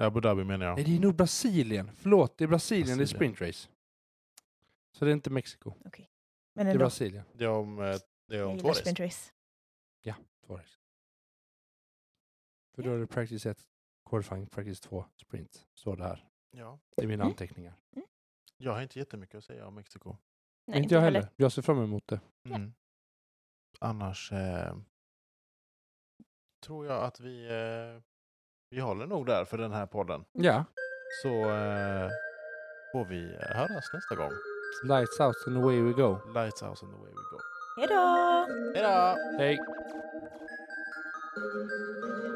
[SPEAKER 1] Abu Dhabi menar
[SPEAKER 3] Nej,
[SPEAKER 1] jag.
[SPEAKER 3] det är nog Brasilien. Förlåt, det är Brasilien, det är
[SPEAKER 1] Brasilien.
[SPEAKER 3] sprintrace. Så det är inte Mexiko,
[SPEAKER 2] Men
[SPEAKER 3] det är
[SPEAKER 2] ändå,
[SPEAKER 3] Brasilien.
[SPEAKER 1] Det är om, eh, det är
[SPEAKER 2] jag
[SPEAKER 1] om två
[SPEAKER 2] gillar
[SPEAKER 1] race.
[SPEAKER 2] sprintrace.
[SPEAKER 3] Två race. För då är det practice 1, qualifying, practice 2, sprint. Står det här.
[SPEAKER 1] Ja.
[SPEAKER 3] Det är mina
[SPEAKER 2] Mm.
[SPEAKER 3] anteckningar.
[SPEAKER 1] Jag har inte jättemycket att säga om Mexiko.
[SPEAKER 2] Nej,
[SPEAKER 3] inte jag heller. Jag ser fram emot det.
[SPEAKER 2] Ja.
[SPEAKER 1] Mm. Annars eh, tror jag att vi, eh, vi håller nog där för den här podden.
[SPEAKER 3] Ja,
[SPEAKER 1] Så eh, får vi eh, höras nästa gång.
[SPEAKER 3] lights out and away we go.
[SPEAKER 1] Lights out and the way we go.
[SPEAKER 2] Hejdå!
[SPEAKER 1] Hej då!
[SPEAKER 3] Hej!